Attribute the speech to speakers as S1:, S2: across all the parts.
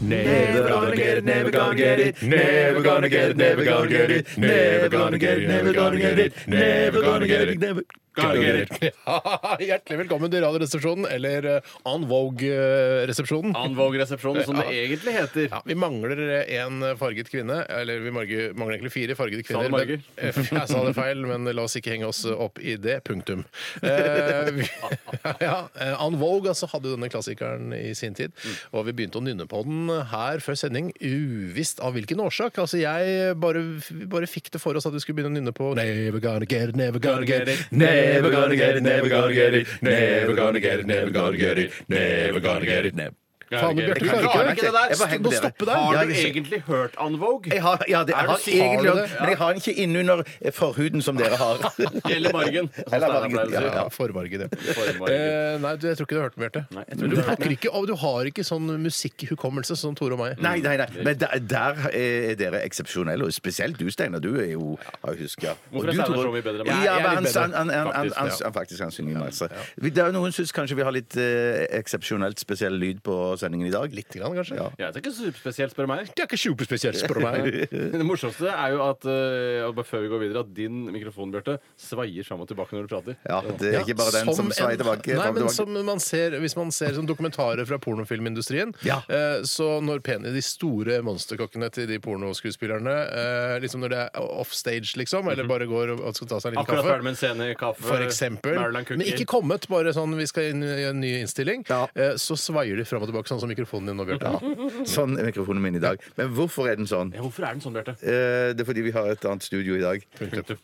S1: Never gonna get it, never gonna get it, never gonna get it, never gonna get it, never gonna get it, never gonna get it, never gonna get it, never gonna get it.
S2: Ja, Hjertelig velkommen til Radioresepsjonen, eller eh, En Vogue-resepsjonen.
S3: Ann Våg-resepsjonen, som det
S2: Ja.
S3: egentlig heter.
S2: Ja, vi mangler en farget kvinne, eller vi marge- mangler egentlig fire fargede
S3: Sa du
S2: kvinner.
S3: marger?
S2: men- Jeg sa det feil, men la oss ikke henge oss opp i det. Punktum. Eh, vi- ja, eh, Ann Vogue altså, hadde jo denne klassikeren i sin tid, og vi begynte å nynne på den her før sending, uvisst av hvilken årsak. Altså, jeg bare, bare fikk det for oss at vi skulle begynne å nynne på Never gonna get it, never gonna get it,
S1: Never gonna get it, never gonna get it, never gonna get it, never gonna get it, never gonna get it. never-
S2: Faen, men Bjarte, du klarer ikke
S3: Klarer
S2: det.
S3: ikke det der.
S2: Jeg bare henger på
S3: Må
S2: dere.
S3: stoppe der.
S2: Ja,
S3: Har du
S2: jeg-
S3: egentlig hørt Ann Våg?
S1: Jeg har, ja, det, jeg
S3: Er du
S1: har
S3: sikker?
S1: egentlig
S2: Har du det?
S1: også, men jeg har den ikke innunder eh, forhuden som dere har.
S3: Eller margen. som Steinar pleier
S1: Eller
S3: å
S1: margen,
S3: si.
S1: ja.
S2: Ja, formargen, ja.
S3: Formargen.
S2: Eh, nei, du, jeg tror ikke du har hørt den, Bjarte. Du, husker ikke- og du har ikke sånn musikkhukommelse som Tore og meg.
S1: Mm. Nei, nei, nei. Men der, der eh, er dere eksepsjonelle. Og spesielt du, Steinar. Du er jo har jeg huska.
S3: Hvorfor er Steinar så mye bedre enn meg?
S1: Ja,
S2: Jeg er
S1: men han,
S2: litt
S1: han, han, han,
S3: Faktisk,
S1: han, han,
S3: ja.
S1: han faktisk han synger masse. Vi- Det er jo Noen syns kanskje vi har litt eh, eksepsjonelt spesiell lyd på sendingen i dag.
S2: Litt, grann, kanskje?
S1: Ja.
S3: Jeg vet ikke superspesielt, spør du meg.
S2: Det er ikke superspesielt, spør du meg.
S3: Det morsomste er jo at eh, og bare før vi går videre, at din mikrofon, Bjarte, svaier fram og tilbake når du prater.
S1: Ja, det er ikke bare den som sveier
S2: en-
S1: tilbake.
S2: Nei,
S1: fram
S2: men
S1: tilbake.
S2: som man ser, Hvis man ser sånn dokumentarer fra pornofilmindustrien,
S1: Ja.
S2: eh, så når peni, de store monsterkokkene til de pornoskuespillerne eh, liksom Når det er offstage, liksom,
S1: Mhm.
S2: eller bare går og- og skal ta seg en liten
S3: Akkurat
S2: kaffe
S3: ferdig med en scene, kaffe,
S2: for eksempel,
S3: Øh, Maryland
S2: men
S3: cookie.
S2: ikke kommet, bare sånn vi skal inn i en ny innstilling,
S1: Ja.
S2: eh, så svaier de fram og tilbake, sånn som mikrofonen din nå, Bjarte.
S1: Sånn er mikrofonen min i dag. Men hvorfor er den sånn?
S3: Ja, Hvorfor er den sånn, Bjarte?
S1: Eh, Det er fordi vi har et annet studio i dag. Punktum.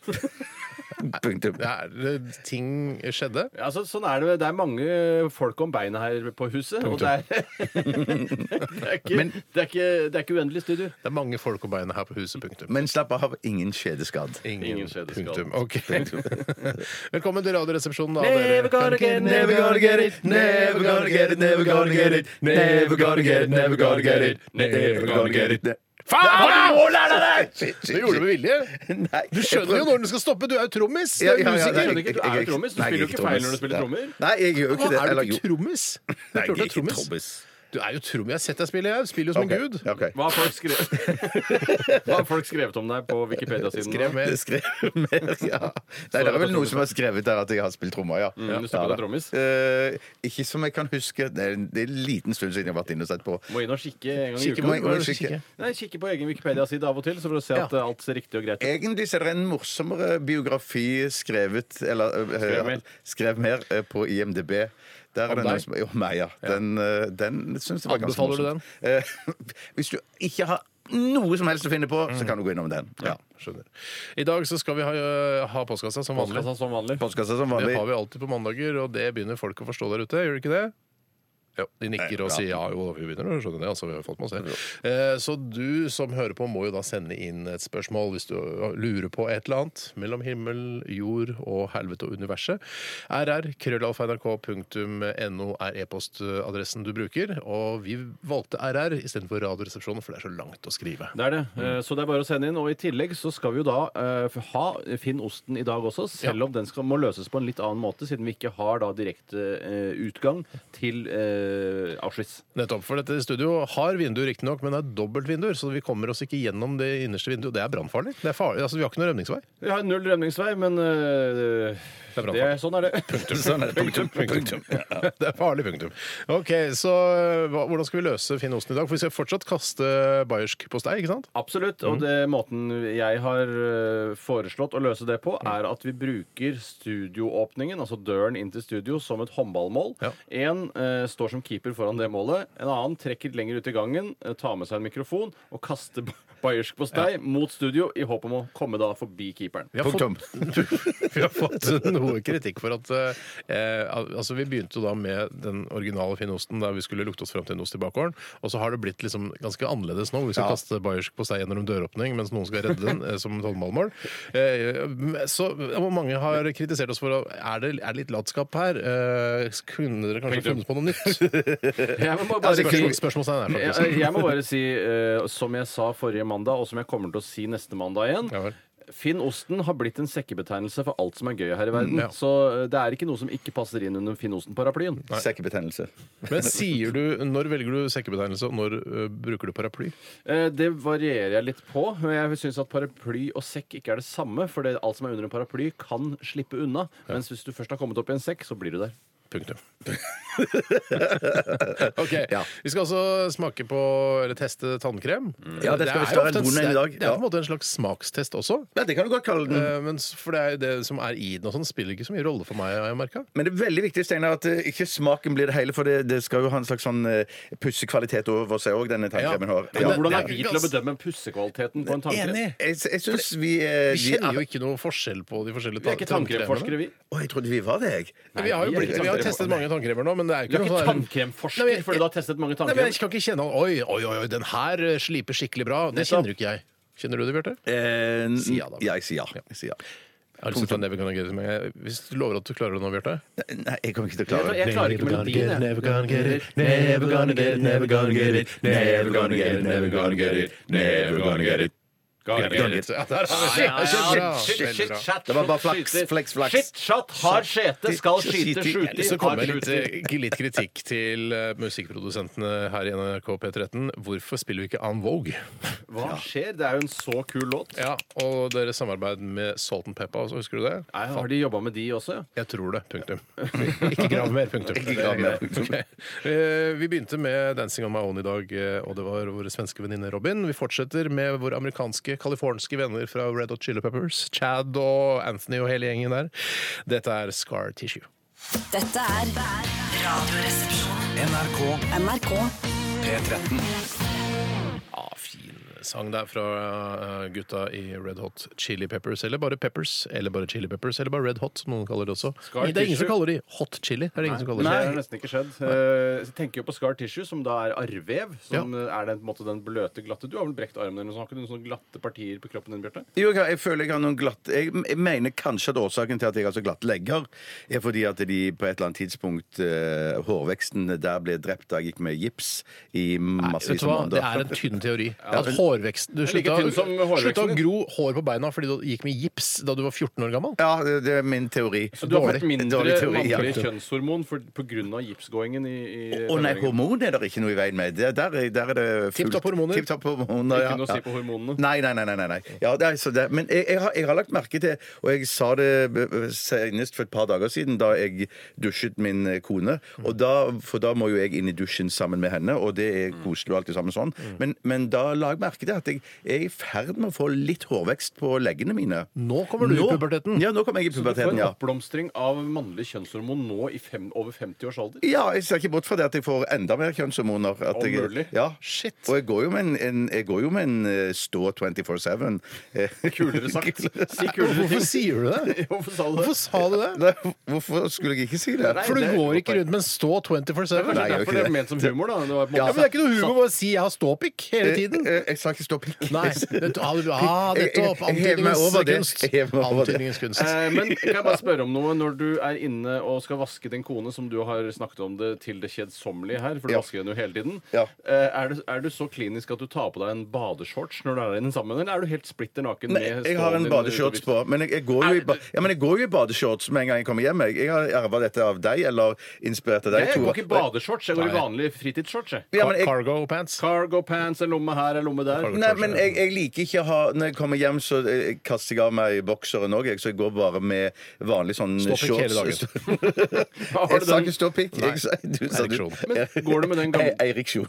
S2: Det er, det- ting skjedde.
S3: Ja, altså, sånn er det, det er mange folk om beinet her på huset. Og det er, det, er ikke,
S1: Men-
S3: det, er ikke, det er ikke uendelig studio.
S2: Det er mange folk og beina her på huset, punktum.
S1: Men slapp av, ingen skjedeskadd.
S3: Ingen skjedeskade.
S2: punktum. Ok. Velkommen til Radioresepsjonen. da,
S3: Never gonna
S2: dere.
S3: get it, never
S1: gonna get it,
S2: never gonna get it, never gonna get it, never gonna get it, never gonna get it, never gonna get it. Faen! Det gjorde du med vilje. Du skjønner jo når den skal stoppe. Du er jo trommis. Du
S1: Ja,
S2: er
S1: ja, ja,
S2: musiker. Ah,
S1: nei,
S3: skjønner ikke, du
S1: jeg-
S3: er jo trommis.
S1: jeg-
S3: Du
S1: nei, jeg
S3: spiller
S1: er
S3: jo
S1: ikke
S3: ikke feil
S1: trommis.
S3: når du spiller
S1: Nei.
S3: trommer.
S1: Nei, jeg gjør jo ikke det.
S2: Er
S1: Eller
S2: du
S1: jo.
S2: ikke trommis? Det er
S1: Nei,
S2: klart
S1: jeg
S2: du
S1: er
S2: er
S1: ikke
S2: trommis.
S1: trommis.
S2: Du er jo trommis. Jeg har sett deg spille, jeg. Du Spiller jo som en gud.
S1: Ok.
S3: Hva har folk skrevet, Hva har folk skrevet om deg på Wikipedia-siden?
S2: Skrev
S3: nå?
S2: med
S1: Det skrev mer, ja. Nei, det er vel noen som har skrevet der at jeg har spilt trommer, ja.
S3: Mm, men du spiller
S1: Ja,
S3: på trommis?
S1: da. Eh, ikke som jeg kan huske. Det er en det er en liten stund siden jeg har vært inne og sett på.
S3: Må inn og kikke en gang i
S2: Kikke
S3: uka.
S2: på-
S1: Må jeg- må jeg
S2: må du
S1: kikke?
S2: kikke?
S3: Nei, kikke på egen Wikipedia-side av og til, så for å se at
S2: Ja.
S3: eh, alt ser riktig og greit ut.
S1: Egentlig så er det en morsommere biografi skrevet eller, eh,
S3: Skrev mer.
S1: skrev mer eh, på IMDb. Der er
S2: Om
S1: det
S2: deg?
S1: noen som, jo, meg, ja. Den, eh, den syns jeg var ganske
S2: Anbefaler du
S1: morsom. Eh, hvis du ikke har noe som helst å finne på,
S2: Mm.
S1: så kan du gå innom den. Ja.
S2: Skjønner. I dag så skal vi ha, eh, ha postkassa som vanlig.
S3: Postkassa som vanlig.
S1: Postkassa
S2: Det
S1: som vanlig.
S2: har vi alltid på mandager, og det begynner folk å forstå der ute. Gjør de ikke det? Jo, De nikker og
S1: Ja.
S2: sier ja, jo, vi begynner å skjønne det. altså vi har jo fått med oss det. Eh, Så du som hører på, må jo da sende inn et spørsmål hvis du lurer på et eller annet mellom himmel, jord og helvete og universet. RR, krøllalfa.nrk.no er e-postadressen du bruker. Og vi valgte RR istedenfor Radioresepsjonen, for det er så langt å skrive.
S3: Det er det. Eh, Så det er bare å sende inn. Og i tillegg så skal vi jo da eh, f- ha Finn osten i dag også, selv om den skal, må løses på en litt annen måte, siden vi ikke har da direkte eh, utgang til eh, Auschwitz.
S2: Nettopp, for dette studio har vinduer riktignok, men det er dobbeltvinduer, så vi kommer oss ikke gjennom det innerste vinduet. Det er brannfarlig. Det er farlig. Altså, vi har ikke noen rømningsvei.
S3: Vi har null rømningsvei, men eh,
S2: Det er
S3: det,
S2: brannfarlig.
S3: sånn er det.
S1: Sånn er det. Punktum. Punktum.
S2: Det er farlig, punktum. Ok, så hva, hvordan skal vi løse Finn Osten i dag? For vi skal fortsatt kaste bayersk på stei, ikke sant?
S3: Absolutt.
S2: Mhm.
S3: Og det, måten jeg har eh, foreslått å løse det på,
S2: Mm.
S3: er at vi bruker studioåpningen, altså døren inn til studio, som et håndballmål.
S2: Ja.
S3: En eh, står som keeper foran det målet. En annen trekker lenger ut i gangen, eh, tar med seg en mikrofon og kaster b- bayersk postei mot studio i håp om å komme da forbi keeperen.
S2: Vi har,
S1: Punktum.
S2: fått, vi har fått noe noe kritikk for at eh, al- altså Vi begynte jo da med den originale finnosten der vi skulle lukte oss fram til en ost i bakgården. Og så har det blitt liksom ganske annerledes nå. Vi skal kaste bayersk på seg gjennom døråpning mens noen skal redde den eh, som tolvmalmål. Eh, så og mange har kritisert oss for å- er det er det litt latskap her. Eh, kunne dere kanskje funnet på noe nytt?
S3: Jeg må
S2: Ja,
S3: bare,
S2: spørsmål, liksom.
S3: si-
S2: spørsmålstegn her,
S3: jeg,
S2: faktisk.
S3: jeg må bare si, eh, som jeg sa forrige mandag, og som jeg kommer til å si neste mandag igjen
S2: Ja vel.
S3: Finn Osten har blitt en sekkebetegnelse for alt som er gøy her i verden.
S2: Mm, ja.
S3: Så eh, det er ikke noe som ikke passer inn under Finn Osten-paraplyen.
S1: Sekkebetennelse.
S2: Men sier du, Når velger du sekkebetegnelse, og når eh, bruker du paraply?
S3: Eh, Det varierer jeg litt på. men Jeg syns at paraply og sekk ikke er det samme, for det, alt som er under en paraply, kan slippe unna. Mens hvis du først har kommet opp i en sekk, så blir du der.
S2: Punktum. ok, Vi skal altså smake på, eller teste tannkrem.
S3: Mm.
S1: Ja, det skal vi
S2: er
S1: ta
S2: jo
S1: en
S2: ofte
S1: vond en i dag.
S2: Det er på
S1: Ja.
S2: en måte en slags smakstest også.
S1: Ja, det kan du godt kalle den.
S2: Eh, Men s- for det er jo det som er i den, og sånn spiller ikke så mye rolle for meg. har jeg merket.
S1: Men det er veldig viktig Steinar, at eh, ikke smaken blir det hele, for det, det skal jo ha en slags sånn eh, pussekvalitet over seg òg, denne tannkremen har.
S2: Men
S1: Ja.
S2: det-
S3: Hvordan
S2: det
S3: er vi
S2: ikke
S3: til å
S2: gans-
S3: bedømme pussekvaliteten på en tannkrem?
S2: Enig!
S1: Jeg, jeg syns vi eh,
S2: Vi
S1: de-
S2: kjenner jo ikke noe forskjell på de forskjellige
S3: Vi er ikke tannkremforskere, vi.
S1: Å, jeg trodde vi var det, jeg.
S2: Vi har jo
S3: vi er
S2: blitt,
S3: ikke
S2: vi har
S3: tannkrem-
S2: testet mange tannkremer nå, men det er jo
S3: Du er
S2: ikke noe
S3: ikke
S2: sånn- Nei, men
S3: tannkremforsker
S2: jeg-
S3: fordi du har testet mange
S2: Nei, men Jeg
S3: tannkremer.
S2: kan ikke kjenne han Oi, oi, oi, oi, den her eh, sliper skikkelig bra. Det
S3: Nettopp.
S2: kjenner jo ikke jeg. Kjenner du det, Bjarte?
S1: Eh, n-
S2: Si ja, da.
S1: Ja, jeg sier ja. Jeg sier ja.
S2: Jeg har lyst til å ta Never Gonna Get It Med meg. Hvis du lover at du klarer det nå, Bjarte.
S1: Nei, jeg kommer ikke til å klare det.
S3: Jeg klarer ikke melodien. jeg.
S2: Never gonna get it, never gonna get it, never
S1: gonna get it, never gonna get it, never gonna get it.
S2: Gonna
S1: get it.
S2: Ja, der har vi det.
S3: Ja, ja, ja.
S2: Kjempebra.
S3: Shit, shit, shit, shit,
S1: Det var bare flaks,
S3: skyter.
S1: flaks, flaks.
S3: Shit, shot, har skjete, skal skyte,
S1: skyte.
S3: skjute,
S2: Så
S3: har
S2: kommer litt,
S3: skjute.
S2: eh, litt kritikk til eh, musikkprodusentene her i NRK P13. Hvorfor spiller vi ikke An Vogue?
S3: Hva skjer? Det er jo en så kul låt.
S2: Ja, Og deres samarbeid med Salt and Pepper, også, husker du det?
S3: Nei, Har de jobba med de også? ja?
S2: Jeg tror det. Punktum. Ikke grav mer. Punktum.
S1: Ikke grav mer, punktum.
S2: Ok. Eh, Vi begynte med 'Dancing on my own' i dag, eh, og det var vår svenske venninne Robin. Vi fortsetter med våre amerikanske, californske venner fra Red Hot Chili Peppers. Chad og Anthony og hele gjengen der. Dette er Scar Tissue.
S4: Dette er Radioresepsjonen.
S5: NRK
S4: NRK
S5: P13.
S2: Ja, Ah, fin sang der fra eh, gutta i Red Hot Chili Peppers. Eller bare Peppers, eller bare Chili Peppers, eller bare Red Hot, som noen kaller det også.
S3: Scar
S2: det er ingen som
S3: Tissue.
S2: kaller de Hot Chili. Det er det ingen som kaller
S3: Det
S2: det.
S3: har nesten ikke skjedd. Eh, Jeg tenker jo på scar tissue, som da er arrvev. Som eh, er den, på en måte, den bløte, glatte Du har vel brekt armen din, og så har ikke du noen sånne glatte partier på kroppen din, Bjarte?
S1: Jo, jeg, har- jeg føler jeg har noen glatt jeg, jeg mener kanskje at årsaken til at jeg har så glatt legger, er fordi at de på et eller annet tidspunkt eh, Hårveksten der ble drept da jeg gikk med gips i
S2: Vet
S1: massevis
S2: du
S1: av
S2: hva, Det
S1: måneder.
S2: er en tynn teori. At hårveksten Du
S3: er like
S2: slutta,
S3: tynn som hårveksten
S2: slutta å
S3: din.
S2: gro hår på beina fordi du gikk med gips da du var 14 år gammel.
S1: Ja, det- det er min teori.
S3: Så du har fått
S1: Dårlig-
S3: mindre
S1: dårlig teori, ja.
S3: mannlig kjønnshormon pga. gipsgåingen i, i
S1: Å nei,
S3: tenåringen.
S1: hormon er det ikke noe i veien med. Det, der, er- der er det fullt.
S2: Tipp-topp hormoner.
S1: Tipp-topp hormoner, ja.
S3: Ikke noe å si
S1: Ja.
S3: på hormonene.
S1: Nei, nei, nei. nei, nei, nei. Ja, det er, så det, men jeg, jeg, har, jeg har lagt merke til, og jeg sa det b- b- senest for et par dager siden, da jeg dusjet min eh, kone. Og da, for da må jo jeg inn i dusjen sammen med henne, og det er koselig og alt det sammen sånn. Men, men da la jeg merke til at jeg er i ferd med å få litt hårvekst på leggene mine.
S2: Nå kommer du i
S1: Nå-
S2: puberteten.
S1: Ja, nå kommer jeg i
S3: Du får
S1: puberteten,
S3: en
S1: ja.
S3: oppblomstring av mannlig kjønnshormon nå i fem, over 50 års alder.
S1: Ja, jeg ser ikke bort fra det at jeg får enda mer kjønnshormoner. At
S3: Om
S1: jeg-
S3: mulig.
S1: Ja.
S2: Shit.
S1: Og jeg går jo med en, en, jeg går jo med en eh, stå 24-7. Eh,
S3: Kulere sagt. Si kulere
S2: Hvorfor
S3: ting.
S2: sier du det?
S3: Hvorfor sa du det?
S2: Hvorfor sa du det?
S1: Nei, Hvorfor skulle jeg ikke si det?
S2: For du går ikke rundt med en stå 24-7.
S3: Det er kanskje
S1: Nei, jeg gjør
S3: derfor
S1: ikke
S3: det
S1: det.
S3: er ment som humor, da. Det var på en
S1: Ja,
S2: Ja,
S3: måte. sånn.
S2: men Det er ikke noe humor bare å si 'jeg har ståpikk' hele
S1: Eh,
S2: tiden.
S1: eh, Jeg sa ikke stå pikk.
S2: Nei. Det, ah, du- ah, nettopp.
S1: Jeg- jeg- jeg hever meg over det.
S2: Antydningens kunst.
S1: Jeg hever meg over det.
S2: Antydningens kunst.
S3: Eh, Men kan jeg bare spørre om noe? Når du er inne og skal vaske din kone, som du har snakket om det til det kjedsommelige her, for du
S1: Ja.
S3: vasker henne jo hele tiden,
S1: Ja.
S3: eh, er, du, er du så klinisk at du tar på deg en badeshorts når du er inne sammen, eller er du helt splitter naken
S1: Nei,
S3: med
S1: jeg har
S3: stålen
S1: en
S3: din
S1: badeshorts
S3: ute og
S1: på, men jeg, jeg, går jo i ba ja, men jeg går jo i badeshorts med en gang jeg kommer hjem. Jeg, jeg har arva dette av deg, eller inspirert
S3: vifter?
S1: av deg.
S3: Jeg går
S1: Tore.
S3: ikke i badeshorts, jeg går i
S2: Nei.
S3: vanlig fritidsshorts. jeg.
S1: Ja, men jeg,
S2: Cargo pants.
S3: Cargo pants, en lomme her, en lomme der.
S1: Nei, men jeg, jeg liker ikke å ha Når jeg kommer hjem, så eh, kaster jeg av meg bokseren òg, så jeg går bare med vanlig sånn
S2: Ståpikk hele dagen.
S3: Har
S1: Jeg
S3: du
S1: sa
S3: den,
S1: ikke ståpikk. jeg sa- du sa du-
S2: Ereksjon.
S3: men går du med den gamle,
S1: E- Ereksjon.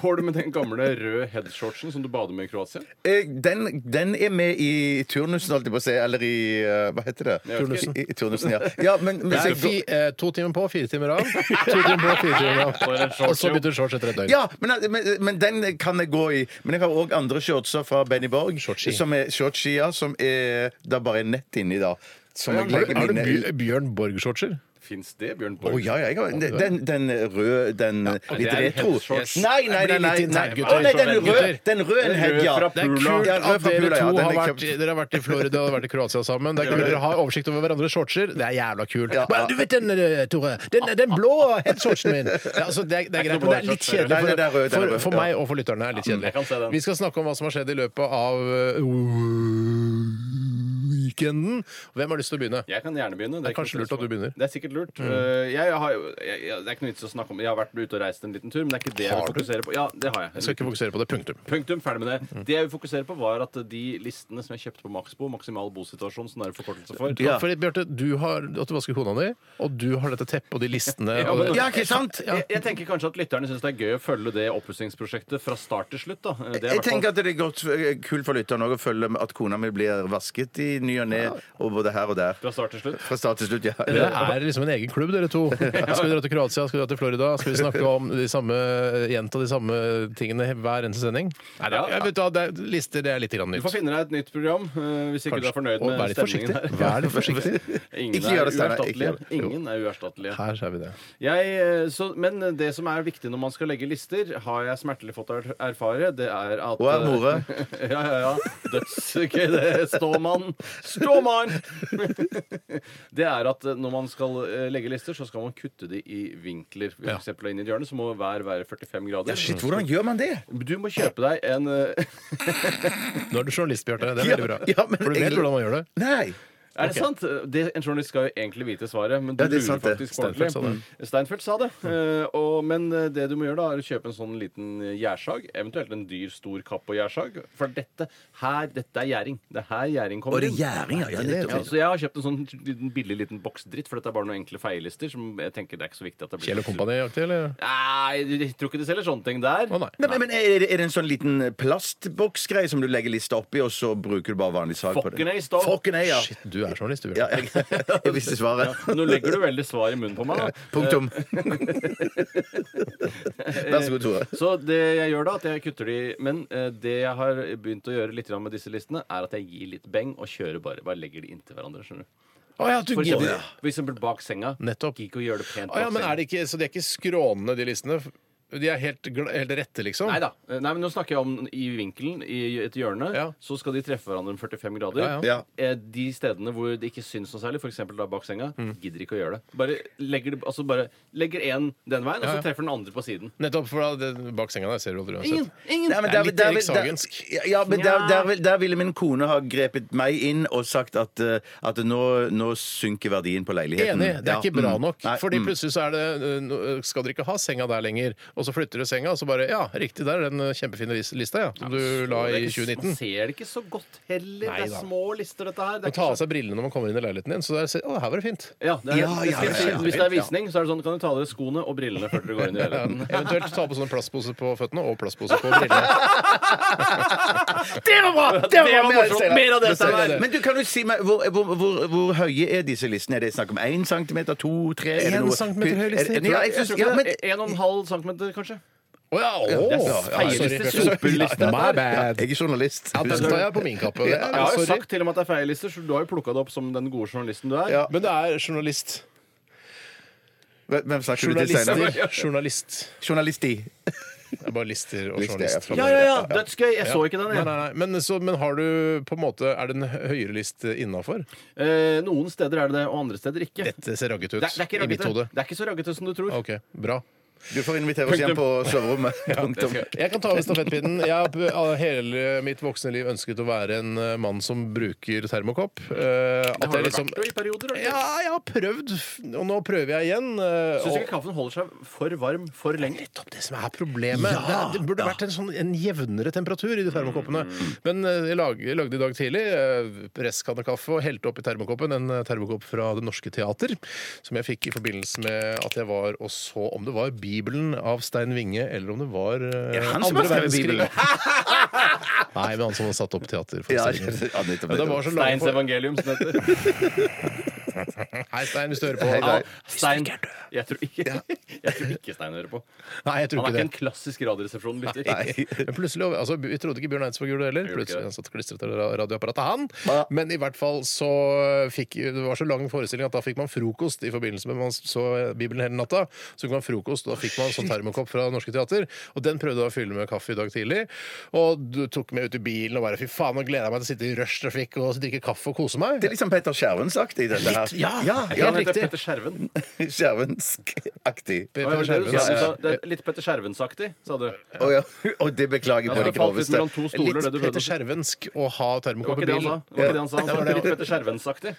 S3: går du med den gamle røde headshortsen som du bader med i Kroatia?
S1: Eh, Den, den er med i turnusen, holdt jeg på å si. Eller i eh, Hva heter det?
S3: Jeg vet
S1: I, i turnusen, ja. ja men, men,
S2: Det
S1: så
S2: er
S1: jeg går,
S2: fi, eh, to timer på, fire timer av. To timer på, fire timer
S3: Og en
S2: av.
S3: shorts,
S2: Og så bytter du shorts etter et døgn.
S1: ja, men, eh, men, men den kan jeg gå i. Men jeg har òg andre shortser fra Benny Borg.
S2: Shortski.
S1: Som er shortski, ja. Som er da bare er nett inni, da. som
S2: Har
S1: jeg
S2: du,
S1: legger
S2: har du
S1: mine
S2: Bjør- Bjørn Borg-shortser?
S3: Fins det, Bjørn
S1: Å
S3: Borg?
S1: ja, ja, jeg har den, den røde, den
S3: det
S1: litt
S3: er en
S1: retro.
S3: headshorts.
S1: Nei, nei,
S2: Det blir litt
S1: nei! nei, nei.
S2: internt, gutter.
S1: Å, nei den
S2: Sorry,
S1: røde
S2: gutter.
S1: den rød,
S3: Den
S1: head,
S3: røde
S1: ja.
S3: fra
S2: Det er
S3: Pula.
S2: kult
S1: Ja,
S2: at
S1: fra
S2: dere
S1: Pula,
S2: to
S1: ja, den
S2: har
S1: er
S2: vært,
S1: kjøpt.
S2: dere har vært i Florida og vært i Kroatia sammen. Det er kult dere har oversikt over hverandres shortser. Det er jævla kult.
S1: Ja.
S2: Bare, Du vet den, eh, Tore! Den, den blå headshortsen min! Ja, altså, det, er, det er greit, men det er litt kjedelig
S1: Nei, nei, det er
S2: for,
S1: rød, det er
S2: for,
S1: rød,
S2: for
S1: ja.
S2: meg og for lytterne. er det litt
S3: jeg kan se
S2: kjedelig.
S3: den.
S2: Vi skal snakke om hva som har skjedd i løpet av eh, weekenden. Hvem har lyst til å begynne?
S3: Jeg kan gjerne begynne.
S2: Det er kanskje lurt at du begynner. Mm.
S3: Det er sikkert lurt. Uh, jeg har, jo- jeg, jeg, det er ikke noe vits å snakke om Jeg har vært ute og reist en liten tur, men det er ikke det jeg
S2: Har
S3: vil
S2: du?
S3: fokusere på. Ja, det har jeg.
S2: Jeg skal ikke fokusere på det. Punktum.
S3: Punktum, ferdig med
S2: Mm.
S3: det. Det jeg vil fokusere på, var at de listene som jeg kjøpte på Maxbo, maksimal bosituasjon, som det er en forkortelse for
S1: Ja.
S2: Fordi, Bjarte, du har at du vasker kona di, og du har dette teppet og de listene.
S3: Ja,
S2: og
S3: men-
S2: det-
S1: Ja, ikke sant?
S3: Jeg, jeg tenker kanskje at lytterne syns det er gøy å følge det oppussingsprosjektet fra start til slutt. da. Eh, Det er i
S1: Jeg
S3: hvert fall-
S1: tenker at det er godt, eh, kult for lytteren også å følge med at kona mi blir vasket i ny og ne, og både her og der.
S3: Fra start til slutt.
S1: Fra start til slutt, ja.
S2: Dere er liksom en egen klubb, dere to. Skal vi dra til Kroatia, skal vi dra til Florida? Skal vi snakke om de samme gjenta de samme tingene hver eneste sending? Nei, det,
S3: Ja.
S2: jeg vet, hva, det er, lister det er litt grann
S3: Du får
S2: nytt.
S3: finne deg et nytt program eh, hvis ikke du er fornøyd
S2: Og vær
S3: med
S2: litt forsiktig.
S3: stemningen her.
S2: Vær litt forsiktig.
S3: Ingen
S1: Ikke gjør
S3: er
S1: det, Steinar. Ikke
S3: uerstattelige.
S1: gjør det. Jo.
S3: Ingen er uerstattelige.
S2: Her ser vi det.
S3: Jeg, eh, så, men det som er viktig når man skal legge lister, har jeg smertelig fått er- erfare, det er at eh,
S1: Og er more.
S3: ja, ja, ja. Dødsgøy, det. Ståmann. Ståmann! det er at eh, når man skal eh, legge lister, så skal man kutte de i vinkler. For eksempel inn i et hjørne, så må hver være 45 grader.
S1: Ja, shit, hvordan gjør man det?
S3: Du må kjøpe deg en eh,
S2: Nå er du journalist, Bjarte. Det er
S1: Ja,
S2: veldig bra.
S1: ja, men
S2: For du vet
S1: jeg-
S2: hvordan man gjør det.
S1: Nei!
S3: Er det sant? Det, en journalist skal jo egentlig vite svaret, men du
S1: Ja, det er
S3: lurer
S1: sant, det.
S3: faktisk
S2: Steinfeld sa det.
S3: ordentlig. Mm. Steinfeld sa det. Eh, og, men eh, det du må gjøre, da, er å kjøpe en sånn liten gjærsag. Eventuelt en dyr, stor kapp og gjærsag. For dette her, dette er gjæring. Det er her gjæring
S1: Og
S3: kommer
S1: det er gjæring, ja. ja, nettopp.
S3: Ja, så jeg har kjøpt en sånn liten, billig liten boksdritt, for dette er bare noen enkle feillister som jeg tenker det er ikke så viktig at det blir
S2: Kjell og Kompani-aktig, eller?
S3: Nei, jeg tror ikke de selger sånne ting der.
S2: Å, nei.
S1: Nei, men men er det, er det en sånn liten plastboksgreie som du legger lista oppi, og så bruker du bare vanlig sag på det?
S3: Fucking A, stopp.
S1: Fucking A, ja.
S2: Shit, du er journalist, du,
S1: ja
S2: Bjarte.
S1: jeg, jeg visste svaret.
S3: Nå legger du veldig svar i munnen på meg. da.
S1: Punktum. Vær så god, Tore.
S3: Så det jeg gjør da, at jeg kutter de Men eh, det jeg har begynt å gjøre litt grann med disse listene, er at jeg gir litt beng og kører bare. Bare legger de inntil hverandre. skjønner du
S2: Å ja, du
S3: For
S2: gidder.
S3: eksempel, for eksempel bak senga.
S2: Nettopp.
S3: Gidder Ikke å gjøre det pent
S2: Å
S3: bak
S2: ja, men
S3: senga.
S2: er det ikke, så de er ikke skrånende, de listene? De er helt, gl- helt rette, liksom?
S3: Nei da. Eh, Nei, men nå snakker jeg om i vinkelen, i et hjørne.
S2: Ja.
S3: Så skal de treffe hverandre om 45 grader.
S2: Ja,
S1: Ja.
S3: Eh, De stedene hvor det ikke syns noe særlig, f.eks. bak senga,
S2: Mm.
S3: gidder ikke å gjøre det. Bare legger det- altså bare legger én den veien, og
S2: Ja, ja.
S3: så treffer den andre på siden.
S2: Nettopp, for da, det, bak senga der ser du aldri
S3: Ingen!
S2: uansett.
S3: ingen.
S1: Nei, men
S2: Det er
S1: der,
S2: litt
S1: der,
S2: Erik
S1: der,
S2: Sagensk.
S1: ja, men der,
S3: Ja.
S1: der, vil- der ville min kone ha grepet meg inn og sagt at, eh, at nå, nå synker verdien på leiligheten.
S2: Enig. Det er
S1: Ja,
S2: ikke bra
S1: mm.
S2: nok.
S1: Nei,
S2: Fordi
S1: mm.
S2: plutselig så er det øh, nå, øh, Skal dere ikke ha senga der lenger? Og så flytter du senga, og så bare Ja, riktig, der er den øh, kjempefine lis- lista, ja. Som du la i
S3: Man
S2: 2019.
S3: ser det ikke så godt heller. det
S2: Neida.
S3: er små lister, dette her. Det er
S2: Og ta
S3: ikke
S2: av seg brillene når man kommer inn i leiligheten din. Så der, ser- å, her var det fint.
S3: så- ja, det er,
S1: Ja, ja,
S3: det skal jeg
S1: ja, ja, ja.
S3: si. Hvis det er visning, så er det sånn kan du ta av dere skoene og brillene før dere går inn i
S2: Ja,
S3: leiligheten.
S2: eventuelt ta på sånne plastpose på føttene og plastpose på brillene.
S3: Det var bra! Det var morsomt! Mer av det!
S2: Steinar.
S3: Steinar.
S1: Men du kan jo si meg, hvor, hvor, hvor, hvor høye er disse listene? Er det snakk om 1 cm, 2, 3 er det
S2: En
S1: noe-
S2: centimeter høy liste,
S1: Er
S2: tror jeg.
S1: det- Ja,
S3: Jeg
S1: jeg synes,
S3: tror
S1: ja,
S3: ikke
S1: men,
S3: det er En og en halv centimeter, kanskje.
S2: Å ja! Å!
S3: Det er
S2: ja,
S3: feileste
S2: sorry, Bjarte.
S3: sopeliste, dette
S2: My
S3: her.
S2: bad.
S1: jeg er journalist.
S2: Ja, Den tar jeg på min kappe. Det er-
S3: Jeg har jo
S2: Sorry.
S3: sagt til og med at det er feillister, så du har jo plukka det opp som den gode journalisten du er.
S1: Ja.
S2: Men det er journalist.
S1: Hvem snakker du til, Steinar?
S2: Journalister. Journalist.
S1: Journalisti.
S2: Det er bare lister og
S1: Lister,
S2: journalist.
S1: ja.
S3: ja, ja, ja. Dødsgøy! Jeg så ikke den.
S2: Nei,
S3: Jeg.
S2: nei, nei. Men, så, men har du på en måte Er det en høyere list innafor?
S3: Eh, noen steder er det det, og andre steder ikke. Det,
S2: Dette eh, ser raggete ut
S3: er- det, er, ikke
S2: i mitt
S3: raggete.
S2: hode.
S3: det er ikke så raggete som du tror.
S2: Ok, bra.
S1: Du får invitere oss hjem på soverommet. Punktum.
S2: Jeg kan ta over stafettpinnen. Jeg har p- av hele mitt voksne liv ønsket å være en eh, mann som bruker termokopp. Eh,
S3: Det
S2: At
S3: har det
S2: jeg liksom
S3: vært jo i perioder. da.
S2: Ja, jeg har prøvd, f- og nå prøver jeg igjen. eh,
S3: Syns du
S2: og-
S3: ikke kaffen holder seg for varm for lenge?
S2: nettopp det som er problemet. det, er- det burde vært en, sånn, en jevnere temperatur i de termokoppene. Men eh, jeg lag, jeg lagde i dag tidlig eh, presskanne kaffe og helte opp i termokoppen en eh, termokopp fra Det Norske Teater, som jeg fikk i forbindelse med at jeg var og så om det var Bibelen av Stein Winge, eller om det var eh,
S1: han som
S2: andre
S1: har skrevet
S2: verdenskrig.
S1: Bibelen?
S2: Nei, men han som har satt opp
S1: Ja,
S2: teaterforestillingen.
S1: ja,
S2: sånn.
S1: nettopp,
S2: Men det var
S1: nettopp.
S2: så lage
S3: Steins evangelium, som det heter.
S2: Hei, Stein, hvis du hører på.
S1: Hei, Stein.
S3: Stein. Jeg tror ikke Jeg tror ikke Stein hører på.
S2: Nei, jeg
S3: Han er
S2: tror ikke
S3: ikke
S2: det.
S3: en klassisk Radioresepsjon-lytter.
S2: Men plutselig, altså, Vi trodde ikke Bjørn Eidsvåg gjorde det heller.
S3: Jeg gjorde ikke
S2: Plutselig
S3: det.
S2: han satt klistret til ra- radioapparatet, han. Men i hvert fall så fikk Det var så lang forestilling at da fikk man frokost i forbindelse med man så Bibelen hele natta. Så fikk man frokost, og da fikk man sånn termokopp fra Norske Teater. Og den prøvde jeg å fylle med kaffe i dag tidlig. Og du tok meg ut i bilen og bare fy faen, nå gleder jeg meg til å sitte i rushtrafikk og drikke kaffe og kose meg.
S1: Det er liksom Petter Skjervens-aktig, dette her.
S2: ja,
S1: ja,
S2: helt
S3: Han heter
S2: riktig.
S3: Petter Skjerven.
S1: Skjervensk-aktig.
S2: Per-
S3: Hva
S2: Per
S3: var det du sa? Du
S2: Skjerven, eh,
S3: sa det er litt Petter Skjervensaktig, sa du.
S1: Å ja. Og det beklager jeg på
S3: Ja,
S1: det
S3: det falt litt
S1: groveste.
S3: mellom to stoler, det
S2: Litt
S3: du prøvde
S2: Peter
S3: å si.
S2: Skjervensk å ha
S3: Det var
S2: termokopp i
S3: ikke det han sa.
S2: bilen.
S3: Det var ikke det han sa. Han
S2: Ja,
S3: sa
S2: det var
S3: litt
S2: det.
S3: Petter Skjervensaktig.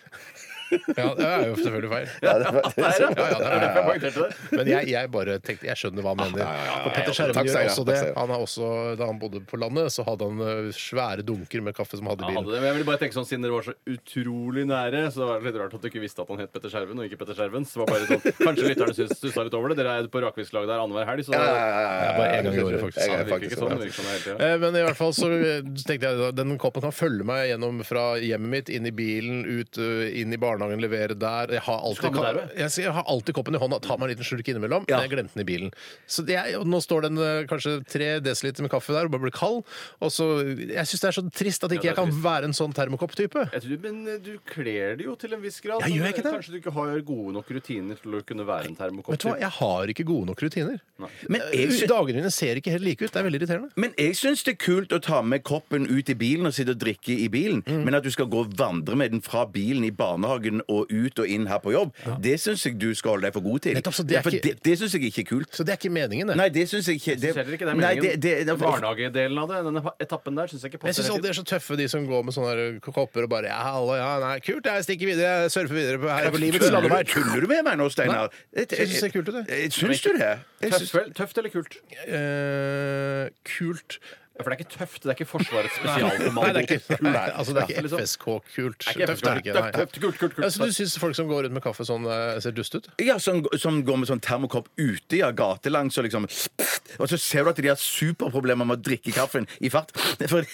S2: Ja, det er jo selvfølgelig feil.
S1: Ja, det var-
S3: Det er det. Det er
S2: Ja, ja, det er det.
S3: derfor jeg poengterte det.
S2: Men jeg, jeg bare tenkte, jeg skjønner hva han
S3: Ah,
S2: mener. For Petter
S1: Takk,
S2: Skjerven gjør
S1: Seier.
S2: også
S1: Takk,
S2: det.
S1: Seier.
S2: Han er også, Da han bodde på landet, så hadde han eh, svære dunker med kaffe som han hadde
S3: Ja,
S2: i
S3: han hadde
S2: bilen.
S3: det, men jeg ville bare tenke sånn, Siden dere var så utrolig nære, så var det litt rart at du ikke visste at han het Petter Skjerven. og ikke Petter Skjervens. Det var bare sånn, Kanskje lytterne syns- stussa litt over det. Dere er på rakfisklag der annenhver helg. så det
S1: Ja, ja, ja, ja, ja.
S2: Bare en gang i året, faktisk.
S1: Jeg er
S3: det virker ikke
S1: faktisk
S3: sånn. Det virker sånn hele tiden.
S2: Eh, Men i hvert fall så eh, tenkte jeg da, den koppen kan følge meg gjennom fra hjemmet mitt, inn i bilen, ut, eh, inn i barnehagen, levere der. Jeg har
S3: Skal
S2: alltid,
S3: du der,
S2: ka- jeg, sier, jeg har alltid koppen i hånda, tar meg en liten slurk innimellom, men jeg glemte den i bilen. Så det er, og nå står den eh, kanskje tre desiliter med kaffe der og bare blir kald. Og så, jeg syns det er så trist at ikke
S3: Ja, det er
S2: jeg kan
S3: trist.
S2: være en sånn termokopp-type.
S3: Jeg tror, men eh, du kler det jo til en viss grad.
S2: Ja, gjør jeg
S3: men eh,
S2: ikke det?
S3: Kanskje du ikke har gode nok rutiner til å kunne være en termokopp.
S2: Vet du hva, Jeg har ikke gode nok rutiner.
S1: Men jeg, sy-
S2: Dagene mine ser ikke helt like ut. Det er veldig irriterende.
S1: men jeg syns det er kult å ta med koppen ut i bilen og sitte og drikke i bilen.
S2: Mm.
S1: Men at du skal gå og vandre med den fra bilen i barnehagen og ut og inn her på jobb, det syns jeg du skal holde deg for god til.
S2: Nettopp, så det er
S1: Ja, for
S2: ikke-
S1: det, det syns jeg ikke er kult.
S2: Så det er ikke meningen. det.
S1: Nei, det syns jeg
S3: Jeg
S1: ikke.
S3: synes heller ikke det er
S1: Nei,
S3: meningen.
S1: det, det,
S3: Barnehagedelen av det, denne etappen der, syns jeg ikke
S2: Men
S3: passer.
S2: Jeg syns
S3: helt
S2: alltid
S3: inn.
S2: de er så tøffe, de som går med sånne her kopper og bare Ja, hallo, ja, nei, kult, jeg stikker videre, jeg surfer videre på, her på livets
S1: Tuller,
S2: landevei.
S1: du- tuller du med meg nå, Steinar?
S2: Nei, jeg synes det ser kult ut, jeg.
S1: jeg. Syns du det? Jeg syns-
S3: Tøft, vel? tøft eller kult? Ja,
S2: Eh, kult
S3: For det er ikke tøft. Det er ikke Forsvarets
S2: Nei, det
S3: spesialkommando.
S2: er ikke, nei, altså, det er
S3: Ja,
S2: ikke
S3: liksom.
S2: FSK-kult.
S3: Det er ikke
S2: Tøft er det ikke.
S3: tøft, tøft, kult, kult, kult.
S2: Ja, så du syns folk som går rundt med kaffe sånn, eh, ser dust ut?
S1: Ja, som, som går med sånn termokopp ute, ja, gatelangs og liksom Og så ser du at de har superproblemer med å drikke kaffen i fart. For,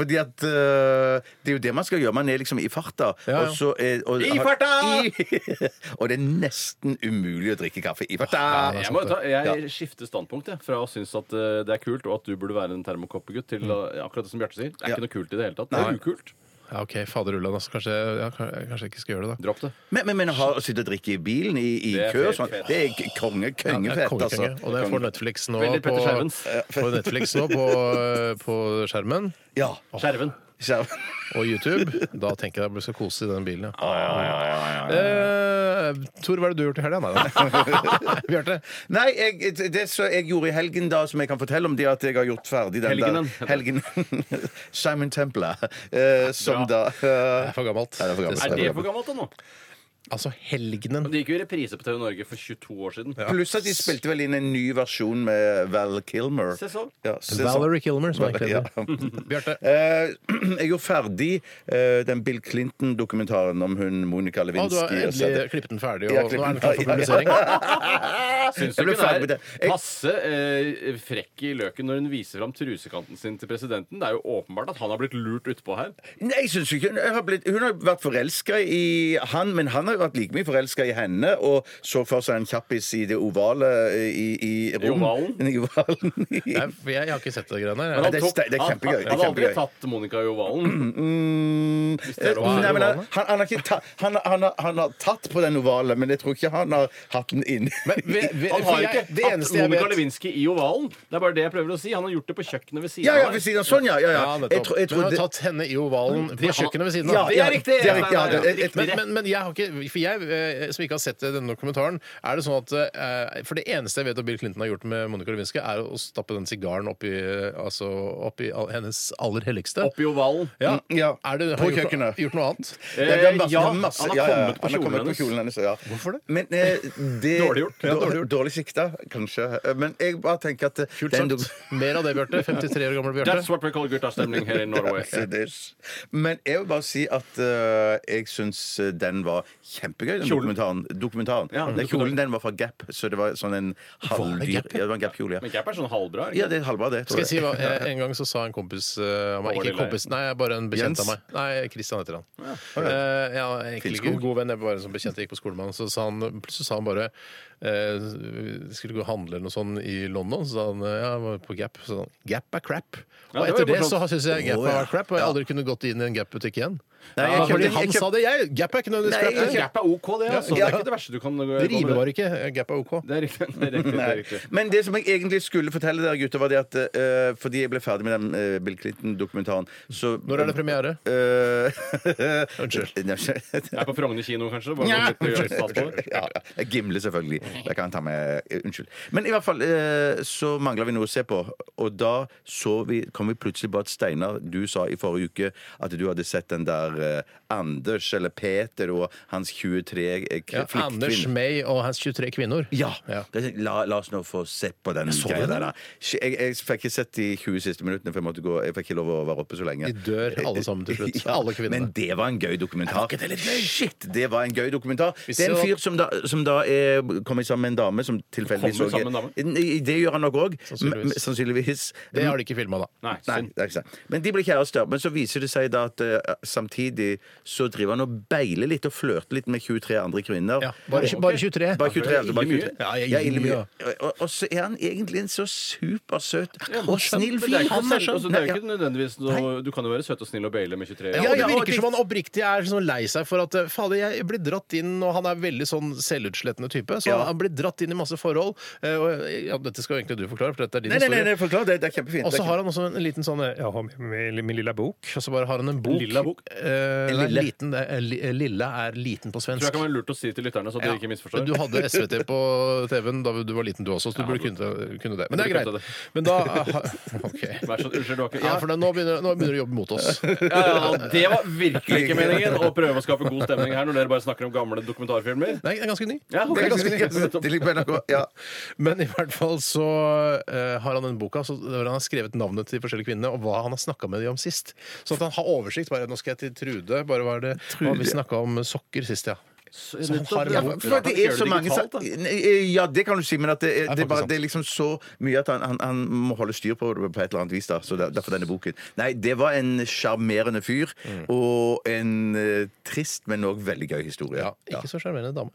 S1: fordi at øh, Det er jo det man skal gjøre. Man er liksom i farta.
S2: Ja, ja.
S1: Og så er, og,
S3: I farta!
S1: I, og det er nesten umulig å drikke kaffe i farta.
S2: det er
S3: Jeg,
S2: sant,
S3: må, ta, jeg skifter standpunkt jeg, fra å synes at eh, det er kult og at du burde være en termokoppegutt, til eh,
S2: Mm.
S3: akkurat det som Bjarte sier. Det er
S1: Ja.
S3: ikke noe kult i det hele tatt. Det er ukult.
S2: Ja, OK, fader ullan, altså. Kanskje, ja, kan- kanskje jeg ikke skal gjøre det, da.
S3: Dropp det.
S1: Men, men, men å ha- å sitte og drikke i bilen i, i
S3: Det er
S1: kø og
S3: fet,
S1: sånn,
S3: fet.
S1: det er k- konge,
S2: Ja,
S1: kongefett,
S2: kongekonge.
S1: altså.
S2: Og det får Netflix nå
S3: Veldig
S2: på,
S3: Petter Skjervens.
S2: på, Netflix nå på, eh, på skjermen
S1: Ja.
S3: Skjerven.
S1: Så,
S2: og YouTube. Da tenker jeg at jeg skal kose i den bilen, ja.
S1: ja.
S2: Eh, Tor, hva har du gjort i helga? Nei da. Bjarte?
S1: Nei, jeg, det som jeg gjorde i helgen, da, som jeg kan fortelle om, det er at jeg har gjort ferdig den
S3: Helgenen.
S1: der helgen. Simon Templer. eh, som da eh,
S2: Det er for gammelt.
S1: Ja, det er for gammelt.
S3: Er det for gammelt da nå?
S2: Altså helgenen.
S3: Men Det gikk jo i reprise på TV Norge for 22 år siden.
S1: Pluss at de spilte vel inn en ny versjon med Val Kilmer.
S3: Se så.
S1: Ja, se så.
S2: Valerie Kilmer, som er
S1: Ja.
S2: kledd. Bjarte.
S1: Eh, Jeg gjorde ferdig eh, den Bill Clinton-dokumentaren om hun Monica
S2: Å, du
S1: Lewinsky.
S2: har
S1: og så-
S2: endelig klippet den ferdig,
S1: Ja,
S2: og nå er den klar for
S1: klippet den.
S2: publisering.
S3: Syns du
S1: Jeg ble
S3: ikke
S1: ferdig med
S3: hun
S1: det.
S3: er
S1: Jeg-
S3: passe eh, frekk i løken når hun viser fram trusekanten sin til presidenten? Det er jo åpenbart at han har blitt lurt utpå her.
S1: Nei, jeg synes ikke hun har, blitt, hun har vært forelska i han, men han har jo vært like mye forelska i henne og så for seg en kjappis i det ovale eh, i, i rom.
S3: ovalen?
S1: I ovalen.
S2: Nei, for Jeg, jeg har ikke sett det greiene
S1: Nei,
S2: der.
S1: det er
S3: tok-
S1: ste- det er
S3: han-
S1: kjempegøy, det er
S3: Han hadde aldri
S1: kjempegøy.
S3: tatt Monica i ovalen.
S1: Mm,
S3: det er
S1: eh,
S3: ovale,
S1: nei, men han,
S2: ovale.
S1: han, han, har ikke ta, han, han, har- han har tatt på den ovale, men jeg tror ikke han har hatt den inne.
S2: Ve- ve-
S3: Han
S2: for
S3: har jo
S2: jeg-
S3: ikke
S2: det
S3: tatt
S2: eneste jeg
S3: Monica
S2: vet-
S3: Lewinsky i ovalen. Det er bare det jeg prøver å si. Han har gjort det på kjøkkenet ved siden
S1: Ja, ja,
S3: av
S1: ved
S3: her.
S1: siden av sånn, ja. ja, ja.
S2: Ja, nettopp.
S1: Jeg, tror- jeg
S2: Men
S1: tror
S2: han
S1: det, Mm.
S2: har tatt henne i ovalen på kjøkkenet ved siden
S1: Ja,
S2: av.
S3: Det er
S1: ja,
S3: riktig!
S1: det er riktig, ja,
S3: Nei, nei, nei,
S1: det-
S3: riktig.
S2: Men, men, men jeg har ikke For jeg eh, som ikke har sett denne dokumentaren, er det sånn at eh, For det eneste jeg vet at Bill Clinton har gjort med Monica Lewinsky, er å stappe den sigaren oppi altså, opp i all- hennes aller helligste.
S3: Opp i ovalen.
S2: Ja.
S1: Mm, ja.
S2: Er det,
S1: På
S2: har gjort,
S1: kjøkkenet.
S2: gjort noe annet? Eh,
S1: det er masse-
S3: ja,
S1: masse-
S3: han har
S1: ja, ja,
S3: kommet på
S1: han har
S3: kjolen
S1: kommet på
S3: hennes.
S1: kjolen hennes. Ja.
S2: Hvorfor det?
S1: Men, eh, det
S3: Dårlig gjort. Ja,
S1: Dårlig, dårlig sikta, kanskje. Eh, Men jeg bare tenker at eh,
S2: Kult
S1: den
S2: sagt. Mer av det, Bjarte. 53 år gamle Bjarte.
S3: That's what we call guttastemning her i Norway.
S1: Altså, det er s- Men jeg vil bare si at eh, jeg syns den var kjempegøy, den
S3: Kjolen.
S1: dokumentaren. dokumentaren.
S3: Ja,
S1: den
S3: dokumentaren.
S1: kjolen den var fra Gap, så det var sånn en halvdyr ja,
S2: Gap, ja?
S1: det var en Gap-kjole.
S3: Men
S1: Ja.
S3: Gap er sånn halvbra. ikke?
S1: ja, det er halvbra, det.
S2: Skal
S1: Tror
S2: jeg si
S1: jeg.
S2: hva? eh, En gang så sa en kompis eh, av meg
S3: Årlig
S2: Ikke
S3: lei.
S2: kompis, nei, bare en bekjent
S1: Jens?
S2: av meg. Nei, Christian heter han. Ja, ja egentlig ikke
S1: Finnskog?
S2: god venn, jeg var bare en sånn bekjent jeg gikk på skole med han. Så sa han, plutselig sa han bare eh, Skulle gå og handle eller noe sånt i London, så sa han eh, ja, jeg var på Gap. Så sa han Gap er crap. Og
S3: Ja, det var
S2: etter
S3: jo
S2: det så
S3: morsomt.
S2: syns jeg Gap
S1: Å, ja.
S2: har vært crap, og jeg har aldri kunne gått inn i en Gap-butikk igjen.
S1: Nei, jeg
S2: ja,
S1: kjøpte-
S2: fordi
S1: jeg
S2: han
S1: kjøpte-
S2: sa det, jeg. Gap er ikke nødvendigvis
S1: Nei,
S2: crap.
S1: jeg
S2: Gap-
S3: Gap er OK, det. Altså.
S2: Ja.
S3: Det er ikke det verste du kan gå
S2: Det rimer bare ikke. Gap er OK.
S3: Det er riktig. Det er riktig, det er riktig.
S1: Men det som jeg egentlig skulle fortelle dere, gutter, var det at eh, fordi jeg ble ferdig med den eh, Bill Clinton-dokumentaren, så
S2: Når er det premiere?
S1: Eh,
S2: Unnskyld.
S1: Nei, unnskyld.
S3: Jeg er på Frogner kino, kanskje. Bare ja.
S1: Ja, ja. Gimle, selvfølgelig. Jeg kan ta med eh, Unnskyld. Men i hvert fall eh, så mangla vi noe å se på. Og da så vi, kom vi plutselig på at Steinar, du sa i forrige uke at du hadde sett den der eh, Anders eller Peter og hans 23 eh, k-
S2: Ja, Anders
S1: flittkvinn-
S2: May og hans 23 kvinner.
S1: Ja! Da tenkte jeg, La, la oss nå få se på den greia der. da. Jeg, jeg fikk ikke sett de 20 siste minuttene, for jeg, måtte gå, jeg fikk ikke lov å være oppe så lenge.
S2: De dør alle sammen til slutt. Alle kvinnene.
S1: Men det var en gøy dokumentar. Shit, det var en gøy dokumentar.
S2: Vi
S1: Det er en
S2: så-
S1: fyr som da, som da er, kommer sammen med en dame som tilfeldigvis
S3: Kommer
S1: også-
S3: sammen med
S1: Nei, Det gjør han nok òg.
S2: Sannsynligvis.
S1: Sannsynligvis.
S2: Det har de ikke filma, da.
S3: Nei,
S1: Nei,
S3: synd.
S1: det er ikke sant. Men de blir kjærester. Men så viser det seg da at eh, samtidig så driver han og beiler litt og flørter litt med 23 andre kvinner.
S2: Ja, bare,
S3: ok.
S2: bare 23.
S1: Bare 23,
S3: ille
S1: altså. Bare
S3: mye.
S1: 23.
S2: Ja, jeg
S1: Ja, ille
S2: gir
S1: mye.
S2: mye.
S1: Og, og så er han egentlig en så supersøt
S3: Ja,
S1: og snill
S3: men
S1: fyr.
S3: Det er ikke,
S1: Han er
S3: selv-
S1: sånn-
S3: altså, det er jo
S1: Nei,
S3: ikke nødvendigvis noe, Du kan jo være søt og snill og baile med 23
S2: Ja,
S1: Ja,
S2: og det
S1: ja, og
S2: virker
S1: det-
S2: som han oppriktig er sånn lei seg for at eh, Fader, jeg blir dratt inn, og han er veldig sånn selvutslettende type. Så
S1: Ja.
S2: han blir dratt inn i masse forhold. eh, Og ja, dette skal jo egentlig du forklare, for dette er din
S1: Nei, nei, nei, nei,
S2: historie.
S1: forklar. Det, det er kjempefint.
S2: Og
S1: Det
S2: så
S1: er
S2: har han også en liten sånn eh, Ja, min, min, min lilla bok. Og så bare har han en bok.
S3: Lilla bok?
S2: Eh,
S1: En
S2: nei,
S1: lille.
S2: liten, det er, li- eh, lille er liten på
S3: Tror jeg
S2: svensk.
S3: kan være lurt å si til lytterne, så de
S2: Ja.
S3: ikke misforstår.
S2: Du hadde SVT på TV-en da du var liten, du også, så du burde kunne, kunne det. Men det er
S3: burde
S2: greit.
S3: kunne det.
S2: Men da eh, OK.
S3: Vær så unnskyld, du har ikke
S2: Ja, for da- nå begynner, nå begynner du å jobbe mot oss.
S3: Ja, ja, og det var virkelig ikke meningen å prøve å skape god stemning her når dere bare snakker om gamle dokumentarfilmer.
S2: Nei, det er ganske ny.
S3: Ja, ok.
S1: Det er
S3: ganske
S1: ganske- Det ligger på NRK. Ja.
S2: Men i hvert fall så eh, har han den boka så, hvor han har skrevet navnet til de forskjellige kvinnene og hva han har snakka med dem om sist. Sånn at han har oversikt. Bare, nå skal jeg til Trude. Bare var det, Å, vi snakka om sokker sist, ja. Så han har
S3: Ja,
S2: en bok.
S1: For at det er så mange
S3: digitalt, da.
S1: sa- Ja, det kan du si, men at det, er- det, er bare,
S2: sant.
S1: det er liksom så mye at han, han, han må holde styr på det på et eller annet vis. da Så der- Derfor denne boken. Nei, det var en sjarmerende fyr og en eh, trist, men òg veldig gøy historie.
S2: Ja, ikke så sjarmerende dame.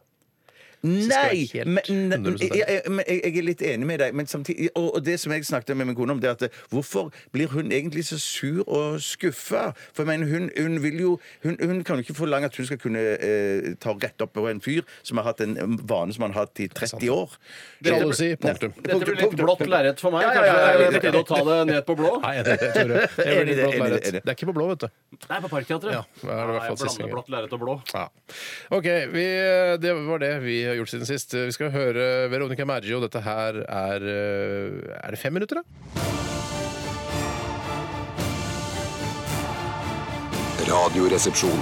S1: Nei!
S2: jeg helt
S1: Men, ne-
S2: 100%
S1: jeg, jeg, men jeg, jeg er litt enig med deg, men samtidig, og, og det som jeg snakket med min kone om, det er at eh, hvorfor blir hun egentlig så sur og skuffa? For jeg mener, hun, hun vil jo hun, hun kan jo ikke forlange at hun skal kunne eh, ta rett opp på en fyr som har hatt en vane som han har hatt i 30 år.
S2: Sjalusi. Punktum.
S3: Dette blir litt blått lerret for meg.
S1: Ja, ja,
S3: Kanskje
S1: ja, ja,
S3: det
S1: ja,
S3: er på
S1: ja.
S3: tide å ta det ned på blå?
S2: Nei, jeg er enig i det, Tore. Det er
S1: Enig i
S2: veldig
S1: det,
S2: blått
S1: enig i det,
S2: lerret.
S1: enig i det.
S2: Det er ikke på blå, vet du.
S3: Nei, på Parkteatret.
S2: Ja, det er i hvert fall
S3: jeg
S2: siste
S3: blander
S2: gang.
S3: blått lerret og blå.
S2: Ja. OK, vi, det var det vi har gjort siden sist. Vi skal høre Veronica Maggio. Dette her er eh, Er det fem minutter, da?
S6: Radioresepsjon.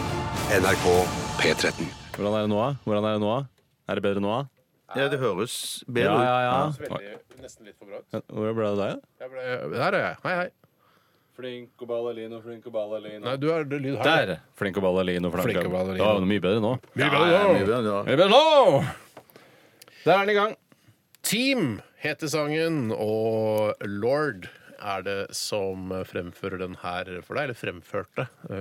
S6: NRK P13.
S7: Hvordan er det nå, da? Hvordan er det nå? da? Er det bedre nå, da?
S1: Ja, det høres
S7: Ja,
S1: bedre ut.
S7: ja, ja.
S2: Veldig, nesten litt for bra ut.
S7: Hvordan ble det deg, da?
S2: Der er jeg. Hei, hei.
S3: Flink og ballerino, flink og ballerino.
S2: Nei, du er det er lyd her.
S7: Der! Flink og ballerino. Flink
S2: Flink og ballerino.
S7: Det var jo mye bedre nå.
S2: Mye bedre
S1: Ja,
S2: nå.
S1: mye bedre nå.
S7: Mye bedre nå!
S2: Der er den i gang. Team heter sangen, og Lord er det som fremfører den her for deg. Eller fremførte.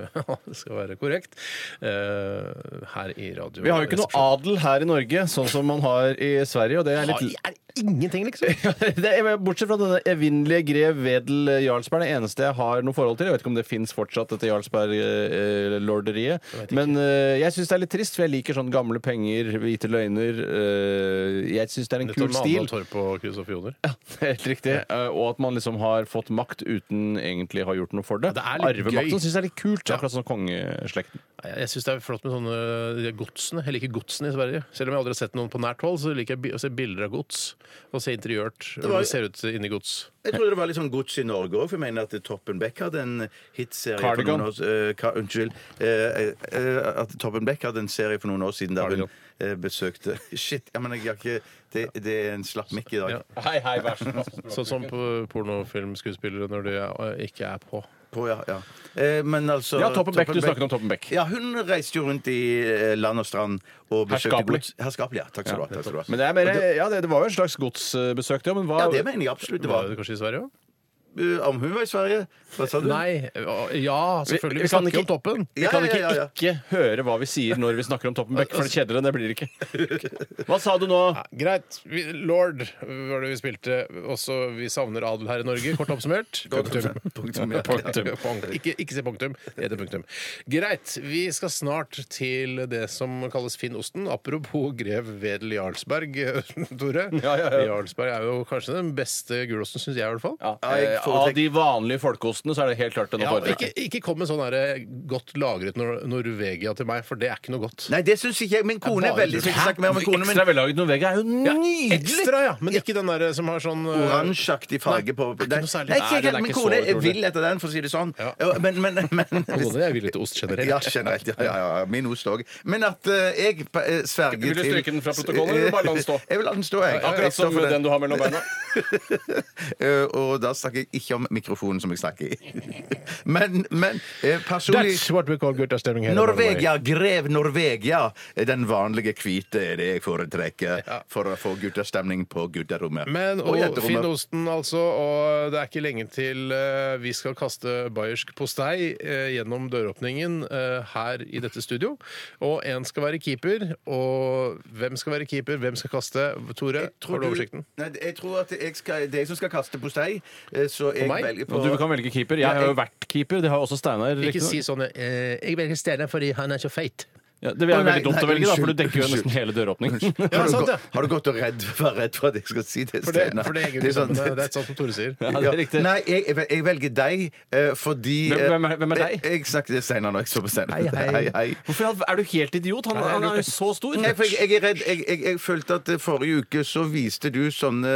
S2: det skal være korrekt. Eh, Her i radio.
S3: Vi har jo ikke noe adel her i Norge, sånn som man har i Sverige. Og det er litt
S2: Er ingenting, liksom.
S3: det er, bortsett fra denne evinnelige grev Wedel eh, Jarlsberg, det eneste jeg har noe forhold til. Jeg vet ikke om det fins fortsatt, dette Jarlsberg-lorderiet. Men eh, jeg syns det er litt trist, for jeg liker sånn gamle penger, hvite løgner. eh, jeg syns det er en
S2: Dette
S3: kul
S2: med Anna
S3: stil.
S2: Torp og Knut Sofie Joner.
S3: Helt riktig. Eh, og at man liksom har fått makt uten egentlig å ha gjort noe for det.
S2: Ja, det er litt gøy.
S3: Arvemakten syns jeg er litt kult, akkurat som kongeslekten.
S2: Nei, Jeg syns det er flott med sånne de godsene. Jeg liker godsene i Sverige. Selv om jeg aldri har sett noen på nært hold, så liker jeg bi- å se bilder av gods. Og se interiørt. Hvordan det ser ut inni gods.
S1: Jeg trodde det var litt sånn gods i Norge òg, for jeg mener at Toppen Beck hadde en hitserie for
S3: Cardigan.
S1: noen år eh, ka, Unnskyld. eh, eh, at Toppen Beck hadde en serie for noen år siden der hun
S2: Cardigan.
S1: eh, besøkte Shit, jeg mener, jeg har ikke det, det er en slapp mikk i dag.
S2: Ja. Sånn som på pornofilmskuespillere når de er- ikke er på.
S1: På, ja, ja. Eh, men altså
S3: Ja, Toppen Beck, du snakket om Toppen Beck.
S1: Ja, hun reiste jo rundt i eh, land og strand og besøkte
S3: Herskapelig.
S1: gods. Herskapelig. Ja, takk skal du ha. Takk skal du ha.
S3: Men det, er mer, ja, det, det var jo en slags godsbesøk, ja, men hva
S1: ja, det mener jeg absolutt det
S2: Var
S1: var.
S2: det kanskje i Sverige òg?
S1: Eh, Om hun var i Sverige? Hva sa du?
S2: Nei. Ja,
S3: Vi-
S2: selvfølgelig.
S3: vi kan
S2: Vi snakker
S3: ikke-
S2: om toppen.
S1: Ja,
S3: Vi kan
S1: ja,
S3: ikke
S1: ja, ja.
S3: ikke høre hva vi sier når vi snakker om Toppen Beck, for det kjedeligere enn det blir det ikke. Hva sa du nå?
S2: Nei, greit. Vi, Lord var det vi spilte. Også vi savner adel her i Norge, kort oppsummert. Punktum.
S1: Punktum, ja.
S2: Punktum. Punk- Ikke, ikke si punktum. Det heter punktum. Greit. Vi skal snart til det som kalles Finnosten. Apropos grev Wedel Jarlsberg, Tore.
S3: Ja, ja, ja.
S2: Jarlsberg er jo kanskje den beste gulosten, syns jeg i hvert fall.
S3: Ja,
S1: jeg
S3: eh,
S1: foretrekker-
S3: av de vanlige folkeostene så er det helt klart den å
S2: Ja, og ikke,
S3: foretrekke.
S2: ikke kom med sånn her godt lagret Nor Norvegia til meg, for det er ikke noe godt.
S1: Nei, det syns ikke jeg. Min kone
S2: Ja,
S1: er
S2: bare
S1: veldig
S2: tull.
S1: Jeg skal ikke snakke mer om kone, men
S3: Ekstra vellaget Norvegia er jo nydelig!
S2: Ekstra, ja, men ikke den der som har sånn eh,
S1: oransjeaktig farge
S2: Nei,
S1: på
S2: er ikke
S1: Nei,
S2: noe særlig.
S1: Nei, ikke
S3: Nei, den er
S1: helt. Min
S3: ikke så
S1: kone er
S3: utrolig.
S1: vill etter den, for å si det sånn.
S2: Ja.
S1: Ja, Men, men, men
S2: Kone er villig til ost generelt.
S1: Ja, generelt. Ja, ja, ja. Min ost òg. Men at eh, jeg eh, sverger til
S3: Vil du stryke den fra protokollen, eller bare la den stå?
S1: Jeg vil la den stå, jeg. Jeg
S3: Akkurat
S1: står
S3: som
S1: for den.
S3: den du har mellom beina.
S1: Eh, og da snakker jeg ikke om mikrofonen som jeg snakker i. men men eh, personlig
S2: That's what we call guttastemning here.
S1: Norvegia, grev Norvegia. Den vanlige hvite er det jeg foretrekker for å få guttastemning på gutterommet.
S2: Men
S1: Og
S2: og
S1: jenterommet.
S2: Finnosten, altså. Og det er ikke lenge til eh, vi skal kaste bayersk postei eh, gjennom døråpningen eh, her i dette studio. Og én skal være keeper. Og hvem skal være keeper? Hvem skal kaste? Tore,
S1: Tror
S2: har du oversikten?
S1: Nei, jeg tror at jeg skal, det er jeg som skal kaste postei, eh, så jeg
S2: meg?
S1: velger på
S3: Og du kan velge keeper. Jeg har jo vært keeper. Det har også Steinar.
S2: Ikke
S3: riktignok.
S2: si sånn eh, 'Jeg velger Steinar fordi han er så feit'.
S3: Ja, det er
S1: Å, nei,
S3: veldig dumt
S1: nei,
S3: å velge, da, for
S1: unnskyld,
S3: du dekker jo
S1: unnskyld.
S3: nesten hele døråpning.
S1: har, du
S2: sant,
S1: gå-
S2: ja.
S1: har du gått og redd, vært redd for at jeg skal si det?
S2: For det,
S1: Steinar?
S2: for det, henger
S1: Det
S2: ikke
S1: er sånn-
S2: sammen. det, det er sånn som Tore sier.
S3: Ja, det
S1: Ja.
S3: er riktig.
S1: Nei, jeg, jeg- jeg velger deg eh, fordi
S3: Hvem-
S1: eh,
S3: hvem er- hvem er deg?
S1: Jeg, jeg snakket til Steinar når jeg så på Steinar.
S2: Hei, hei.
S3: Hvorfor i all- er du helt idiot? Han, han er jo så stor.
S1: Nei, for jeg, jeg er redd. Jeg, jeg, jeg følte at eh, forrige uke så viste du sånne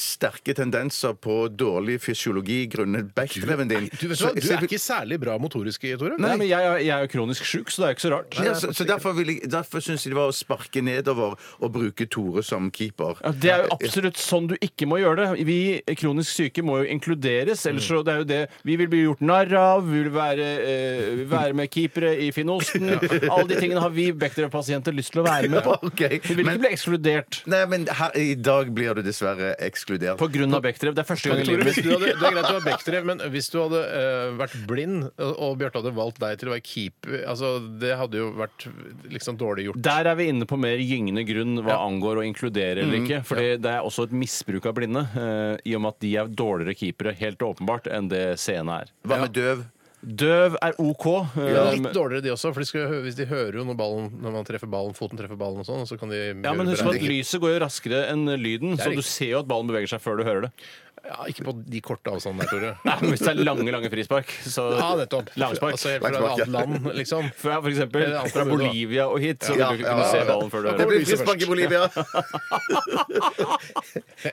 S1: sterke tendenser på dårlig fysiologi grunnet backdreven din.
S2: Du, vet du, hva?
S1: Så-
S2: du
S1: så jeg-
S2: er ikke særlig bra motorisk, Tore.
S3: Nei, men jeg, er- jeg er jo kronisk sjuk, så det er jo ikke så rart.
S1: ja, så, så derfor, vil jeg- derfor syns jeg det var å sparke nedover og bruke Tore som keeper.
S3: Ja, det er jo absolutt sånn du ikke må gjøre det. Vi kronisk syke må jo inkluderes. Ellers så det er jo det Vi vil bli gjort narr av, vi vil være, eh, vi vil være med keepere i Finnosten. Alle de tingene har vi Bechdrev-pasienter lyst til å være med på.
S1: Ok,
S3: Vi vil
S1: men-
S3: ikke bli ekskludert
S1: Nei, men her, i dag blir du dessverre ekskludert.
S3: på grunn av Bechdrev. Det er første gang i
S2: Tore,
S3: livet
S2: hvis
S3: mitt.
S2: du hadde, det er greit å ha Bechdrev, men hvis du hadde eh, vært blind, og- og Bjarte hadde valgt deg til å være keeper altså, Det hadde jo vært liksom dårlig gjort.
S3: Der er vi inne på mer gyngende grunn hva angår å inkludere
S2: Mm.
S3: eller ikke. For det er også et misbruk av blinde, eh, i og med at de er dårligere keepere, helt åpenbart, enn det seende er.
S1: Hva med døv?
S3: Døv er OK. eh,
S2: Litt
S3: men-
S2: dårligere de også, for de, skal, jo hø- hvis de hører jo når, ballen, når man treffer ballen, foten treffer ballen og sånn, og så kan de
S3: Ja, men
S2: gjøre
S3: husk på at
S2: beregninger.
S3: lyset går jo raskere enn lyden, så
S2: riktig.
S3: du ser jo at ballen beveger seg før du hører det.
S2: ja, Ikke på de korte avstandene der, Tore.
S3: Nei, men Hvis det er lange, lange frispark, så
S2: Ja, nettopp.
S3: Langspark.
S2: Altså helt fra et annet land, liksom.
S3: Fra for eksempel
S2: Eller alt
S3: fra
S2: fra Bulgaria.
S3: Bolivia og hit, så
S1: Ja,
S3: vil du ikke
S1: ja,
S3: kunne
S1: ja,
S3: se
S1: ja.
S3: ballen før du
S1: Det
S3: hører det.
S1: blir frispark i Bolivia!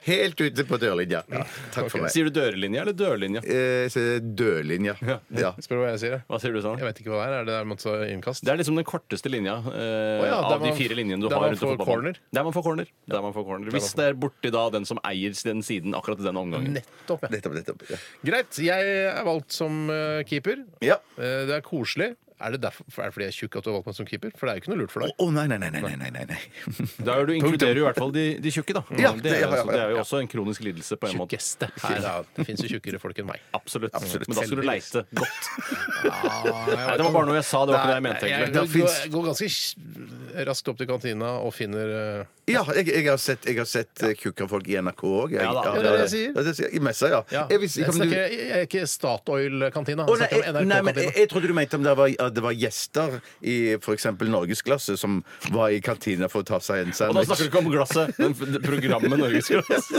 S1: Helt ute på dørlinja. Ja, takk for meg.
S3: Sier du dørlinja eller dørlinja?
S1: Eh, så Dørlinja. Ja.
S2: Spør du hva jeg sier? jeg?
S3: Hva sier du sånn?
S2: Jeg vet ikke hva det er. Er det der man tar innkast?
S3: Det er liksom den korteste linja eh,
S2: Å ja, der
S3: av de
S2: man-
S3: fire linjene du
S2: der
S3: har.
S2: man
S3: rundt
S2: får
S3: fotballbanen.
S2: corner.
S3: Der man får corner. Der man får corner. Hvis det er borti da den som eier den siden akkurat i den omgangen.
S2: Nettopp, ja.
S1: Nettopp, nettopp. Ja.
S2: Greit. Jeg er valgt som eh, keeper.
S1: Ja.
S2: Eh, Det er koselig. Er det, derfor, er det fordi jeg er tjukk at du har valgt meg som keeper? For det er jo ikke noe lurt for
S1: Å,
S2: deg.
S1: å, nei, nei, nei, nei, nei, nei, nei.
S3: Da er du inkluderer du i hvert fall de, de tjukke, da.
S1: Ja,
S3: det, er,
S1: ja, ja, ja.
S3: altså- det er jo også en kronisk lidelse på en måte.
S2: Tjukkeste. Ja, det fins jo tjukkere folk enn meg.
S1: Ah,
S3: Absolutt. Men da skal du
S2: Heldigvis.
S3: leite godt. Nei, det var bare noe jeg sa, det var ikke det jeg mente.
S2: Jeg
S3: egentlig.
S1: Det
S2: går,
S1: finnes-
S2: går ganske kj- raskt opp til kantina og finner eh,
S1: Ja, jeg, jeg har sett, jeg har sett eh, kukker folk i NRK òg.
S3: Ja, da.
S2: Ja, det er det jeg sier.
S1: I messa, ja.
S2: ja.
S1: Jeg visste
S2: Jeg
S1: ikke om du
S2: snakker jeg er ikke Statoil-kantina.
S1: Å,
S2: Jeg
S1: nei,
S2: snakker
S1: jeg,
S2: om
S1: nei, men eh, jeg,
S2: NRK-kantina.
S1: jeg trodde du mente om det var, at det var gjester i f.eks. norgesklasse som var i kantina for å ta seg en
S3: Og da
S1: sandwich.
S3: snakker du ikke om glasset, men f- det programmet Norgesglass.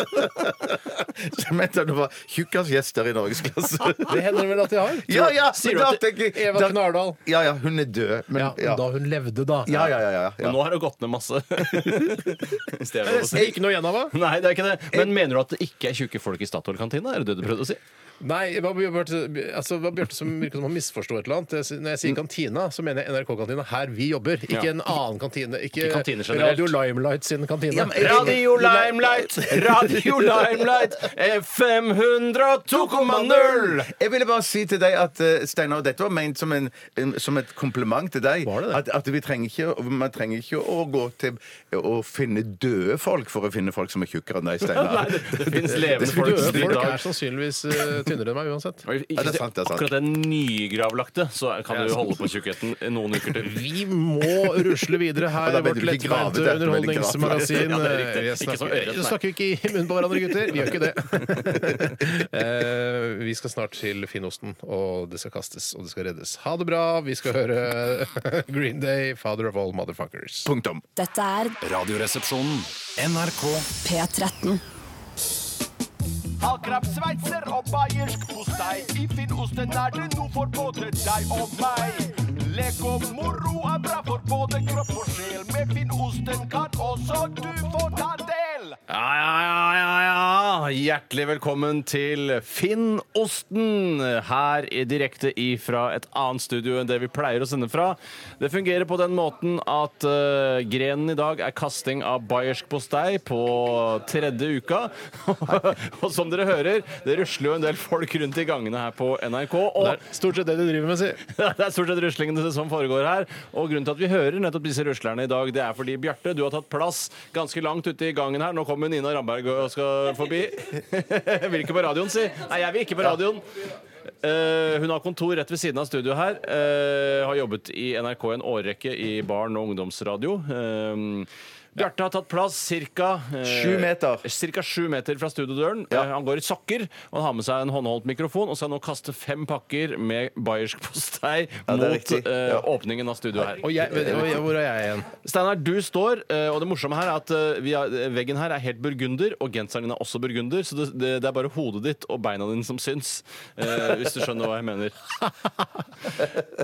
S1: Jeg mente det var tjukkasgjester i norgesklasse.
S2: Det hender vel at de har.
S1: Ja, ja!
S3: Sier
S1: men
S3: du
S1: da
S3: at
S1: tenker jeg-
S2: Eva
S1: da-
S2: Knardal.
S1: Ja, ja, hun er død. Men,
S2: Ja,
S1: ja.
S2: Da hun levde, da.
S1: Ja, ja, ja, ja,
S3: Men
S1: ja.
S3: nå har det gått ned masse. Hvis det er lov å
S2: Det
S3: si.
S2: er ikke noe igjen av henne?
S3: Nei, det er ikke det. Men mener du at det ikke er tjukke folk i Statoil-kantina? Er det det du prøvde å si?
S2: Nei, hva Bjarte altså, hva Bjarte som virker som han misforsto et eller annet. Jeg, sy- når jeg sier kantina, så mener jeg NRK-kantina her vi jobber. Ikke
S3: Ja.
S2: en annen kantine. Ikke,
S3: Ikke kantiner generelt.
S2: Radio Limelight sin kantine.
S1: Ja, men-
S8: Radio Limelight, Radio Limelight, FM 102,0!
S1: Jeg ville bare si til deg at eh, Steinar, dette var ment som, en, en, som et kompliment til deg.
S2: Var det det?
S1: At, at vi trenger ikke, å- man trenger ikke å gå til å finne døde folk for å finne folk som er tjukkere enn deg, Steinar.
S8: Det fins levende folk
S2: Døde
S8: i
S2: folk
S8: dag.
S2: er sannsynligvis eh, tynnere enn meg uansett.
S1: Ja, det er sant, det er sant.
S3: Akkurat den nygravlagte, så kan du jo holde på tjukkheten noen uker til.
S2: Vi må rusle videre her
S1: Ja, da
S2: i
S1: ble
S2: vårt
S1: du ikke gravet,
S2: lettbeinte
S1: da ble du ikke gravet.
S2: underholdningsmagasin.
S3: Ja, det er riktig.
S2: Vi
S3: Ikke som
S2: snakker,
S3: ørret, nei.
S2: snakker ikke i munnen på hverandre, gutter. Vi gjør ikke det. Eh, Vi skal snart til Finnosten, og det skal kastes og det skal reddes. Ha det bra. Vi skal høre Green Day, 'Father of All Motherfuckers'.
S1: Punktum.
S4: Dette er
S6: Radioresepsjonen.
S9: NRK
S4: P13.
S10: Havkrabbsveitser og bayersk postei. I Finnosten er det noe for både deg og meg. Lek og moro er bra for både kropp og sjel. Med Finnosten kan også du få ta del.
S3: Ja, ja, ja, ja, ja. Hjertelig velkommen til Finnosten her i- direkte ifra et annet studio enn det vi pleier å sende fra. Det fungerer på den måten at eh, grenen i dag er kasting av bayersk postei på tredje uka. og som dere hører, det rusler jo en del folk rundt i gangene her på NRK.
S2: Det
S3: Og
S2: er stort sett det de driver med, si.
S3: det er stort sett ruslingene som foregår her. Og grunnen til at vi hører nettopp disse ruslerne i dag, det er fordi Bjarte, du har tatt plass ganske langt ute i gangen her. Nå kommer Nina Ramberg og skal forbi. vil ikke på radioen, si. Nei, jeg vil ikke på radioen. Eh, hun har kontor rett ved siden av studio her. eh, har jobbet i NRK en årrekke i barn- og ungdomsradio. Eh, Bjarte har tatt plass ca.
S1: Sju meter.
S3: Cirka sju meter fra studiodøren. Eh, Han går i sokker og han har med seg en håndholdt mikrofon og skal nå kaste fem pakker med bayersk postei
S1: det er
S3: mot
S1: riktig.
S3: eh,
S1: Ja.
S3: åpningen av studioet her.
S2: Og jeg, og jeg, hvor er jeg igjen?
S3: Steinar, du står, eh, og det morsomme her er at eh, vi har, veggen her er helt burgunder, og genseren din er også burgunder, så det, det, det er bare hodet ditt og beina dine som syns, eh, hvis du skjønner hva jeg mener.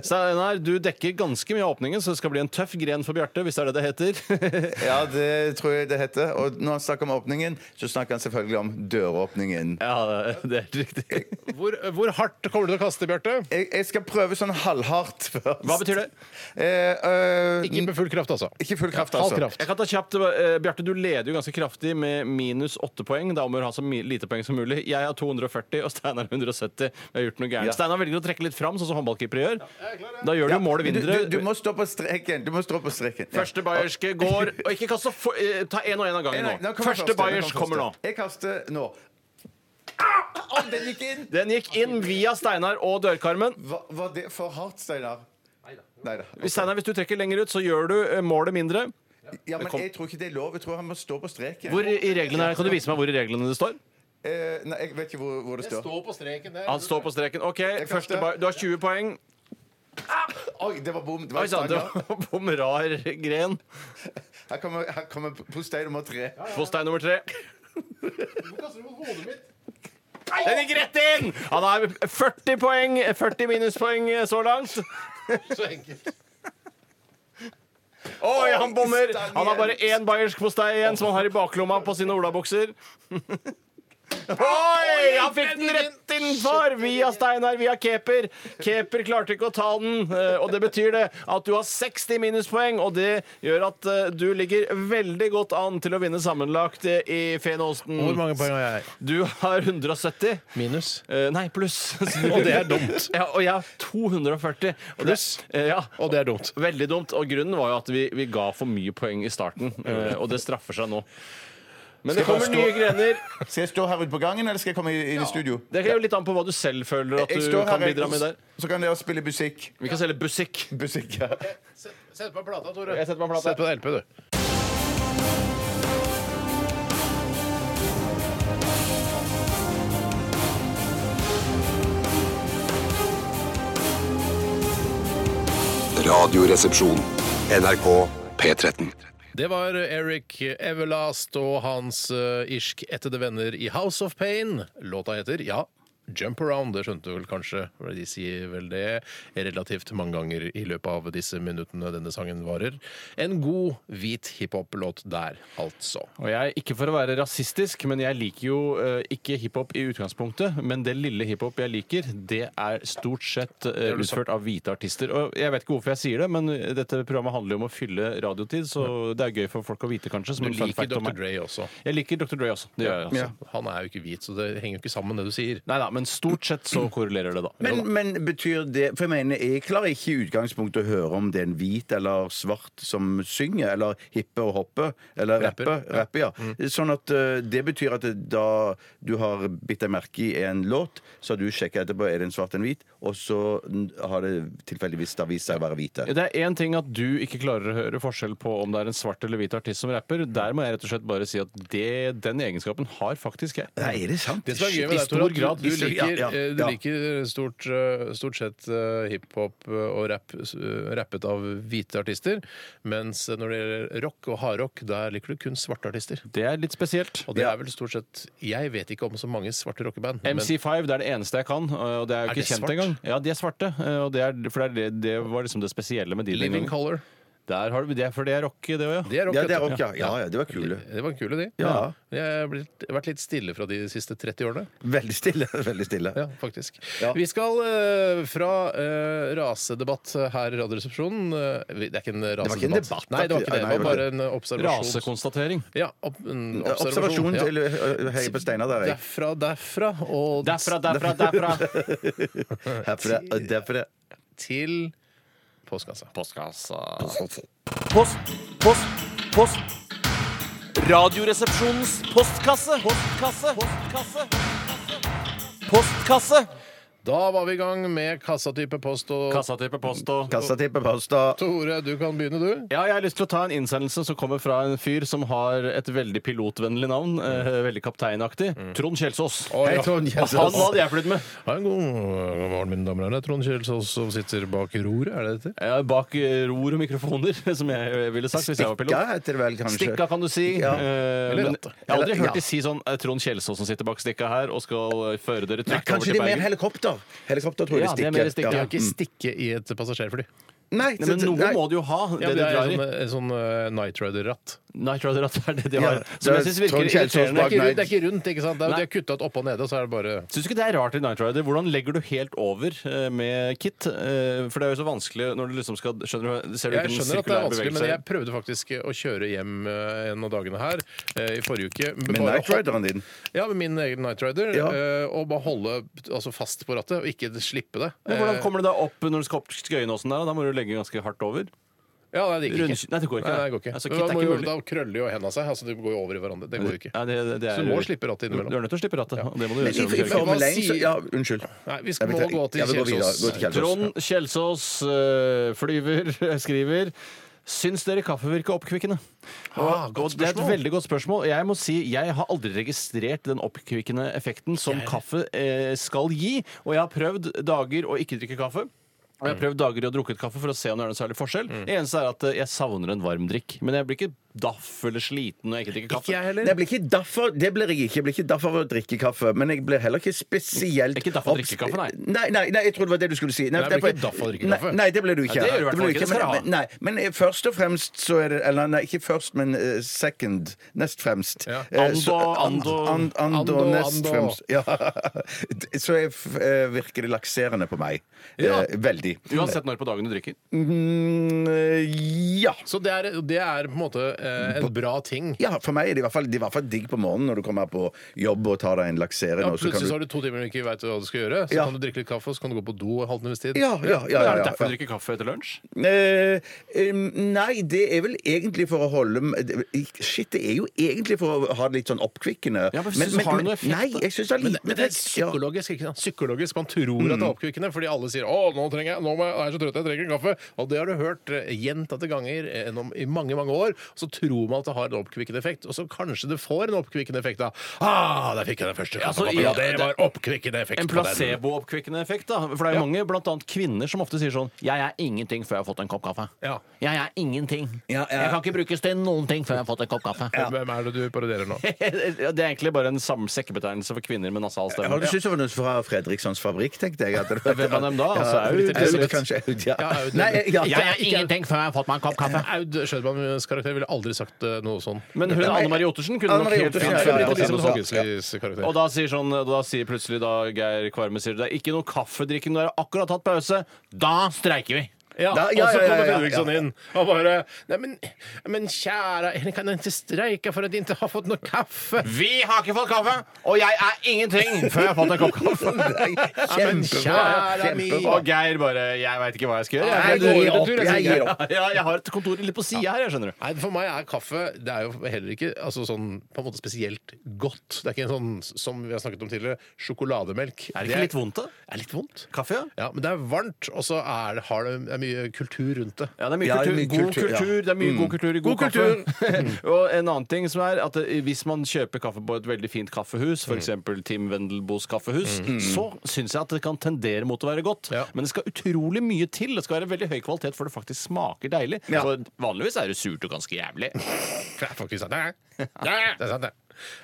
S3: Steinar, du dekker ganske mye av åpningen, så det skal bli en tøff gren for Bjarte, hvis det er det det heter.
S1: Ja, det tror jeg det heter. Og når han snakker om åpningen, så snakker han selvfølgelig om døråpningen.
S3: ja, det er helt riktig.
S2: Hvor, hvor hardt kommer du til å kaste, Bjarte?
S1: Jeg, jeg skal prøve sånn halvhardt først.
S3: Hva betyr det?
S1: Eh, øh,
S2: Ikke med full kraft, altså.
S1: ikke full kraft,
S2: Halv
S1: altså.
S2: kraft.
S3: Jeg kan ta kjapt, eh, Bjarte, du leder jo ganske kraftig med minus åtte poeng. Da må du ha så mi- lite poeng som mulig. Jeg har 240, og Steinar 170. Vi har gjort noe gærent. Steinar velger å trekke litt fram, sånn som håndballkeepere gjør. Da gjør du jo målet
S1: Du,
S3: mindre.
S1: du, du må stå på streken. Du må stå på streken. Ja.
S3: Første bayerske går Og ikke kast så for, eh, Ta én og én av gangen
S1: Nei, nei,
S3: nå.
S1: nå kommer
S3: Første bayers kommer nå.
S1: Jeg kaster nå. Ah! Å, den gikk inn!
S3: Den gikk inn via Steinar og dørkarmen.
S1: Var, var det for hardt, Steinar? Nei da.
S3: Hvis Steinar, hvis du trekker lenger ut, så gjør du eh, målet mindre.
S1: Ja, men
S3: kom-
S1: jeg tror ikke det er lov. Jeg tror han må stå på streken.
S3: Hvor i i reglene er Kan du vise meg hvor i reglene det står?
S1: Eh, nei, jeg vet ikke hvor, hvor det står.
S2: på streken der.
S3: Han står på streken. OK, første
S1: kaster.
S3: ba- du har 20 poeng.
S1: Oi, det var bom. Det var
S3: Oi sann, det
S1: Steinar.
S3: var bom rar gren.
S1: Her kommer, her kommer postei nummer tre.
S3: Postei nummer tre. Den gikk rett inn! Han har 40 poeng, 40 minuspoeng eh, så langt.
S2: Så enkelt.
S3: Oi, han bommer! Han har bare én bayersk postei igjen, som han har i baklomma på sine olabukser. Oi! Han fikk den rett innenfor! Via Steinar, via Keper. Keper klarte ikke å ta den, eh, og det betyr det at du har 60 minuspoeng, og det gjør at eh, du ligger veldig godt an til å vinne sammenlagt eh, i
S2: Hvor
S3: Fenosten.
S2: mange poeng har jeg?
S3: Du har 170.
S2: Minus.
S3: eh, Nei, pluss.
S2: Og det er dumt.
S3: Ja, og jeg har 240. Og det-
S2: Pluss.
S3: eh, Ja.
S2: Og det er dumt.
S3: Veldig dumt. Og grunnen var jo at vi, vi ga for mye poeng i starten, eh, og det straffer seg nå. Men det kommer nye grener.
S1: Skal jeg stå her ute på gangen, eller skal jeg komme i- inn i studio?
S3: Det er jo litt an på hva du selv føler at
S1: Jeg
S3: du
S1: står her,
S3: kan
S1: jeg-
S3: bidra med der.
S1: Så kan dere spille musikk.
S3: Vi kan selge busikk.
S1: Musikk her.
S2: Sett på plata, Tore.
S3: Jeg setter meg en
S2: Sett
S3: plate.
S2: på LP, du.
S6: Radioresepsjon. NRK P13.
S2: Det var Eric Everlast og hans eh, irsk ættede venner i House of Pain. Låta heter, ja Jump around, det skjønte du vel kanskje? for De sier vel det relativt mange ganger i løpet av disse minuttene denne sangen varer. En god hvit hiphop-låt der, altså.
S3: Og jeg, Ikke for å være rasistisk, men jeg liker jo eh, ikke hiphop i utgangspunktet. Men det lille hiphop jeg liker, det er stort sett eh,
S2: har du sagt.
S3: utført av hvite artister. Og Jeg vet ikke hvorfor jeg sier det, men dette programmet handler jo om å fylle radiotid, så det er gøy for folk å vite, kanskje. Som
S2: Du
S3: en fun
S2: liker
S3: fact om
S2: Dr.
S3: meg.
S2: Dre også.
S3: Jeg liker Dr. Dre også. Det gjør jeg også.
S1: Ja.
S2: Han er jo ikke hvit, så det henger jo ikke sammen, det du sier.
S3: Nei da, men stort sett så korrelerer det, da.
S1: Men, men betyr det For jeg mener, jeg klarer ikke i utgangspunktet å høre om det er en hvit eller svart som synger, eller hippe og hoppe, eller
S2: Rapper,
S1: rappe. rappe ja. Sånn at eh, det betyr at det, da du har bitt deg merke i en låt, så har du sjekka etterpå er det en svart og en hvit, og så n- har det tilfeldigvis da vist seg å være hvite.
S3: Det er én ting at du ikke klarer å høre forskjell på om det er en svart eller hvit artist som rapper. Der må jeg rett og slett bare si at det, den egenskapen har faktisk jeg.
S1: Nei, er det sant?
S2: Det som er gøy med
S1: I
S2: deg,
S1: stor
S2: Tore, at du-
S1: grad.
S2: du liker,
S1: Ja, ja,
S2: eh, du
S1: ja.
S2: liker stort, eh, stort sett eh, hiphop eh, og rap eh, rappet av hvite artister, mens eh, når det gjelder rock og hardrock, der liker du kun svarte artister.
S3: Det er litt spesielt.
S2: Og det
S1: Ja.
S2: er vel stort sett Jeg vet ikke om så mange svarte rockeband. men-
S3: MC5 det er det eneste jeg kan, og det er jo
S2: Er
S3: ikke
S2: det
S3: kjent
S2: svart?
S3: engang. Ja, de er svarte. Og det er, for det, er det, det var liksom det spesielle med de den
S2: Living
S3: gangen.
S2: Color.
S3: Der har du, det er for det er rock, det òg, ja.
S2: Det er rock.
S1: Ja, det
S2: vet
S1: er
S2: du.
S1: rock, ja. Ja, ja, det var kule.
S2: Det var kule, de.
S1: Ja.
S2: Jeg har blitt, vært litt stille fra de siste 30 årene.
S1: Veldig stille. Veldig stille.
S2: Ja, faktisk.
S1: Ja.
S2: Vi skal eh, fra eh, rasedebatt her i Radioresepsjonen eh, vi- Det er ikke en rasedebatt.
S1: var ikke en debatt,
S2: Nei, det var ikke det.
S1: nei,
S2: Det var
S1: nei,
S2: bare en observasjon.
S3: Rasekonstatering.
S2: Ja, ob en
S1: Observasjon
S2: observasjon.
S1: til
S2: Ja.
S1: eh, Heier på Steinar der, jeg.
S2: Derfra, derfra og
S3: Derfra, derfra, derfra.
S1: Herfra og derfra.
S2: til postkassa.
S9: Post, post, post. Radioresepsjonens postkasse. Postkasse. Postkasse. Postkasse.
S2: Da var vi i gang med kassatype post og
S3: Kassatype post og
S1: Kassatippe Pasta.
S2: Tore, du kan begynne, du.
S3: Ja, jeg har lyst til å ta en innsendelse som kommer fra en fyr som har et veldig pilotvennlig navn. Eh, veldig kapteinaktig. Trond Kjelsås.
S1: Hei, Trond Kjelsås.
S3: Mm. Han hadde jeg flyttet med.
S2: Ha en god morgen, mine damer og herrer. Trond Kjelsås som sitter bak roret, er det dette?
S3: Ja, bak eh, ror og mikrofoner, som jeg ville sagt hvis jeg var
S1: Stikka
S3: pilot.
S1: heter det vel kanskje.
S3: Stikka, kan du si.
S1: Ja.
S3: Eh, men
S2: rattet.
S3: jeg har aldri
S1: Eller-
S3: hørt de
S1: ja.
S3: si sånn eh, Trond Kjelsås som sitter bak stikka her og skal eh, føre dere
S1: Nei,
S3: trygt over
S1: kanskje
S3: til
S1: det er mer
S3: Bergen.
S1: helikopter. Helikopter tror jeg
S3: Ja,
S1: det
S3: det er
S1: stikker.
S3: mer stikker.
S1: Ja.
S2: Jeg kan ikke stikke i et passasjerfly.
S1: Nei,
S3: Nei, men noe må du jo ha. Det
S2: Ja, men
S3: du
S2: det er
S3: drar i.
S2: sånn, en sånn eh, Night Rider-ratt.
S3: Night Rider, at det er det de
S1: Ja,
S3: har. Som
S1: det er
S3: jeg syns
S1: Trond
S3: virker
S1: Kjelsås
S3: irriterende.
S1: bak
S2: Det er ikke rundt,
S1: Nei.
S2: det er ikke rundt, ikke sant? Det er,
S3: Nei.
S2: de har kutta det opp og nede, og så er det bare
S3: Syns du ikke det er rart i Night Rider? Hvordan legger du helt over eh, med kit? Eh, For det er jo så vanskelig når du liksom skal Skjønner du? Ser du
S2: jeg
S3: hvilken
S2: skjønner at det er
S3: sirkulær
S2: vanskelig, men
S3: bevegelse?
S2: jeg prøvde faktisk å kjøre hjem eh, en av dagene her eh, i forrige uke.
S1: Men
S2: bare
S1: Knight Rideren din
S2: Ja, med min egen Night Rider.
S1: Ja.
S2: eh, Og bare holde altså, fast på rattet, og ikke slippe det.
S3: Men hvordan kommer du deg opp når du skal opp Skøyenåsen der? da? Da må du legge ganske hardt over.
S2: Ja, nei, det gikk
S3: Rund-
S2: ikke.
S3: Nei, det går ikke,
S2: Nei,
S3: nei.
S2: det går ikke.
S3: Altså,
S2: Men
S3: kit
S2: da
S3: er
S2: må
S3: ikke
S2: jo-
S3: mulig.
S2: Da krøller jo henda seg. Altså, de går jo over i hverandre. Det går jo ikke.
S3: Nei, det, det, det
S2: Så
S3: er,
S2: du må slippe rattet innimellom.
S3: Du er nødt til å slippe rattet. og Det må du
S1: Men
S3: gjøre. selv
S1: i,
S3: om du
S1: i
S3: kjører.
S1: Formel
S2: Hva
S1: 1 så
S2: sier-
S1: Ja, unnskyld.
S2: Nei, vi
S1: Jeg
S2: skal
S1: vet
S2: må gå
S1: ikke. Ja,
S2: til
S1: vi går videre. Gå
S2: Kjelsås.
S1: til Kjelsås.
S3: Trond Kjelsås, eh, flyver, skriver Syns dere kaffe virker oppkvikkende? Og
S2: Ah, godt
S3: det er et
S2: spørsmål.
S3: veldig godt spørsmål. Jeg må si, jeg har aldri registrert den oppkvikkende effekten som kaffe eh, skal gi. Og jeg har prøvd dager å ikke drikke kaffe. Og
S2: Mm.
S3: jeg har prøvd dager i å drukket kaffe for å se om det er noen særlig forskjell. Det eneste er at eh, jeg savner en varm drikk. Men jeg blir ikke daff eller sliten når jeg ikke drikker kaffe.
S2: Ikke jeg
S1: Nei,
S2: heller.
S1: Jeg blir ikke derfor, det blir jeg ikke. Jeg blir ikke derfor av å drikke kaffe. Men jeg blir heller ikke spesielt
S3: Ikke daff av å
S1: obs-
S3: drikke kaffe, nei.
S1: nei. Nei, nei, jeg trodde det var det du skulle si. Nei,
S2: Nei, jeg blir
S1: derfor-
S2: ikke daff av å drikke kaffe.
S1: Nei, nei, det blir du ikke.
S3: Nei, det gjør du i hvert
S1: blir
S3: fall ikke. Det skal
S1: Men,
S3: jeg
S1: men, nei, men eh, først og fremst så er det Eller nei, ikke først, men eh, second. Nest fremst.
S2: Ja.
S1: Eh, så-
S3: Ando, ando.
S1: and, ando,
S2: Ando,
S1: nest
S2: ando.
S1: fremst. Ja. Så jeg, f- eh, virker det lakserende på meg.
S2: Ja.
S1: Eh, veldig.
S3: Uansett når på dagen du drikker.
S1: Mm, eh, ja.
S2: Så det er, det er på en måte eh, en bra ting.
S1: Ja, for meg er det i hvert fall, det er i hvert fall digg på morgenen når du kommer på jobb og tar deg en lakserende.
S2: Ja,
S1: og så kan
S2: plutselig så
S1: du...
S2: har du to timer og ikke veit hva du skal gjøre. Så
S1: Ja.
S2: kan du drikke litt kaffe, og så kan du gå på do en halvtimes tid.
S1: Ja, ja, ja,
S3: Er
S1: ja,
S3: det
S1: ja,
S3: derfor du drikker kaffe etter lunsj?
S1: Eh, eh, nei, det er vel egentlig for å holde Shit, det er jo egentlig for å ha det litt sånn oppkvikkende.
S3: Ja, men synes du har det noe effekt,
S1: Nei,
S3: da?
S1: jeg syns det har
S2: Men,
S1: liten
S2: men det er
S1: effekt. Ja.
S2: psykologisk. ikke sant? Psykologisk, Man tror at
S3: Mm.
S2: det er oppkvikkende, fordi alle sier 'Å, nå trenger jeg, nå må jeg, jeg er så trøtt, jeg trenger en kaffe'. Og det har du hørt eh, gjentatte ganger gjennom i eh, mange mange år. Så tror man at det har en oppkvikkende effekt, og så kanskje det får en oppkvikkende effekt da. Ah, der fikk jeg den første
S3: altså,
S2: kaffen!
S3: ja,
S2: det
S3: det-
S2: var oppkvikkende effekt
S3: En
S2: på den.
S3: placebooppkvikkende effekt, da. For det er jo mange, blant annet kvinner, som ofte sier sånn Jeg er ingenting før jeg har fått en kopp kaffe.
S2: Ja.
S3: Jeg er ingenting.
S1: Ja, ja.
S3: Jeg kan ikke brukes til noen ting før jeg har fått en kopp kaffe.
S2: Hvem er det du parodierer nå?
S3: det er egentlig bare en sam- sekkebetegnelse for kvinner med nasal
S1: Jeg hadde
S3: stemme.
S1: syntes det var noe fra Fredrikssons Fabrikk, tenkte jeg. At det var,
S3: Hvem av dem da?
S1: Ja,
S3: Altså, Aud,
S1: Aud,
S3: eller-
S1: kanskje Aud, ja.
S2: Ja, Aud,
S1: Nei, ja,
S3: Jeg er ingenting før jeg har fått meg en kopp kaffe.
S2: Aud Schødmanns karakter ville aldri sagt eh, noe sånn.
S3: Men hun Anne Marie Ottersen kunne
S1: Anne
S3: nok
S1: Marie
S3: helt
S1: Ottersen,
S3: fint
S2: Det
S1: ja, ja,
S3: før
S2: blir
S1: ja,
S3: jeg
S2: litt sånn
S3: har
S2: Elisabeth
S3: sagt noe sånt.
S2: Hageslis karakter.
S3: Og da sier, sånn, da sier plutselig da Geir Kvarme sier det er ikke noe kaffedrikking, nå er det akkurat tatt pause. Da streiker vi!
S2: Ja,
S1: Da- ja,
S2: og så
S1: ja, ja,
S2: kommer
S1: ja, ja.
S2: Fredriksson inn og bare Nei, men, men kjære, jeg kan ikke streike for at jeg ikke har fått noe kaffe.
S3: Vi har ikke fått kaffe, og jeg er ingenting før jeg har fått en kopp kaffe.
S2: Ja, men
S1: Kjempebra.
S2: kjære min.
S1: Kjempebra.
S3: Og Geir bare Jeg veit ikke hva jeg skal gjøre.
S1: Nei, jeg
S3: Jeg,
S1: gir opp, jeg gir opp.
S3: Ja, jeg har et kontor litt på sida her, jeg skjønner du.
S2: Nei, For meg er kaffe Det er jo heller ikke altså sånn, på en måte spesielt godt. Det er ikke en sånn som vi har snakket om tidligere, sjokolademelk.
S3: Er det ikke litt vondt, da?
S2: er litt vondt.
S3: Kaffe, ja?
S2: Ja, Men det er varmt, og så er det, har det det er mye kultur rundt det.
S3: Ja, det er mye
S1: Ja, det
S3: kultur.
S1: er mye
S3: god
S1: kultur,
S3: kultur.
S1: ja.
S3: Det er mye god kultur i Mm. god,
S1: God
S3: kaffe. og en annen ting som er at eh, hvis man kjøper kaffe på et veldig fint kaffehus, f.eks. Tim Wendelboes kaffehus, så syns jeg at det kan tendere mot å være godt.
S2: Ja.
S3: Men det skal utrolig mye til. Det skal være veldig høy kvalitet for det faktisk smaker deilig.
S1: Ja.
S3: For vanligvis er det surt og ganske jævlig.
S2: Det er faktisk sant, det. er- Det er sant, det.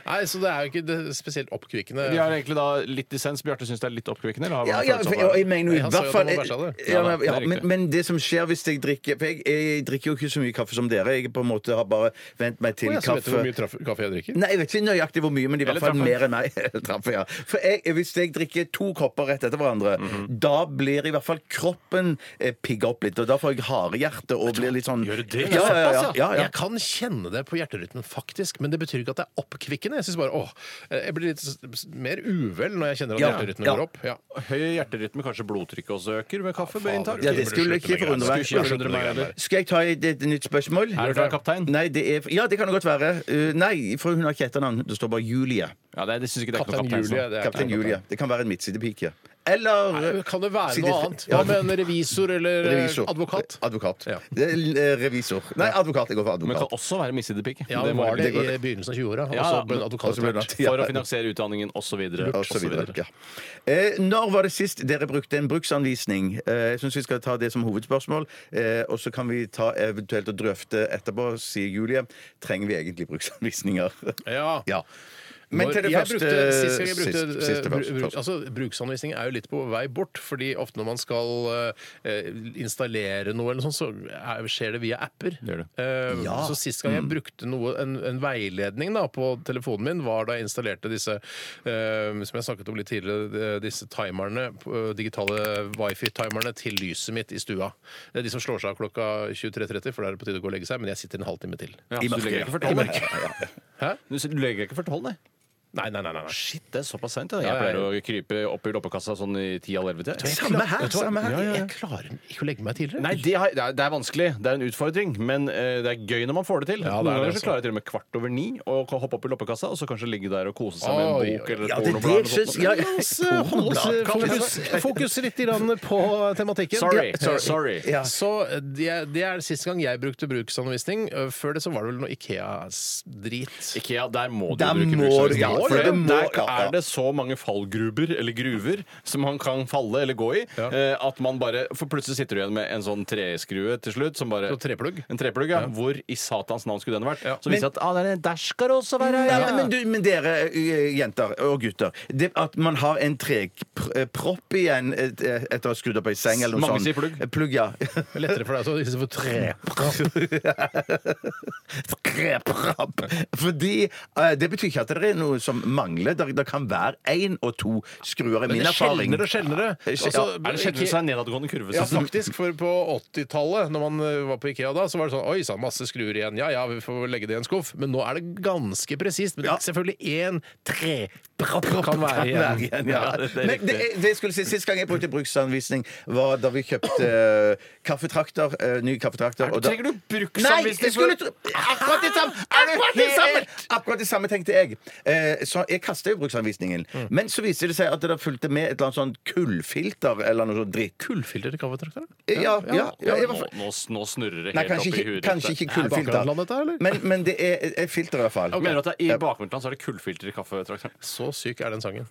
S2: Nei, Så det er jo ikke det spesielt oppkvikkende.
S3: Vi har egentlig da litt dissens. Bjarte syns det er litt oppkvikkende? Eller har
S1: Ja,
S3: han
S1: ja,
S3: følt
S1: for,
S3: sånn?
S1: jeg, jeg mener jo
S2: Jeg
S1: i
S2: sa jo
S1: hvert
S2: at
S1: fall
S2: man var sjalg, det.
S1: ja,
S3: Ja da,
S1: men,
S3: det
S1: ja,
S3: er riktig.
S1: men, men det som skjer hvis jeg drikker For jeg, jeg drikker jo ikke så mye kaffe som dere. Jeg på en måte har bare vent meg til
S2: Å, jeg så vet du
S1: kaffe.
S2: hvor mye traff- kaffe jeg drikker?
S1: Nei, Jeg vet ikke nøyaktig hvor mye, men i hvert fall
S3: trappa.
S1: mer enn meg. Trappa, ja. For jeg, Hvis jeg drikker to kopper rett etter hverandre, da blir i hvert fall kroppen eh, pigga opp litt. Og da får jeg harehjerte og blir litt sånn
S3: Gjør du det?
S1: Ja, ja, ja,
S2: Såpass,
S1: ja, ja.
S2: Jeg kan kjenne det på hjerterytmen, faktisk, men det betyr ikke at det er oppkvikkende. Jeg synes bare, åh, jeg blir litt s- mer uvel når jeg kjenner at
S1: Ja,
S2: hjerterytmen
S1: ja.
S2: går opp. Ja.
S3: Høy hjerterytme, kanskje blodtrykket også øker ved kaffe ved inntak?
S1: Ja, det skulle ikke forundre meg.
S3: altså. Skulle ikke forundre meg heller.
S1: Skal jeg ta et, et nytt spørsmål?
S3: Er du klar, kaptein?
S1: Nei, det er, ja, det kan det godt være. Uh, nei, for hun har ikke etternavn. Det står bare Julie.
S3: Ja, det, det synes jeg ikke det er ikke noe
S2: Kaptein
S3: kaptein.
S2: Julie. Det er
S1: Kaptein
S2: ikke-
S1: Julie. Det kan være en midtsidepike. Eller
S2: Nei, Kan det være
S1: Siden-
S2: noe annet?
S1: Ja,
S2: Hva med en revisor eller eh,
S1: revisor.
S2: advokat?
S1: Advokat.
S2: Ja.
S1: Det er, eh, revisor. Nei, advokat. Jeg går
S3: Men
S1: for
S3: det kan
S1: advokat.
S3: også være missidepike.
S2: Ja,
S3: Det
S2: det
S3: må
S2: var
S3: jeg-
S2: det
S1: det går-
S2: i begynnelsen av 20-åra. Og
S3: Ja,
S2: så
S3: ja.
S2: ble en
S1: Og så ble det
S2: advokat.
S1: ja.
S3: For å finansiere utdanningen osv.
S1: Og så videre, ja. Eh, når var det sist dere brukte en bruksanvisning? Eh, jeg syns vi skal ta det som hovedspørsmål. Eh, og så kan vi ta eventuelt og drøfte etterpå, sier Julie. Trenger vi egentlig bruksanvisninger?
S2: Ja.
S1: ja. Men til det
S2: jeg
S1: første
S2: brukte, sist gang jeg brukte
S1: sist-
S2: eh,
S1: siste
S2: bru-
S1: først,
S2: bruk,
S1: først.
S2: altså, Bruksanvisning er jo litt på vei bort, fordi ofte når man skal eh, installere noe, eller noe sånt, så er, skjer det via apper.
S3: Gjør det.
S2: Eh,
S1: Ja.
S2: Så Sist gang jeg brukte noe, en, en veiledning da, på telefonen min, var da jeg installerte disse eh, som jeg snakket om litt tidligere, de- disse timerne, eh, digitale wifi-timerne til lyset mitt i stua. Det er de som slår seg av klokka 23.30, for da er det på tide å gå og legge seg, men jeg sitter en halvtime til.
S3: I mørket. Du legger ikke før tolv, nei.
S2: Hæ?
S3: Du s- du legger ikke før tolv, nei?
S2: Nei, nei, nei. nei, nei.
S3: Shit, det er såpass seint. Jeg
S2: Ja, ja,
S3: pleier
S2: ja.
S3: å krype opp i loppekassa sånn i 10-11-tida.
S1: Samme her,
S2: Vet du hva?
S1: samme her.
S2: Jeg klarer ikke å legge meg tidligere.
S3: Nei, det, har, det, er, det er vanskelig. Det er en utfordring. Men eh, det er gøy når man får det til.
S2: Ja, det er
S3: Noen ganger
S2: det,
S3: så
S2: altså.
S3: klarer jeg til og med kvart over ni å k- hoppe opp i loppekassa og så kanskje ligge der og kose seg med
S2: Oi,
S3: en bok
S2: oi,
S3: eller et
S1: Ja, det,
S3: pornoblad
S1: det
S3: eller
S1: syns
S3: sånt.
S1: ja,
S2: Så hold oss fokus, fokus litt grann på tematikken.
S3: Sorry. Eh,
S2: Ja,
S3: Sorry.
S1: Ja.
S2: Så eh, det, er- det er siste gang jeg brukte bruksanvisning. Eh, Før det så var det vel noe Ikea-drit.
S3: Ikea, der må du
S1: Der
S3: bruke
S1: må
S3: bruksanvisning.
S1: du- ja, for
S3: Der
S1: det må- ja, ja.
S3: er det så mange fallgruber eller gruver som man kan falle eller gå i, eh, at man bare For plutselig sitter du igjen med en sånn treskrue til slutt som bare
S2: Så treplugg.
S3: En treplugg, ja. Hvor i satans navn skulle den vært?
S2: Ja.
S3: Så viser det at ah, der, der skal det også være!
S1: Ja, men, du, men dere eh, jenter og gutter, det at man har en trekpropp igjen et, et- etter å ha skrudd opp ei seng eller noe
S3: Mange
S1: sånt
S3: sier plugg.
S1: Eh, Plugg, ja.
S2: Lettere for deg så istedenfor tre.
S1: Trepropp. Fordi eh, det betyr ikke at det er noe som mangler. Det, det kan være én og to skruer, i min
S2: Det er
S1: erfaring.
S2: sjeldnere og sjeldnere. Altså,
S3: Er det sjelden
S2: Ikea-
S3: seg nedadgående kurve?
S2: Ja,
S3: synes du?
S2: faktisk. For på 80-tallet, når man eh, var på Ikea da, så var det sånn Oi sann, masse skruer igjen. Ja ja, vi får legge det i en skuff. Men nå er det ganske presist. Men det er selvfølgelig én trepropp kan være
S1: Hver
S2: igjen.
S1: igjen, ja.
S3: Ja, det er
S1: Men
S3: riktig.
S1: det, det jeg skulle si, Sist gang jeg brukte bruksanvisning, var da vi kjøpte eh, kaffetrakter. eh, ny kaffetrakter. og da-
S3: trenger du bruksanvisning
S1: Nei, jeg skulle
S3: for-
S1: tro- akkurat det samme!
S3: Er du
S1: Akkurat det samme,
S3: helt-
S1: akkurat det samme tenkte jeg. Eh, så jeg kastet jo bruksanvisningen. Men så viste det seg at det fulgte med et eller annet sånn kullfilter eller noe sånt dritt.
S2: Kullfilter i kaffetrakteren?
S1: Ja, ja, ja, jeg var-
S3: Nå, nå, nå snurrer det
S1: Nei,
S3: helt opp i
S1: kanskje ikke,
S3: huet ditt.
S1: kanskje ikke
S2: Er det bakgrunnsland, dette,
S1: kullfilter.
S2: eller?
S1: Men, men det er et- et filter, i hvert fall.
S3: Jeg mener at det er I bakmørket så er det kullfilter i kaffetrakteren.
S2: Så syk er den sangen.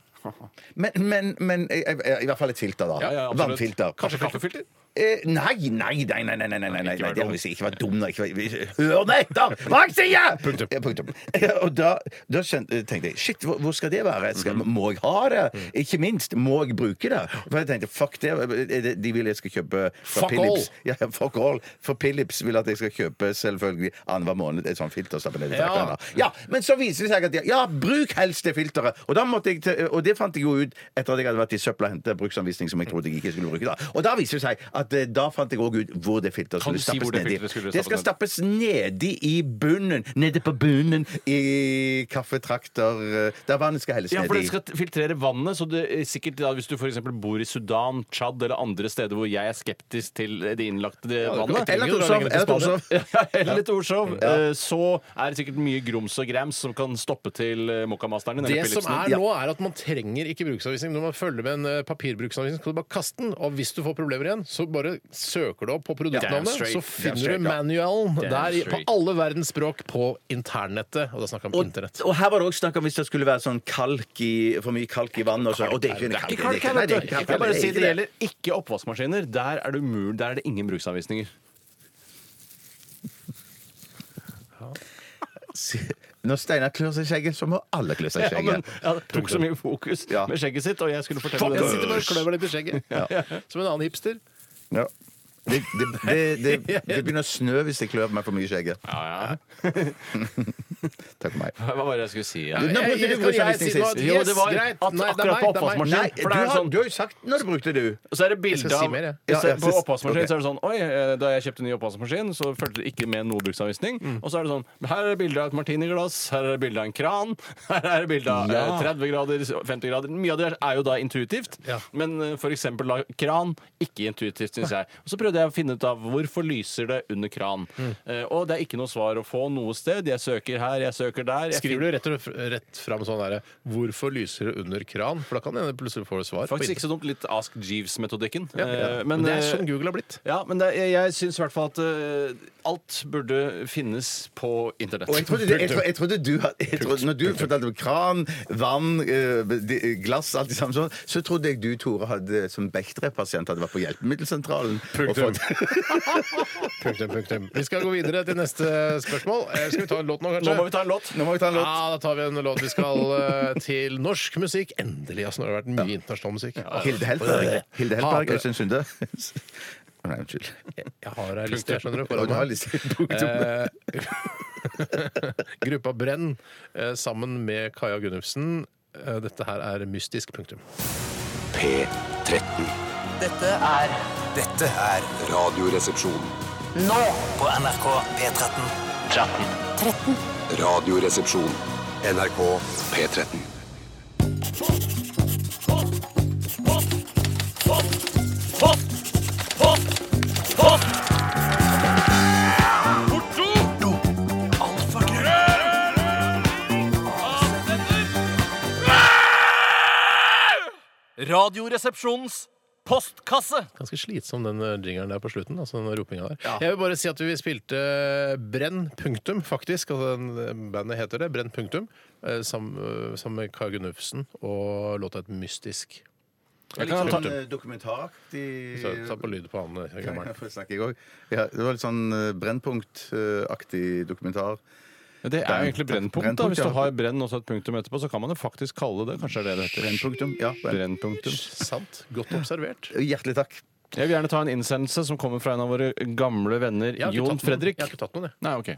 S1: Men, men, men i, i hvert fall et filter, da.
S3: Ja, ja, absolutt.
S1: Vannfilter.
S3: Kanskje kaffefilter?
S1: Eh, nei, nei, nei, nei, nei, nei, nei, nei, nei, det har vi ikke vært dum. da. Ikke vært- Hør nå etter! Hva jeg sier!
S2: Punktum.
S1: Ja, punktum. Eh, Og da, da skjønte, tenkte jeg shit, hvor, hvor skal det være? Skal,
S3: Mhm.
S1: må jeg ha det? Ikke minst, må jeg bruke det? For jeg tenkte fuck det, er det- de vil jeg skal kjøpe fra
S2: Fuck
S1: Philips. Ja, fuck all. For Philips vil at jeg skal kjøpe selvfølgelig annenhver måned et sånt filter. stappet ned i
S2: Ja.
S1: trakteren, da. ja, Men så viser det seg at de- ja, bruk helst det filteret! Og, da måtte jeg til, og det fant jeg jo ut etter at jeg hadde vært i søpla og hentet bruksanvisning som jeg trodde jeg ikke skulle bruke. da Og da viser det seg at eh, da fant jeg òg ut hvor det filteret
S3: Kan du
S1: skulle
S3: si hvor
S1: stappes
S3: det
S1: nedi.
S3: filteret skulle
S1: Det skal
S3: stappes
S1: stappes nedi i bunnen. Nede på bunnen i kaffetrakter eh, Der vannet skal helles
S3: Ja, for
S1: nedi.
S3: det skal filtrere vannet. Så det, er sikkert da, Hvis du for eksempel bor i Sudan, Tsjad eller andre steder hvor jeg er skeptisk til det innlagte
S2: kan
S3: vannet
S2: være
S1: Eller
S2: Lenger og
S1: Torshov.
S2: lenger til
S1: Eller Torshov.
S3: Ja, Eller til Orsov. eh, Så er det sikkert mye grums og grams som kan stoppe til eh, Mokkamasteren din.
S2: Det
S3: eller
S2: som
S3: Philipsen.
S2: er nå, er at man trenger ikke bruksanvisning. Når man følger med en eh, papirbruksanvisning, skal du bare kaste den. Og hvis du får problemer igjen, så bare søker du opp på
S3: Damn
S2: produktnavnet,
S3: straight.
S2: så
S3: Damn
S2: finner
S3: straight,
S2: du manualen der i- på
S3: straight.
S2: alle verdens språk på internettet. Og da snakker jeg om internett.
S1: Og her var det også snakk om hvis det skulle være sånn kalk i, for mye kalk i vannet. Og, sånn. og det er ikke en kalk.
S3: Ikke kalk her,
S1: nei,
S3: vet du.
S1: det er ikke
S3: Jeg
S1: kalk,
S3: kan bare
S1: det er
S3: si
S1: ikke
S3: det gjelder ikke oppvaskmaskiner. Der er det umulig. Der er det ingen bruksanvisninger.
S1: Når Steinar klør seg i skjegget, så må alle klø seg i
S3: Ja, men
S1: skjegget.
S3: jeg tok så mye fokus
S1: Ja.
S3: med skjegget sitt, og jeg skulle fortelle
S2: Jeg sitter
S3: det.
S2: bare og klør meg litt i skjegget. Som en annen hipster.
S1: Ja. Det, det, det, det, det begynner å snø hvis jeg klør meg for mye i skjegget.
S3: Ja, ja.
S1: Takk for meg.
S3: Hva var det jeg skulle si? Ja.
S1: Du- Nå
S2: Jeg-
S1: brukte
S2: jeg- kan
S1: du
S2: jeg si
S1: bruksanvisning
S2: noe?
S1: sist.
S3: Jo, det var
S2: Yes, greit.
S3: at
S2: Nei, det er
S3: akkurat
S2: meg,
S3: på
S2: det er meg.
S1: Nei,
S3: oppvaskmaskinen.
S1: du
S3: For det er
S1: har,
S3: sånn
S1: du har jo sagt når du brukte du.
S3: Og så er det
S2: Jeg
S3: bilde
S2: skal si
S3: av
S2: mer, jeg.
S1: Ja, jeg
S3: På
S1: synes-
S3: oppvaskmaskinen
S1: ok.
S3: så er det sånn Oi, eh, da jeg kjøpte ny oppvaskmaskin, så fulgte det ikke med noe bruksanvisning.
S2: Mm.
S3: Og så er det sånn Her er det bilde av et martiniglass, her er det bilde av en kran, her er det bilde av eh, 30 grader, 50 grader Mye av det er jo da intuitivt,
S2: Ja.
S3: men eh, for eksempel da kran ikke intuitivt, syns jeg. Og så prøvde jeg å finne ut av hvorfor lyser det under kran.
S2: Mm.
S3: Eh, Og det er ikke noe svar å få noe sted. Jeg søker her, jeg søker der. Jeg
S2: Skriver du rett, og rett fram sånn derre 'Hvorfor lyser det under kran?' For da kan det hende plutselig får du svar. på
S3: Faktisk
S2: internett.
S3: ikke så dumt. Litt Ask Jeeves-metodikken.
S2: Ja, ja.
S3: Eh,
S2: Men det er
S3: eh,
S2: sånn Google har blitt.
S3: Ja, men det, jeg, jeg syns i hvert fall at eh, alt burde finnes på internett.
S1: Og jeg trodde, det, jeg, tro- jeg trodde du had- jeg trodde, Når du fortalte om kran, vann, eh, de- glass, alt det samme sånn, så trodde jeg du, Tore, hadde som Bechdre-pasient hadde vært på hjelpemiddelsentralen. og
S2: Punktum.
S1: fått-
S2: Punktum, punktum. Vi skal gå videre til neste spørsmål. Eh, Skal vi ta en låt nå, kanskje?
S3: Nå må vi ta en låt.
S1: Nå må vi ta en låt.
S2: Ja, da tar vi en låt. Vi skal eh, til norsk musikk. Endelig! Altså, nå har det vært mye internasjonal musikk.
S1: Hilde Heltberg. Hilde
S2: Hater
S1: Heltberg,
S2: det.
S1: Øystein Sunde. Nei, unnskyld.
S2: Jeg har ei liste, jeg skjønner du.
S1: Og
S2: foran
S1: du har
S2: meg.
S1: lyst til punktum.
S2: Eh, Gruppa Brenn eh, sammen med Kaja Gunnufsen. Eh, Dette her er mystisk. Punktum.
S6: P13.
S11: Dette er
S6: Dette er Radioresepsjon.
S11: nå på NRK P13.
S6: Radioresepsjon. NRK P13.
S9: Radioresepsjonens postkasse.
S2: Ganske slitsom den eh, jingeren der på slutten. altså den ropinga der. Jeg vil bare si at vi spilte eh, Brenn punktum, faktisk. altså den, eh, Bandet heter det. Brenn punktum. eh, Sammen eh, sammen med Kaja Gunnufsen og låta et mystisk.
S1: Litt sånn eh, dokumentaraktig
S2: Så Ta på lyd på han eh,
S1: Ja,
S2: gammelen.
S1: for det snakker jeg også. Ja, det var litt sånn eh, Brennpunkt-aktig dokumentar.
S3: Det er jo egentlig brennpunkt. da.
S1: Brennpunkt,
S3: Hvis
S1: ja.
S3: du har brenn og så et punktum etterpå, så kan man jo faktisk kalle det Kanskje det er det det heter.
S1: Brennpunktum, ja. brenn-
S3: Brennpunktum.
S2: Sant. Godt observert.
S1: Hjertelig takk.
S3: Jeg vil gjerne ta en innsendelse som kommer fra en av våre gamle venner,
S2: Jeg har ikke
S3: Jon
S2: tatt noen.
S3: Fredrik.
S2: Jeg har ikke tatt noen, jeg.
S3: Nei, ok.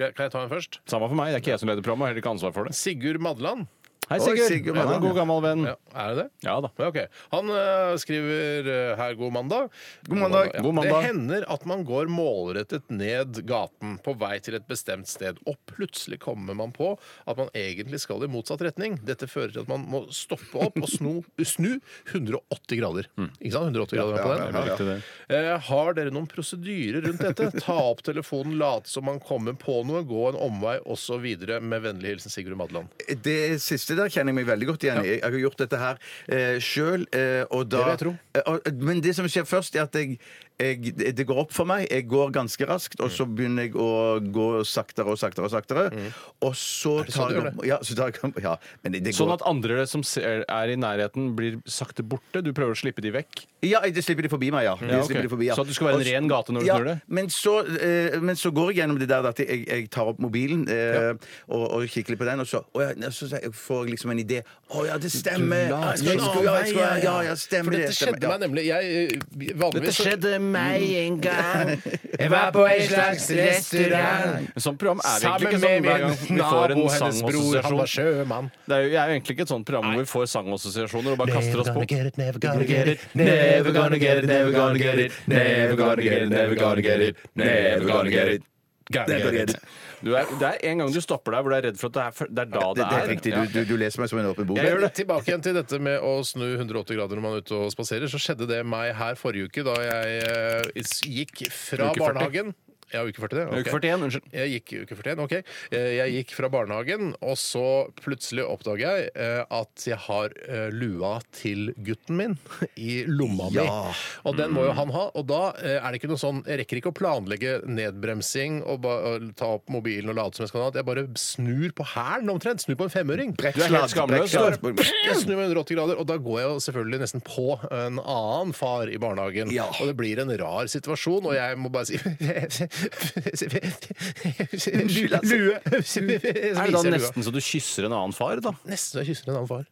S2: Kan jeg- Kan jeg ta en først?
S3: Samme for meg. Det er ikke jeg som leder programmet, og har heller ikke ansvar for det.
S2: Sigurd Madland.
S3: Hei,
S1: Oi,
S3: Sigurd.
S1: Sigurd,
S3: en god gammel venn.
S2: Ja, er det det?
S3: Ja da.
S2: Ok. Han eh, skriver eh, her 'God mandag'. God
S1: mandag.
S2: ja.
S3: God mandag.
S2: Det hender at man går målrettet ned gaten på vei til et bestemt sted, og plutselig kommer man på at man egentlig skal i motsatt retning. Dette fører til at man må stoppe opp og sno, snu 180 grader. Ikke sant? 180 grader på den.
S1: Mm. ja, ja.
S2: Eh, har dere noen prosedyrer rundt dette? Ta opp telefonen, late som man kommer på noe, gå en omvei osv. Med vennlig hilsen Sigurd Madland.
S1: Det siste der kjenner jeg meg veldig godt igjen i. Jeg har gjort dette her eh, sjøl. Eh, og da-
S2: Det vil
S1: Eh, og- men det som skjer først, er at jeg, jeg, det går opp for meg. Jeg går ganske raskt, og så
S2: Mm.
S1: begynner jeg å gå saktere og saktere og saktere. Og så
S2: det sånn
S1: tar
S2: du
S1: jeg
S2: gjør
S1: opp ja, så tar jeg, opp- ja, men det, det går,
S3: Sånn at andre som ser, er i nærheten, blir sakte borte. Du prøver å slippe de vekk.
S1: Ja, det slipper de forbi meg, ja. Det
S3: Mm. Ja, ok.
S1: slipper de forbi, ja.
S3: Så at du skal være en
S1: Og s-
S3: ren gate når du
S1: ja,
S3: snur det?
S1: Men så, eh, men så går jeg gjennom det der at jeg, jeg tar opp mobilen eh, og, og kikker litt på den, og så, å ja, så sier jeg- får jeg liksom en idé. Å ja, det stemmer!
S3: la-
S1: Jeg skulle- jeg skulle- ja, jeg skulle- ja, ja,
S2: For
S1: stemmer
S2: dette skjedde
S1: stemmer, ja.
S2: meg nemlig. Jeg, eh, vanligvis så-
S3: meg en gang. Jeg var på en slags restaurant. Men sånt program er vi egentlig ikke sånn hver gang vi får en sangassosiasjon.
S2: sjømann.
S3: Det er jo, jeg er jo egentlig ikke et sånt program hvor vi får sangassosiasjoner og bare kaster oss på.
S2: never
S3: gonna get it, never gonna get it, never gonna get it, never gonna get it, never gonna get it, never gonna get it.
S1: Never get it.
S3: Du er, det er en gang du stopper deg hvor du er redd for at det er, for- det er da
S1: Det,
S3: det
S1: det er
S3: er.
S1: riktig. Du, du, du leser meg som en åpen bok.
S2: Men tilbake igjen til dette med å snu 180 grader når man er ute og spaserer. Så skjedde det meg her forrige uke da jeg eh, is- gikk fra
S3: Uke 40.
S2: barnehagen. Ja, uke 40, det. ok.
S3: Uke 41, unnskyld.
S2: Jeg gikk i uke 41, ok. Eh, Jeg gikk fra barnehagen, og så plutselig oppdager jeg eh, at jeg har eh, lua til gutten min i lomma
S1: Ja.
S2: mi. Og den må jo han ha. Og da eh, er det ikke noe sånn Jeg rekker ikke å planlegge nedbremsing og, ba, og ta opp mobilen og late som jeg skal ha den. Jeg bare snur på hælen omtrent. Snur på en femøring.
S3: Du er helt skamløs.
S1: Brekkslag.
S3: du.
S2: Jeg snur meg 180 grader, og da går jeg jo selvfølgelig nesten på en annen far i barnehagen.
S1: Ja.
S2: Og det blir en rar situasjon, og jeg må bare si Unnskyld,
S1: altså.
S2: Lue! Så
S3: Er det da
S2: viser jeg lua.
S3: nesten så du kysser en annen far, da?
S2: Nesten så jeg kysser en annen far.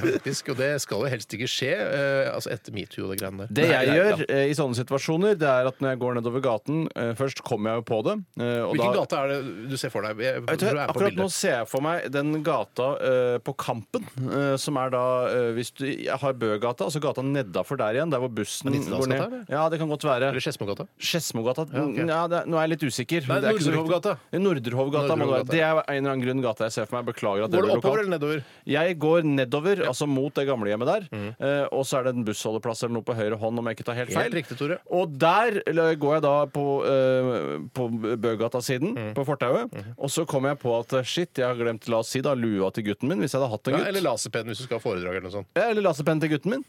S2: Faktisk, og det skal jo helst ikke skje eh, altså etter metoo og det greiene der.
S3: Det jeg gjør eh, i sånne situasjoner, det er at når jeg går nedover gaten eh, Først kommer jeg jo på det. eh, og
S2: Hvilken
S3: da-
S2: gate er det du ser for deg? Jeg,
S3: Vet du,
S2: tror jeg er på
S3: akkurat nå
S2: bildet.
S3: ser jeg for meg den gata eh, på Kampen, eh, som er da eh, Hvis du jeg har Bøgata, altså gata nedafor der igjen, der hvor bussen
S2: det
S3: går
S2: Nittedalsgata,
S3: ned.
S2: eller?
S3: Ja, det kan godt være.
S2: Eller Skedsmogata?
S3: Skedsmogata ja,
S2: ok.
S3: det er- Nå er jeg litt usikker.
S2: Nei,
S3: Det er ikke så
S2: Nordrehovgata.
S3: riktig. Nordrehovgata. må det være.
S2: Nordrehovgata.
S3: Det er en eller annen grunn gata jeg ser for meg. Beklager at det
S2: Går
S3: blir
S2: det oppover
S3: lokalt.
S2: eller nedover?
S3: Jeg går nedover, altså mot det gamlehjemmet der. eh, og så er det en bussholdeplass eller noe på høyre hånd, om jeg ikke tar helt feil.
S2: Mhm. Helt riktig, Tore.
S3: Og der eller, går jeg da på, eh, på Bøgata-siden,
S2: Mhm.
S3: på fortauet. Og så kommer jeg på at eh, shit, jeg har glemt la oss si da, lua til gutten min, hvis jeg hadde hatt en
S2: Ja,
S3: gutt.
S2: eller Mhm. laserpenn hvis du skal ha foredrag eller noe sånt.
S3: Ja, eller laserpenn til gutten min.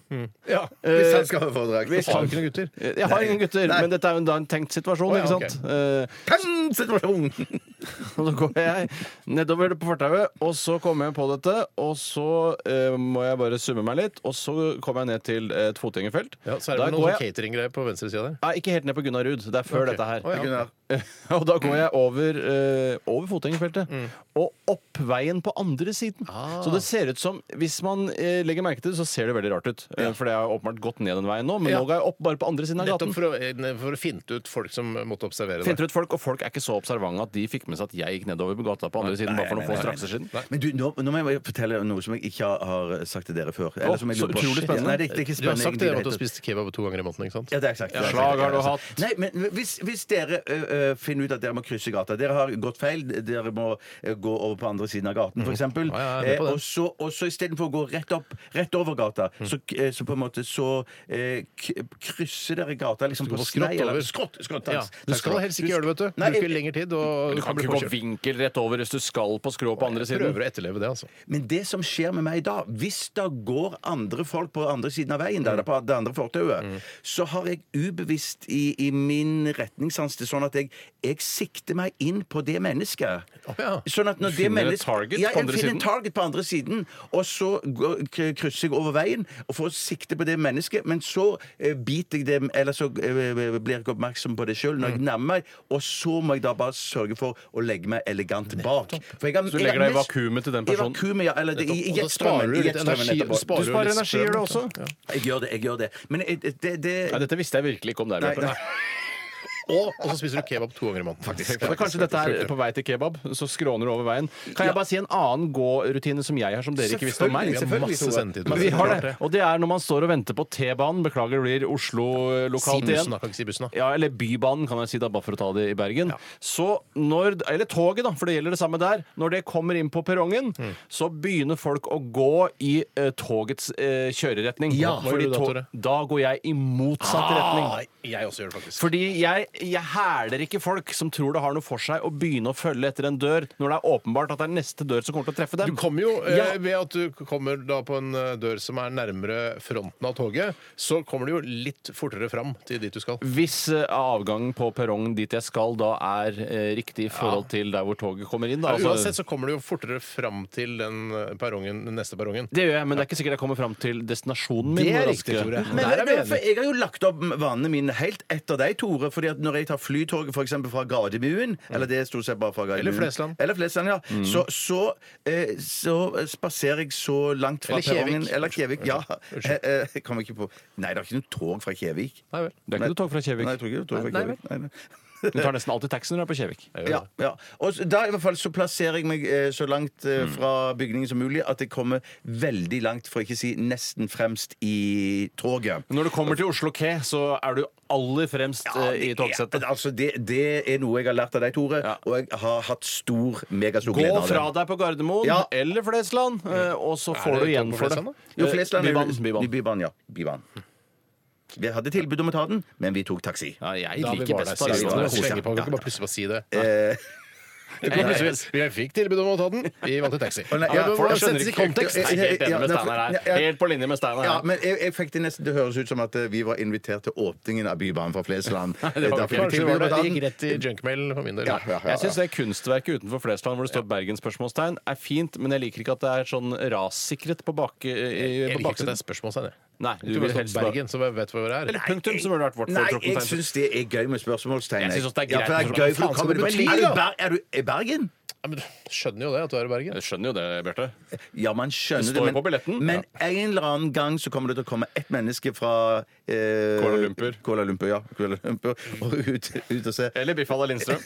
S2: Ja,
S1: Hvis han skal ha foredrag.
S3: Eh, Hvis
S2: Har
S3: han-
S2: du ikke noen gutter?
S3: Eh, Jeg har ingen gutter,
S1: Nei.
S3: men dette er jo da en tenkt situasjon.
S2: Å, ja,
S3: ikke sant? Eh,
S1: Kan situasjon!
S3: og så går jeg nedover på fortauet, og så kommer jeg på dette. Og så eh, må jeg bare summe meg litt, og så kommer jeg ned til et fotgjengerfelt.
S2: Ja, så er
S3: Da
S2: det vel
S3: går
S2: noen sånn
S3: jeg-
S2: cateringgreier på venstre sida der.
S3: Nei, ikke helt ned på Gunnar Ruud. Det er før
S2: Ok.
S3: dette her.
S2: Å, ja.
S1: Gunnar.
S3: og da går jeg over, eh, over fotgjengerfeltet
S2: Mm.
S3: og opp veien på andre siden.
S2: Ah.
S3: Så det ser ut som Hvis man eh, legger merke til det, så ser det veldig rart ut. Eh, For det har åpenbart gått ned den veien nå, men
S2: Ja.
S3: nå går jeg opp bare på andre siden av
S2: Nettopp
S3: gaten.
S2: for å, eh, for å finte ut folk som måtte observere
S3: Finter ut
S2: det.
S3: folk, Og folk er ikke så observante at de fikk med seg at jeg gikk nedover på gata på andre siden bare for noen få strakser siden.
S1: Men du, nå, nå må jeg bare fortelle noe som jeg ikke har, har sagt til dere før. Eller
S3: Å,
S1: som jeg
S3: så
S1: lurer på.
S3: utrolig spennende.
S1: Nei, det, det er ikke
S2: Du har
S1: spennende
S2: sagt det
S1: egentlig,
S2: at du
S1: det
S2: har spist kebab to ganger i måneden, ikke sant?
S1: Ja, det har jeg sagt. Det har jeg
S3: slag
S1: sagt.
S3: har du
S1: Det jeg
S3: hatt.
S1: Nei, men hvis, hvis dere ø, ø, finner ut at dere må krysse gata Dere har gått feil. Dere må ø, gå over på andre siden av gaten, f.eks.
S2: Mhm. Ja, ja, jeg er med på det. Mhm.
S1: Og så, og så istedenfor å gå rett opp, rett over gata, så, k- eh, så på en måte så eh, k krysser dere gata liksom
S2: Du
S1: på
S2: må
S1: skrei.
S2: skrått
S1: eller-
S2: over.
S1: Skrått, skrått,
S2: Ja.
S1: takk-
S2: Du
S1: takk
S2: skal
S1: ha.
S2: helst ikke gjøre det, vet du.
S1: Nei,
S2: Bruker lengre tid og
S3: Du kan ikke gå vinkel rett over hvis du skal på skrå på andre siden.
S2: Prøver å etterleve det, altså.
S1: Men det som skjer med meg da, hvis det går andre folk på andre siden av
S3: Mm.
S1: veien, der, det er på det andre fortauet, så har jeg ubevisst i, i min retningssans det sånn at jeg, jeg sikter meg inn på det mennesket.
S2: Å, ja.
S1: Sånn at når
S3: Du
S1: det
S3: finner et
S1: mennesket-
S3: target
S1: ja,
S3: på
S1: jeg
S3: andre
S1: finner
S3: siden?
S1: en target på andre siden, og så går- k- krysser jeg over veien og får sikte på det mennesket, men så eh, biter jeg det, eller så eh, blir jeg ikke oppmerksom på det sjøl når
S3: Mm.
S1: jeg nærmer meg, og så må jeg da bare sørge for å legge meg elegant bak. For jeg har-
S3: Så du
S1: jeg
S3: legger
S1: har
S3: deg i
S1: mest-
S3: vakuumet til den
S1: i
S3: personen?
S1: vakuumet, ja. Eller det, i, i
S2: Og da sparer
S1: jetstrømmen.
S2: du
S1: I
S2: litt
S1: jetstrømmen
S2: energi.
S1: etterpå.
S3: Du sparer
S2: litt
S3: energi, gjør det
S2: strøm,
S3: også.
S2: Ja.
S1: Jeg gjør det. jeg gjør det Men eh, det, det,
S3: Nei, dette visste jeg virkelig ikke om deg,
S1: Nei,
S3: Bjarte.
S1: nei.
S2: og, og så spiser du kebab to ganger i måneden. Faktisk.
S3: Men kanskje dette er på vei til kebab, så skråner du over veien. Kan jeg bare si en annen gårutine som jeg har, som dere ikke visste om meg? liksom.
S2: Vi har masse sendetid.
S3: Men vi har det. Og det er når man står og venter på T-banen. Beklager, det blir Oslo eh, lokalt
S2: Bussen,
S3: igjen.
S2: da. Kan ikke si bussen, da.
S3: Ja, eller Bybanen, kan jeg si, da, bare for å ta det i Bergen. Så når, Eller toget, da, for det gjelder det samme der. Når det kommer inn på perrongen,
S2: Mm.
S3: så begynner folk å gå i eh, togets eh, kjøreretning.
S2: Ja, hva
S3: Fordi
S2: gjør du da,
S3: tog-
S2: Tore? Ah,
S3: da går jeg i motsatt retning.
S2: Nei, jeg også gjør det, faktisk.
S3: Fordi jeg, jeg hæler ikke folk som tror det har noe for seg å begynne å følge etter en dør når det er åpenbart at det er neste dør som kommer til å treffe dem.
S2: Du kommer jo eh,
S3: Ja.
S2: Ved at du kommer da på en eh, dør som er nærmere fronten av toget, så kommer du jo litt fortere fram til dit du skal.
S3: Hvis eh, avgangen på perrongen dit jeg skal, da er eh, riktig i forhold til der hvor toget kommer inn, da. altså-
S2: Uansett så kommer du jo fortere fram til den eh, perrongen, den neste perrongen.
S3: det gjør jeg, men det er ikke sikkert jeg kommer fram til destinasjonen min.
S2: Det er
S3: hvor
S2: riktig,
S3: raskere.
S2: Tore.
S1: Men
S2: Der er vi
S1: men- for
S2: enige.
S1: jeg har jo lagt opp vanene mine helt etter deg, Tore. Fordi at når jeg tar flytoget for eksempel fra Gardermuen, eller det er stort sett bare fra Gardermuen
S2: Mm. Eller Flesland. Mm.
S1: Eller Flesland, ja. Så, så, eh, så spaserer jeg så langt fra
S2: Eller Kjevik.
S1: perrongen Eller Kjevik. Ja. Eh, eh, Jeg kommer ikke på Nei, det er ikke noe tog fra Kjevik.
S2: Nei vel.
S3: Det er ikke noe tog fra Kjevik.
S1: Nei, jeg tror ikke det er tog fra
S3: Nei, nei
S1: Kjevik. Nei, nei.
S3: Du tar nesten alltid taxi når du er på Kjevik.
S1: Ja, ja. Og så- da i hvert fall så plasserer jeg meg eh, så langt
S2: Mm.
S1: eh, fra bygningen som mulig at jeg kommer veldig langt, for ikke å si nesten fremst i toget.
S3: Når du kommer til Oslo K, så er du aller fremst eh, i togsettet.
S1: Ja, altså det, det er noe jeg har lært av deg, Tore,
S3: Ja.
S1: og jeg har hatt stor, megastor
S3: Gå
S1: glede av det.
S3: fra deg på Gardermoen
S1: Ja. Mm.
S3: eller Flesland, eh, og så
S2: det
S3: får du igjen
S2: tog på
S3: for det. Eh,
S2: Flesland,
S1: Jo, Flesland er-
S3: Bybanen. Bybanen.
S1: Bybanen, ja. Bybanen. Vi hadde tilbud om å ta den, men vi tok taxi.
S3: Ja, jeg
S2: Da vi
S3: liker
S2: var der
S3: best av
S2: sist.
S1: vi var
S2: Kan
S1: der
S2: ikke
S1: sist,
S2: slenge
S1: ja.
S2: på, kan ikke bare plutselig bare si det.
S1: Eh,
S2: Du kan plutselig- Vi fikk tilbud om å ta den, vi vant en taxi.
S1: nei,
S2: Ja,
S1: ja,
S2: men
S1: folk
S2: hvordan
S1: skjønner
S2: settes i
S1: ikke-
S2: kontekst?
S1: Ja,
S3: Nei, helt enig
S1: Ja,
S3: med
S1: nei,
S3: Steinar her.
S1: for- ja, ja.
S3: Helt på linje med Steinar
S1: ja,
S3: her.
S1: men jeg, jeg fikk det nesten Det høres ut som at eh, vi var invitert til åpningen av Bybanen fra Flesland.
S3: det var
S1: Da
S3: ikke-
S1: fikk vi
S2: Kanskje
S1: tilbud
S2: var
S1: om å
S2: det
S1: ta
S2: det
S1: den.
S2: gikk rett i junkmail for min del.
S1: Ja, ja, ja,
S3: Jeg syns det kunstverket utenfor Flesland hvor det står Bergen-spørsmålstegn, er fint, men jeg liker ikke at det er sånn rassikret på, bak, i- på
S2: Jeg liker ikke at det
S3: baksiden.
S2: er spørsmålstegn. jeg.
S3: Nei,
S2: Du vil helst Bergen, så jeg vet hvor det er.
S3: Eller punktum, som ville vært vårt
S1: Nei, jeg
S3: foretrukne tegn.
S1: syns det er gøy med spørsmålstegn.
S3: Jeg synes også det er
S1: Ja, for
S3: greit.
S1: det er gøy, for
S2: Faen, skal
S1: du kommer
S2: det bety,
S1: Men er du
S2: da?
S1: Ber- Er du i Bergen?
S2: Ja, men du skjønner jo det, at du er i Bergen.
S3: Jeg skjønner jo det, Bjarte.
S1: Ja, man skjønner
S3: Det står jo
S1: men-
S3: på billetten.
S1: Men en eller annen gang så kommer det til å komme ett menneske fra eh,
S3: Kuala Lumpur.
S1: Kuala Lumpur, ja. Kuala Lumpur
S2: Mm.
S1: og ut, ut og se.
S3: Eller Biffala Lindstrøm.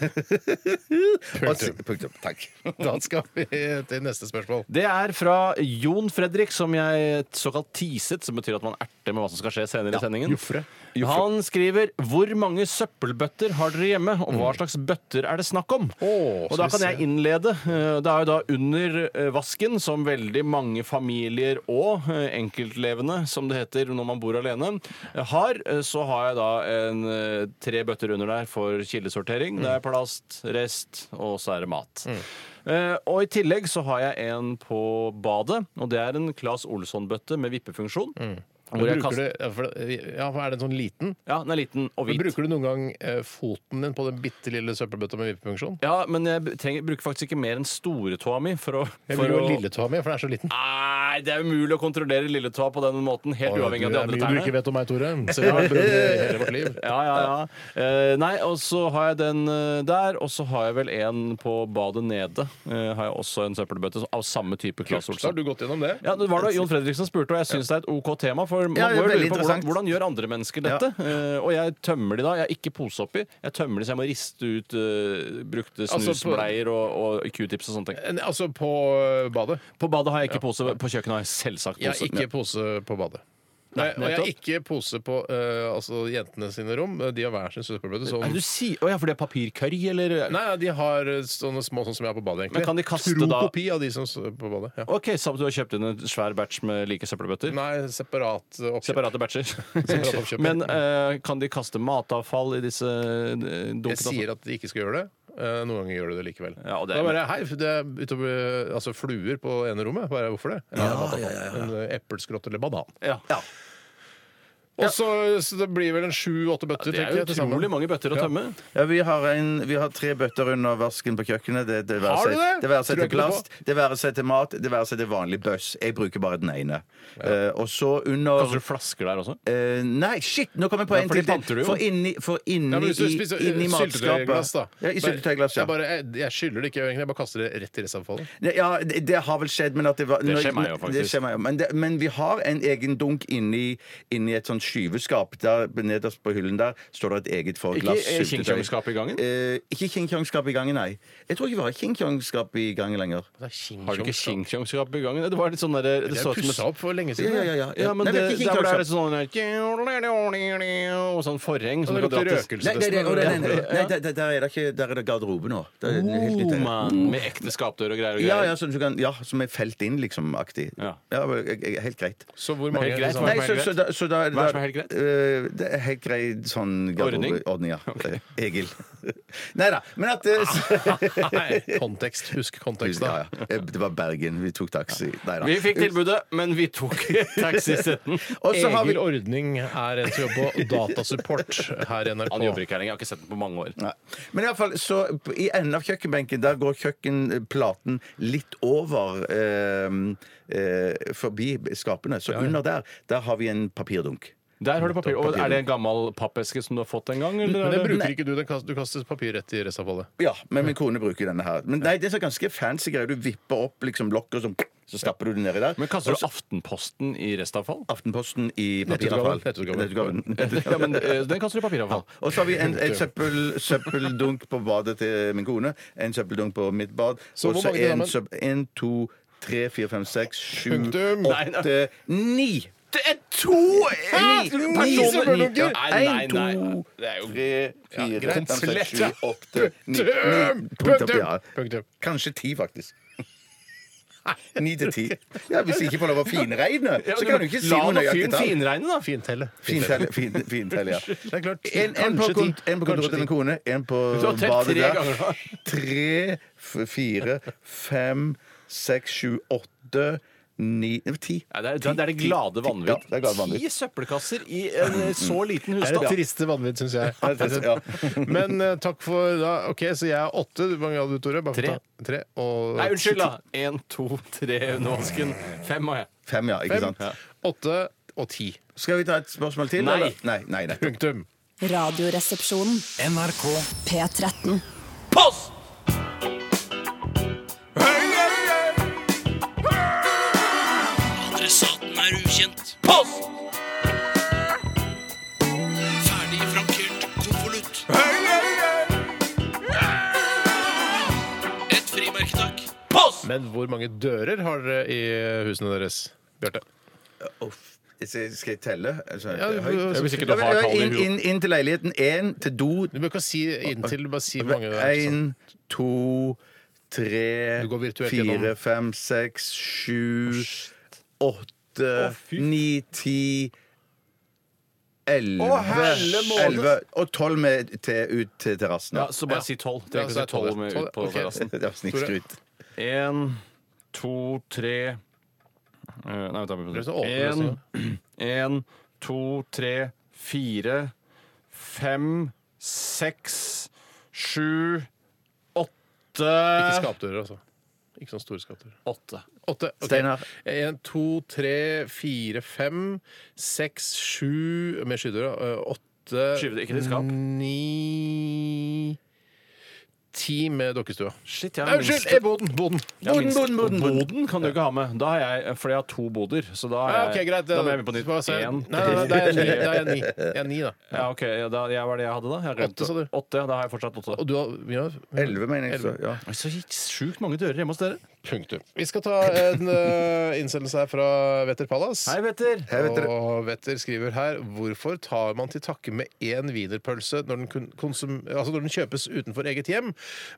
S1: Og se- Punktum. Takk.
S2: Da skal vi til neste spørsmål.
S3: Det er fra Jon Fredrik, som jeg såkalt teaset, som betyr at man erter med hva som skal skje senere i sendingen.
S2: Jofre.
S3: Han skriver 'Hvor mange søppelbøtter har dere hjemme?' og 'Hva slags bøtter er det snakk om?'
S2: Å,
S3: og da kan
S2: skal vi
S3: jeg
S2: se.
S3: innlede. Eh, Det er jo da under eh, vasken, som veldig mange familier og eh, enkeltlevende, som det heter når man bor alene, eh, har. eh, Så har jeg da en, eh, tre bøtter under der for kildesortering.
S2: Mm.
S3: Det er plast, rest, og så er det mat. Eh, og I tillegg så har jeg en på badet, og det er en Claes Olsson-bøtte med vippefunksjon.
S2: Mm.
S3: Hvor jeg
S2: Bruker
S3: kaster,
S2: du, ja, for, ja, for er den sånn liten?
S3: ja, den er liten og
S2: Men
S3: hvit.
S2: bruker du noen gang eh, foten din på den bitte lille søppelbøtta med vippefunksjon?
S3: Ja, men jeg b- trenger, bruker faktisk ikke mer enn storetåa mi for å,
S2: Jeg
S3: for
S2: vil jo
S3: å
S2: ha lilletåa mi, for den er så liten.
S3: Nei, det er umulig å kontrollere lilletåa på den måten, helt uavhengig av de andre
S2: Det er mye du ikke
S3: tærne.
S2: vet om meg, Tore. Så vi har brødre i hele vårt liv.
S3: Ja, ja, ja. Eh, nei, og så har jeg den eh, der, og så har jeg vel en på badet nede. Eh, har jeg også en søppelbøtte av samme type Claes
S2: Så har
S3: Olsson.
S2: du gått gjennom det.
S3: Ja, det var da Jon Fredriksen spurte, og jeg syns det er et OK tema. For man
S1: Ja, det er
S3: må jo lure
S1: veldig
S3: på hvordan,
S1: interessant.
S3: hvordan gjør andre mennesker dette? Eh, og jeg tømmer de da. Jeg har ikke pose oppi. Jeg tømmer de så jeg må riste ut eh, brukte
S2: Altså, på-
S3: snusbleier og, og q-tips og sånne ting.
S2: En- Altså på eh, badet.
S3: På badet har jeg ikke pose. På kjøkkenet har jeg selvsagt
S2: Jeg har
S3: pose.
S2: ikke pose på badet. Nei, og jeg har
S3: nettopp.
S2: ikke pose på eh, altså, jentene sine rom. De har hver sin søppelbøtte.
S3: Er
S2: Sånn.
S3: det du sier? Å ja, for det er papirkørj, eller?
S2: Nei, nei, de har sånne små sånn som jeg har på badet. egentlig
S3: Men kan de kaste
S2: Tro
S3: da-
S2: kopi av de som står på badet. Ja.
S3: Ok, så du har kjøpt inn en svær batch med like søppelbøtter?
S2: Nei, separat eh, oppkjøp.
S3: Separate batcher.
S2: Separat oppkjøp.
S3: Men eh, kan de kaste matavfall i disse eh, dunkene?
S2: Jeg sier at de ikke skal gjøre det. Eh, Noen ganger gjør du det likevel.
S3: Ja, og det-
S2: Da bare, Hei, det er utover, altså fluer på ene rommet. Bare, hvorfor det? Ja, En eh, epleskrott eller banan.
S3: ja.
S2: Og så, så det blir vel en sju-åtte bøtter,
S3: Det er
S2: tenker jeg. til sammen.
S3: utrolig mange bøtter å
S2: Ja.
S3: tømme.
S1: Ja, Altså- vi, har en, vi har tre bøtter under vasken på kjøkkenet. Det, det være
S2: Har du
S1: seg-
S2: det?
S1: Det være seg
S2: Tror
S1: til
S2: jeg ikke noe
S1: plast, det være seg til mat, det være seg til vanlig bøss. Jeg bruker bare den ene. Eh, og så under
S3: Kaster du flasker der også?
S1: eh, Nei, shit! Nå kom jeg på en
S3: for
S1: til.
S3: de panter du jo.
S1: For inni, for inni,
S2: Ja, men hvis du
S1: i-
S2: spiser
S1: inni
S2: eh,
S1: matskapet.
S2: syltetøyglass, da.
S1: Ja, i syltetøyglass, ja.
S2: Jeg, bare, jeg, jeg skyller det ikke, egentlig. Jeg bare kaster det rett i restavfallet.
S1: Ne- Ja, det, det har vel skjedd, men at det var
S3: skjer meg jo, faktisk.
S1: Det skjer meg jo. Men, det, men vi har en egen dunk inni, inni et sånt skyveskap. Der, nederst på hyllen der står det et eget for
S3: Ikke,
S1: glass.
S3: eh,
S1: syltetøy.
S3: King-Kong-skap i gangen?
S1: Eh, ikke King Kong-skap i gangen, nei. Jeg tror ikke vi har King Kong-skap i gangen lenger.
S3: Har du ikke King-Kong-skap i gangen? Det var litt sånn der, det
S2: Jeg
S3: så ut som et-
S2: pussa opp for lenge
S1: Ja,
S2: siden.
S1: ja, ja, ja.
S3: Ja, men
S1: Nei,
S3: det,
S1: vi har ikke King
S3: der hvor det er
S1: Kong-skap.
S3: litt sånn og sånn forheng som
S2: Det
S3: du kan dra
S2: lukter
S3: til.
S1: Nei, nei, nei,
S2: røkelsetesten.
S1: å, nei, nei, nei, nei, der- der- der er det ikke Der er det garderobe nå. Det er helt nytt,
S3: Oh,
S1: det.
S3: man, med ekte skapdør og greier og
S1: Ja,
S3: greier.
S1: ja, sånn du kan, ja, som er felt inn, liksom, aktig.
S3: Ja.
S1: men, jeg- jeg- helt greit.
S2: Så hvor mange
S3: Helt greit,
S2: sånne-
S3: hva er
S1: Nei,
S3: det
S1: så,
S3: som er
S1: så, da, så da er det
S3: Hva er det som er helt greit?
S1: Eh, det er helt grei sånn
S3: Ordning?
S1: garderobeordning, ja. Egil. Nei da, men at eh,
S3: Ah,
S1: så-
S2: Nei, kontekst. Husk kontekst,
S1: ja,
S2: da.
S1: ja. Eh, Det var Bergen. Vi tok taxi. Nei da.
S3: Vi fikk tilbudet, men vi tok taxisetten.
S1: Og så har vi
S2: Egil Ordning er en som jobber på datasupport her i NRK.
S3: Han jobber ikke her lenger. Jeg har ikke sett den på mange år.
S1: Nei. Men i alle fall, så i enden av kjøkkenbenken der går kjøkkenplaten litt over eh, eh, forbi skapene. Så under der der har vi en papirdunk.
S3: Der har du papir. Og er det en gammel pappeske som du har fått en gang? Eller?
S2: Men
S3: er
S2: den
S3: det-
S2: bruker ikke du. Den kast, du kaster papir rett i restavfallet.
S1: Ja, men min kone bruker denne her. Men nei, det er så ganske fancy greier. Du vipper opp liksom lokket, og så, så stapper du det nedi der.
S3: Men kaster
S1: Og
S3: du
S1: så-
S3: Aftenposten i restavfall?
S1: Aftenposten i papiravfall.
S2: Nettutgaven.
S1: Nettutgaven.
S3: Ja, men eh, Den kaster du i papiravfall.
S1: Og så har vi en, en søppel, søppeldunk på badet til min kone, en søppeldunk på mitt bad,
S2: Så
S1: og
S2: hvor
S1: så
S2: mange til sammen?
S1: en søpp... En, to, tre, fire, fem, seks, sju,
S2: Punktum.
S1: åtte, ni!
S3: Det er to
S1: Ni personer!
S3: Ja, nei, nei,
S1: En,
S3: nei.
S1: to, tre, fire, fem, seks,
S2: komplett,
S1: sju,
S2: ja.
S1: åtte, ni.
S2: Punktum!
S1: ni. Punktum! ja.
S2: Punktum.
S1: Kanskje ti, faktisk. Ni til ti. Ja, hvis jeg ikke får lov å finregne, så kan du ikke si
S3: La
S1: noe
S3: nå
S1: nøyaktig
S3: fyren
S1: tall.
S3: finregne, da.
S2: Fintelle.
S1: Fintell, fin, fintell, ja.
S2: Det er klart.
S1: En, en, på
S2: Kanskje
S1: kont
S2: ti.
S1: en på
S2: Kanskje
S1: kontoret til min
S2: ti.
S1: kone, en på
S3: Du har telt
S1: badet
S3: tre
S1: der.
S3: ganger, da.
S1: Tre, f- fire, fem, seks, sju, åtte, ni Nei, ti.
S3: Nei, det, er, det er det glade
S1: Ja,
S3: vanvitt.
S1: det er glade vanvitt.
S3: Ti søppelkasser i en eh, så liten
S2: Det er det
S3: husstand.
S2: triste vanvidd, syns jeg.
S1: Ja, det er trist, ja.
S2: Men eh, takk for da. OK, så jeg er åtte. Hvor mange hadde du, Tore? Bare for
S3: Tre.
S2: ta- Tre. Og
S3: Nei, unnskyld, da. Én, to, tre under vasken. Fem har jeg.
S1: Fem, ja. Ikke
S2: Fem,
S1: sant?
S2: åtte og ti.
S1: Skal vi ta et spørsmål til?
S3: Nei.
S1: eller? Nei, nei, nei.
S2: Punktum.
S4: Radioresepsjonen. NRK P13.
S9: Post! Adressaten er ukjent. Post! Ferdig frankert konvolutt. Et frimerke, takk. Post!
S2: Men hvor mange dører har dere i husene deres, Bjarte?
S1: Uff. Skal jeg telle? Altså,
S2: Ja, du-
S1: høyt?
S2: hvis
S3: ikke du har
S1: Ja, men,
S3: tallet i
S1: inn,
S3: huet.
S1: inn, inn til leiligheten. Én til do.
S2: Du bør ikke si inntil, bare si hvor mange det er.
S1: Én, to, tre,
S2: Du går virtuelt
S1: fire,
S2: gjennom.
S1: fem, seks, sju, åtte, ni, ti Elleve, elleve og tolv med til, ut til terrassen.
S3: Ja,
S1: Ja.
S3: så bare si tolv.
S2: Ja,
S3: Trenger
S2: så
S3: ikke
S2: er
S3: å si tolv
S2: tolv,
S3: med
S2: tolv,
S3: ut på
S2: ok.
S3: terrassen.
S1: Det var snikskryt.
S3: Én, to, tre Eh, Nei, vent da. vi må
S2: Det er
S3: se.
S2: så åpne
S3: En, en, to, tre, fire, fem, seks, sju, åtte
S2: Ikke skapdører, altså. Ikke sånne store skapdører.
S3: Åtte.
S2: Åtte. ok.
S1: Steinar.
S2: En, to, tre, fire, fem, seks, sju Med skydøra. ø, Åtte
S3: Skyver det ikke til skap?
S2: Ni Ti med dokkestua.
S3: Shit, jeg
S2: Nei,
S3: har
S2: Unnskyld!
S3: minst.
S2: eh, Boden! Boden.
S3: Jeg har minst.
S1: boden, boden, boden.
S3: Boden kan du ikke ha med. Da har jeg, for jeg har to boder. Så da,
S2: Ja,
S3: har
S2: ok,
S3: jeg,
S2: greit.
S3: da må jeg med på nytt.
S2: Bare se-
S3: En.
S2: Nei, nei, nei, da er jeg ni. Da er jeg ni. Jeg er ni, da.
S3: Ja, ok, ja, da, ja, Hva er det jeg hadde, da? Jeg
S2: Åtte, sa du.
S3: Åtte, ja, Da har jeg fortsatt åtte.
S2: Og du har ja,
S1: Elleve, mener jeg. Så, ja.
S3: Det er Så sjukt mange dører hjemme hos dere.
S2: Punktum. Vi skal ta en ø, innsendelse her fra Vetter Palace.
S3: Hei, Petter.
S2: Og Wetter skriver her Hvorfor tar man til takke med én wienerpølse når den, kun- konsum, altså når den kjøpes utenfor eget hjem,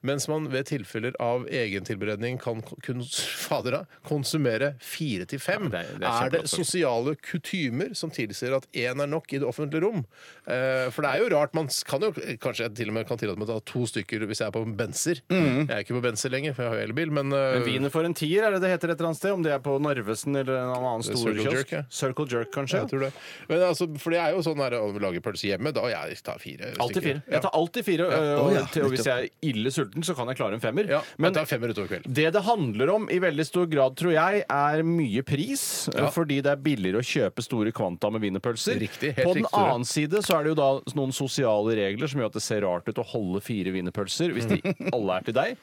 S2: mens man ved tilfeller av egentilberedning kan kon- kun fadera, konsumere fire til fem?
S3: Ja, det er- det er
S2: er,
S3: kjempegodt
S2: det sosiale kutymer som tilsier at én er nok i det offentlige rom? Eh, for det er jo rart. Man kan jo kanskje jeg til og med kan tillate meg å ta to stykker hvis jeg er på en benser. Jeg er ikke på benser lenger, for jeg har jo elbil, men, eh,
S3: Mm. Men Wiener for en tier, er det det heter et eller annet sted? Om det er på Narvesen eller en annen
S2: Det er
S3: stor
S2: Circle
S3: kiosk?
S2: Jerk, ja.
S3: Circle Jerk, kanskje?
S2: Jeg tror det. Men altså, for det er jo sånn der, om vi lager pølse hjemme, da jeg tar fire
S3: Alltid fire. Jeg tar
S2: Ja.
S3: alltid fire, eh, og,
S1: Å, ja,
S3: til- og hvis jeg er ille sulten, så kan jeg klare en femmer.
S2: Ja,
S3: Men
S2: jeg tar femmer utover kvelden.
S3: det det handler om i veldig stor grad, tror jeg, er mye pris. eh, Fordi det er billigere å kjøpe store kvanta med wienerpølser.
S2: Riktig, helt
S3: På den
S2: riktig, Tore.
S3: annen side så er det jo da noen sosiale regler som gjør at det
S2: Mm.
S3: ser rart ut å holde fire wienerpølser hvis de alle er til deg.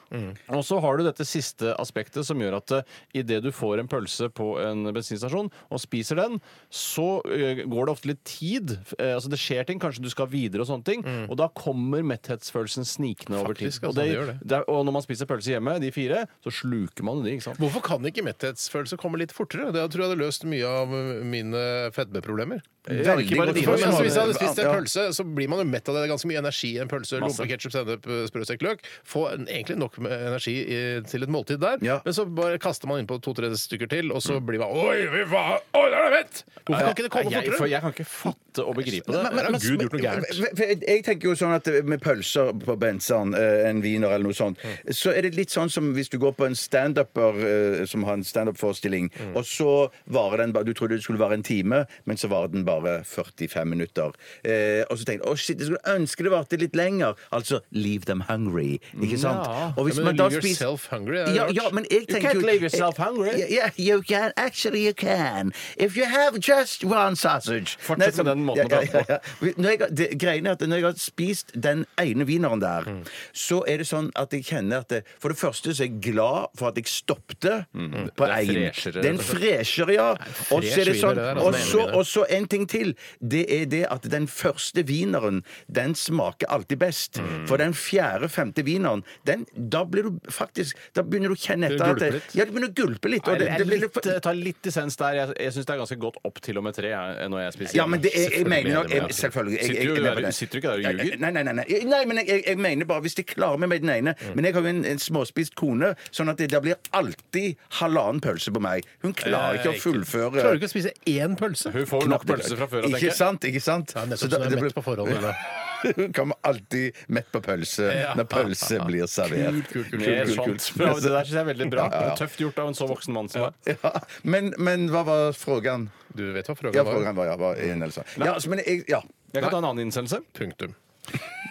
S3: Og så har du dette siste prosjektet som gjør at eh, idet du får en pølse på en bensinstasjon og spiser den, så eh, går det ofte litt tid. Eh, altså Det skjer ting, kanskje du skal videre og sånne ting. Og da kommer metthetsfølelsen snikende over tid.
S2: Mm. Faktisk, altså,
S3: og, det,
S2: det gjør det.
S3: er- og når man spiser pølse hjemme, de fire, så sluker man de, ikke sant.
S2: Hvorfor kan ikke metthetsfølelse komme litt fortere? Det tror jeg hadde løst mye av eh, mine fedmeproblemer.
S1: Veldig
S3: ikke bare
S1: godt
S3: dine,
S2: For,
S1: spørsmål.
S3: men
S2: altså, hvis jeg hadde spist en
S1: Ja.
S2: pølse, så blir man jo mett av det. Det er ganske mye energi i en pølse. Lompe, ketsjup, sennep, eh, sprøstekt løk. Få en- egentlig nok med energi i, til et måltid der.
S1: Ja. Mm.
S2: Men så bare kaster man innpå to-tre stykker til, og så blir man Oi, fy faen! Oi, der er det mett! Hvorfor kan ikke det komme
S3: jeg, for
S2: fortere?
S3: jeg kan ikke fatte og begripe det.
S1: Men- men-
S3: Her har
S1: men-
S3: Gud gjort noe gærent.
S1: men- for Jeg jeg tenker jo sånn at med pølser på Bensan, eh, en wiener eller noe sånt,
S3: Mm.
S1: så er det litt sånn som hvis du går på en standuper eh, som har en standup-forestilling,
S3: Mm.
S1: og så varer den bare Du trodde det skulle vare en time, men så varer den bare 45 minutter. Eh, og så tenker du å shit, jeg skulle ønske det varte litt lenger. Altså leave them hungry, ikke sant? Og
S2: Ja, men leave yourself hungry, er det
S1: ja,
S2: rart?
S1: ja, men jeg
S3: You
S1: tenker
S3: can't
S1: jo-
S3: leave yourself hungry.
S1: Yeah, Yeah, you can. Actually, you can. If you have just one sausage
S3: Fortsett med den måten å prate på.
S1: ja, ja. Når jeg, har- det, greien er at når jeg har spist den ene wieneren der, så er det sånn at jeg kjenner at det, For det første så er jeg glad for at jeg stoppte på
S3: er
S1: én.
S3: freshere,
S1: Det er en
S3: rett og slett.
S1: freshere, ja. Og så er det
S2: wiener,
S1: sånn,
S2: det der, altså,
S1: og
S2: den ene
S1: så,
S2: wieneren.
S1: og så en ting til. Det er det at den første wieneren, den smaker alltid best. For den fjerde-femte wieneren, den, da blir du faktisk Da begynner du å kjenne etter at
S2: gulper
S1: det,
S2: litt.
S1: Ja, du begynner å gulpe litt.
S3: Nei,
S1: Og det, det blir
S3: litt,
S1: litt for,
S3: jeg tar litt dissens der. Jeg, jeg syns det er ganske godt opp til og med tre jeg, når jeg spiser.
S1: Ja, men det er, jeg
S2: Selvfølgelig
S1: mener
S2: er
S1: nok
S2: det
S1: jeg,
S2: med.
S1: Selvfølgelig. Jeg,
S3: Sitter
S1: jeg,
S3: du
S1: jeg,
S3: der-
S1: mener det.
S3: sitter du ikke der og ljuger?
S1: Nei, nei, nei. nei, nei men jeg, jeg mener bare hvis jeg klarer meg med den ene.
S3: Mm.
S1: Men jeg har jo en, en småspist kone, sånn at det, det blir alltid halvannen pølse på meg. Hun klarer ikke å fullføre
S2: Klarer du ikke å spise én pølse?
S3: Hun får nok pølser fra før av, tenker
S1: Ikke
S3: jeg.
S1: sant? ikke sant?
S2: Ja, nettopp,
S1: Så
S2: så hun er
S1: det
S2: mett
S1: blir-
S2: på forhånd, hun da.
S1: Hun kommer alltid mett på pølse når pølse blir servert.
S3: Mer
S1: kult,
S3: sånt.
S1: kult.
S3: Bra, Det der syns jeg er veldig bra. Tøft gjort av en så voksen mann som deg.
S1: Ja, men, men hva var spørsmålet?
S2: Du vet hva
S1: Ja,
S2: frågan var?
S1: spørsmålet var, ja, var en eller sånn. Ja, så, men jeg, ja.
S3: Jeg kan ta en annen innsendelse.
S2: Punktum.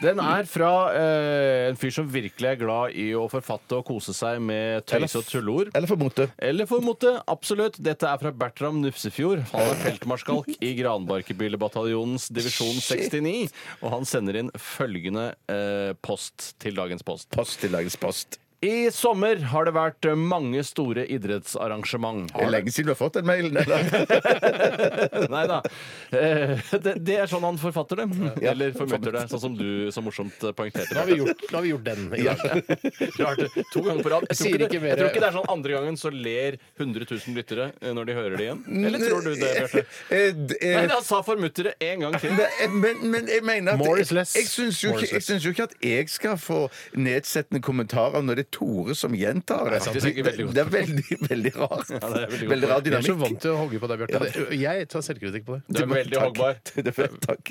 S3: Den er fra eh, en fyr som virkelig er glad i å forfatte og kose seg med tøys og tulleord.
S1: Eller for mote.
S3: Eller for mote. Absolutt. Dette er fra Bertram Nufsefjord. Han er feltmarskalk i Granbarkebillebataljonens divisjon 69. Og han sender inn følgende eh, post til dagens post.
S1: Post til dagens post.
S3: I sommer har det vært eh, mange store idrettsarrangement.
S1: Det er lenge siden du har fått den mailen. Eller?
S3: Nei da. Eh, Det, det er sånn han forfatter det. Eller formynter det, sånn som du så morsomt poengterte.
S2: Nå har vi gjort, nå har vi gjort den. i dag.
S3: Rart. To ganger på rad. Jeg tror, ikke det,
S2: Sier ikke mer.
S3: jeg tror ikke det er sånn andre gangen så ler 100 000 lyttere eh, når de hører det igjen. Eller tror du det, Bjarte?
S1: Eh, d- eh,
S3: Nei, han sa formuttere en gang til.
S1: Nei, Men, men jeg mener at
S2: More
S1: jeg,
S2: is less.
S1: jeg, syns jo
S2: More
S1: ikke,
S2: is
S1: jeg
S2: less.
S1: syns jo ikke at jeg skal få nedsettende kommentarer når det er Tore som gjentar det.
S3: sant, det er ikke veldig godt.
S1: Det er veldig, veldig rart.
S3: det er veldig godt.
S1: veldig
S2: Jeg er så
S1: rar dynamikk.
S2: vant til å hogge på deg, Bjarte. Det- Jeg tar selvkritikk på det.
S3: Du er veldig hoggbar.
S1: Det er vel- Takk.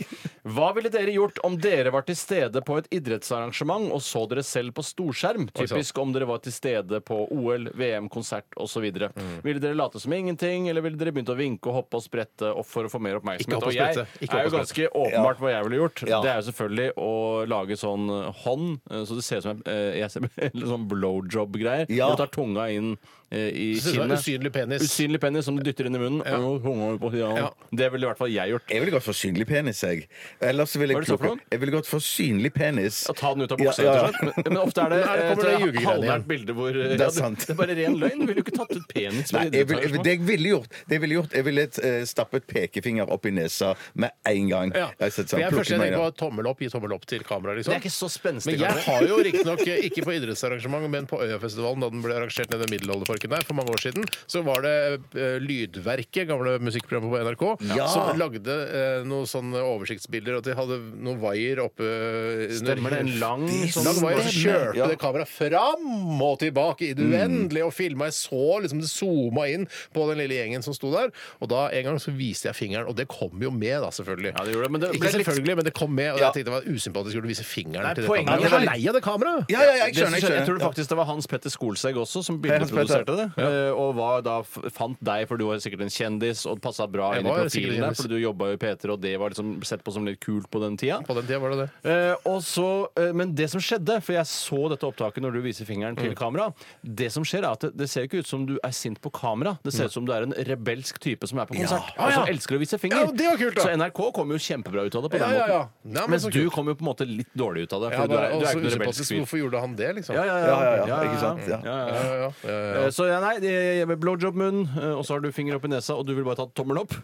S3: Hva ville dere gjort om dere var til stede på et idrettsarrangement og så dere selv på storskjerm?
S2: sant.
S3: Typisk om dere var til stede på OL, VM, konsert osv.
S2: Mm.
S3: Ville dere late som ingenting, eller ville dere begynt å vinke og hoppe og sprette og for å få mer
S2: Ikke
S3: oppmerksomhet?
S2: hoppe og
S3: Og jeg
S2: sprette. Ikke
S3: er
S2: hoppe
S3: jo
S2: og
S3: ganske åpenbart hva jeg ville gjort. Det er jo selvfølgelig å lage sånn eh, hånd, eh, så det ser ut som en, eh, jeg ser, eller sånn blowjob-greier.
S1: Ja.
S3: Du tar tunga inn eh, i
S2: Synes det var
S3: kinnet.
S2: Usynlig penis.
S3: Usynlig penis som du dytter inn i munnen. Og tunga over på siden.
S2: Ja.
S3: Det ville i hvert fall jeg gjort.
S1: Jeg ville gått for synlig penis, jeg. Ellers så ville
S3: Hva er
S1: jeg,
S3: det du sa for
S1: plukke-
S3: noe?
S1: jeg ville gått for synlig penis.
S3: Å ta den ut av buksa,
S1: Ja, ja,
S3: rett
S1: ja.
S3: og slett. Men, men ofte er det
S2: Her kommer det
S3: et eh,
S2: ljugegreiene igjen.
S3: halvnært bilde hvor ja,
S1: Det er sant.
S3: Det, det er bare ren løgn. Du ville jo ikke tatt ut penis.
S1: Nei,
S3: ved
S1: jeg vil, jeg, vil-
S3: idrettsarrangement.
S1: det jeg ville gjort, det jeg ville gjort Jeg ville eh, stappet pekefinger opp i nesa med en gang.
S2: Ja.
S1: Jeg satt
S2: For
S1: sånn,
S2: jeg
S1: plukker
S2: først jeg
S1: meg
S2: tenker
S1: inn.
S2: på tommel opp, gi tommel opp til kameraet, liksom.
S3: Det er ikke så spenstig.
S2: Men jeg
S3: kanskje.
S2: har jo riktignok eh, ikke på idrettsarrangement, men på Øyafestivalen, da den ble arrangert nede i Middelalderparken der for mange år siden, så var det eh, Lydverket, gamle musikkprogrammet på NRK,
S1: Ja.
S2: som lagde eh, noen sånne oversiktsbilder, og de hadde noen vaier oppe eh, under
S3: Stemmer det en lang sånn
S2: Lang vaier, så
S1: Stemmer.
S2: kjørte
S1: Ja. Mm.
S2: det kameraet fram og tilbake i det uendelige og filma. Jeg så liksom det zooma inn på den lille gjengen som sto der. Og da en gang så viste jeg fingeren, og det kom jo med, da, selvfølgelig.
S3: Ja, det gjorde det, men det ble
S2: Ikke
S3: litt-
S2: selvfølgelig, men det kom med, og
S1: Ja.
S2: jeg tenkte det var usympatisk å vise fingeren
S3: Nei,
S2: til det
S3: poenget
S2: kameraet. Jeg
S3: var-
S2: var lei av det kameraet!
S1: Ja, ja, ja, jeg
S3: Det som
S1: skjønner. Jeg
S3: skjedde- jeg tror
S1: skjønner.
S3: faktisk det var Hans Petter Skolsegg også som
S1: Hans Petter.
S3: bildeproduserte det. eh, Og var da f- fant deg, for du var sikkert en kjendis og passa bra
S2: Jeg
S3: inn i
S2: var
S3: profilen
S2: sikkert en
S3: der,
S2: kjendis.
S3: for du jobba jo i P3, og det var liksom sett på som litt kult på den tida.
S2: På den tida var det det.
S3: Eh, og så, eh, men det som skjedde, for jeg så dette opptaket når du viser fingeren
S2: Mm.
S3: til kamera Det som skjer er at det, det ser ikke ut som du er sint på kamera. Det ser ut som du er en rebelsk type som er på konsert.
S2: Ah,
S3: Og
S2: Mm. ja.
S3: som elsker å vise finger.
S2: Ja, det var kult, da.
S3: Så NRK kom jo kjempebra ut av det på
S2: Ja,
S3: den
S2: ja, ja.
S3: måten.
S2: Nei, men
S3: Mens
S2: så
S3: du
S2: kult.
S3: kom jo på en måte litt dårlig ut av det.
S2: Ja, altså,
S3: For
S2: det
S3: du er,
S2: er
S3: du er
S2: også
S3: ikke noe
S2: usympatisk.
S3: rebelsk fyr.
S2: Hvorfor gjorde han det, liksom?
S3: Ja, ja,
S1: Ja, ja, ja, ikke sant, ja.
S3: ja, ja.
S2: Ja, ja, ja, ja.
S3: Eh, Så ja, nei, det- blowjob-munn, eh, og så har du finger opp i nesa, og du vil bare ta tommelen opp?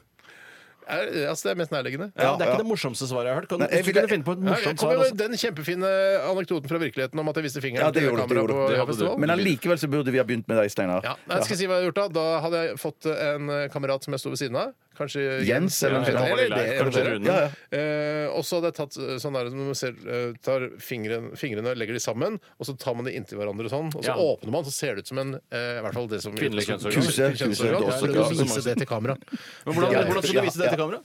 S2: Er, altså, det er mest nærliggende.
S3: Ja, det er ikke det morsomste svaret jeg har hørt. Kan,
S1: Nei, jeg
S3: hvis du
S1: ville-
S3: kunne finne på et
S2: Nei, jeg
S3: morsomt
S2: kom
S3: svar altså.
S2: med
S3: også.
S2: den kjempefine anekdoten fra virkeligheten om at jeg viste fingeren
S1: Ja, det
S2: til
S1: gjorde du, det
S2: kameraet
S1: gjorde du.
S2: på
S1: Det
S2: Øya
S1: hadde
S2: festival.
S1: Men allikevel så burde vi ha begynt med deg, Steinar.
S2: Ja, nei, jeg skal si hva jeg har gjort Da Da hadde jeg fått en eh, kamerat som jeg sto ved siden av. Kanskje
S1: Jens
S2: Ja,
S1: eller noe sånt.
S2: eller det,
S3: Kanskje
S2: eller det.
S3: Rune.
S1: Ja, ja.
S2: Eh, og så hadde jeg tatt eh, sånn der, når man ser, eh, tar fingren, fingrene legger de sammen, og så tar man de inntil hverandre sånn, og så
S3: Ja.
S2: åpner man, så ser det ut som en eh, I hvert fall det som
S3: Kvinnelig kjønnsorgan.
S1: Kuse, kuse,
S2: Kjønnsorgan.
S1: det
S2: Ja,
S1: også,
S2: eller
S1: ja.
S2: du viser det til kamera.
S3: Men hvordan,
S1: Ja,
S3: hvordan skal
S1: ja,
S3: du vise det til
S1: ja.
S3: kamera?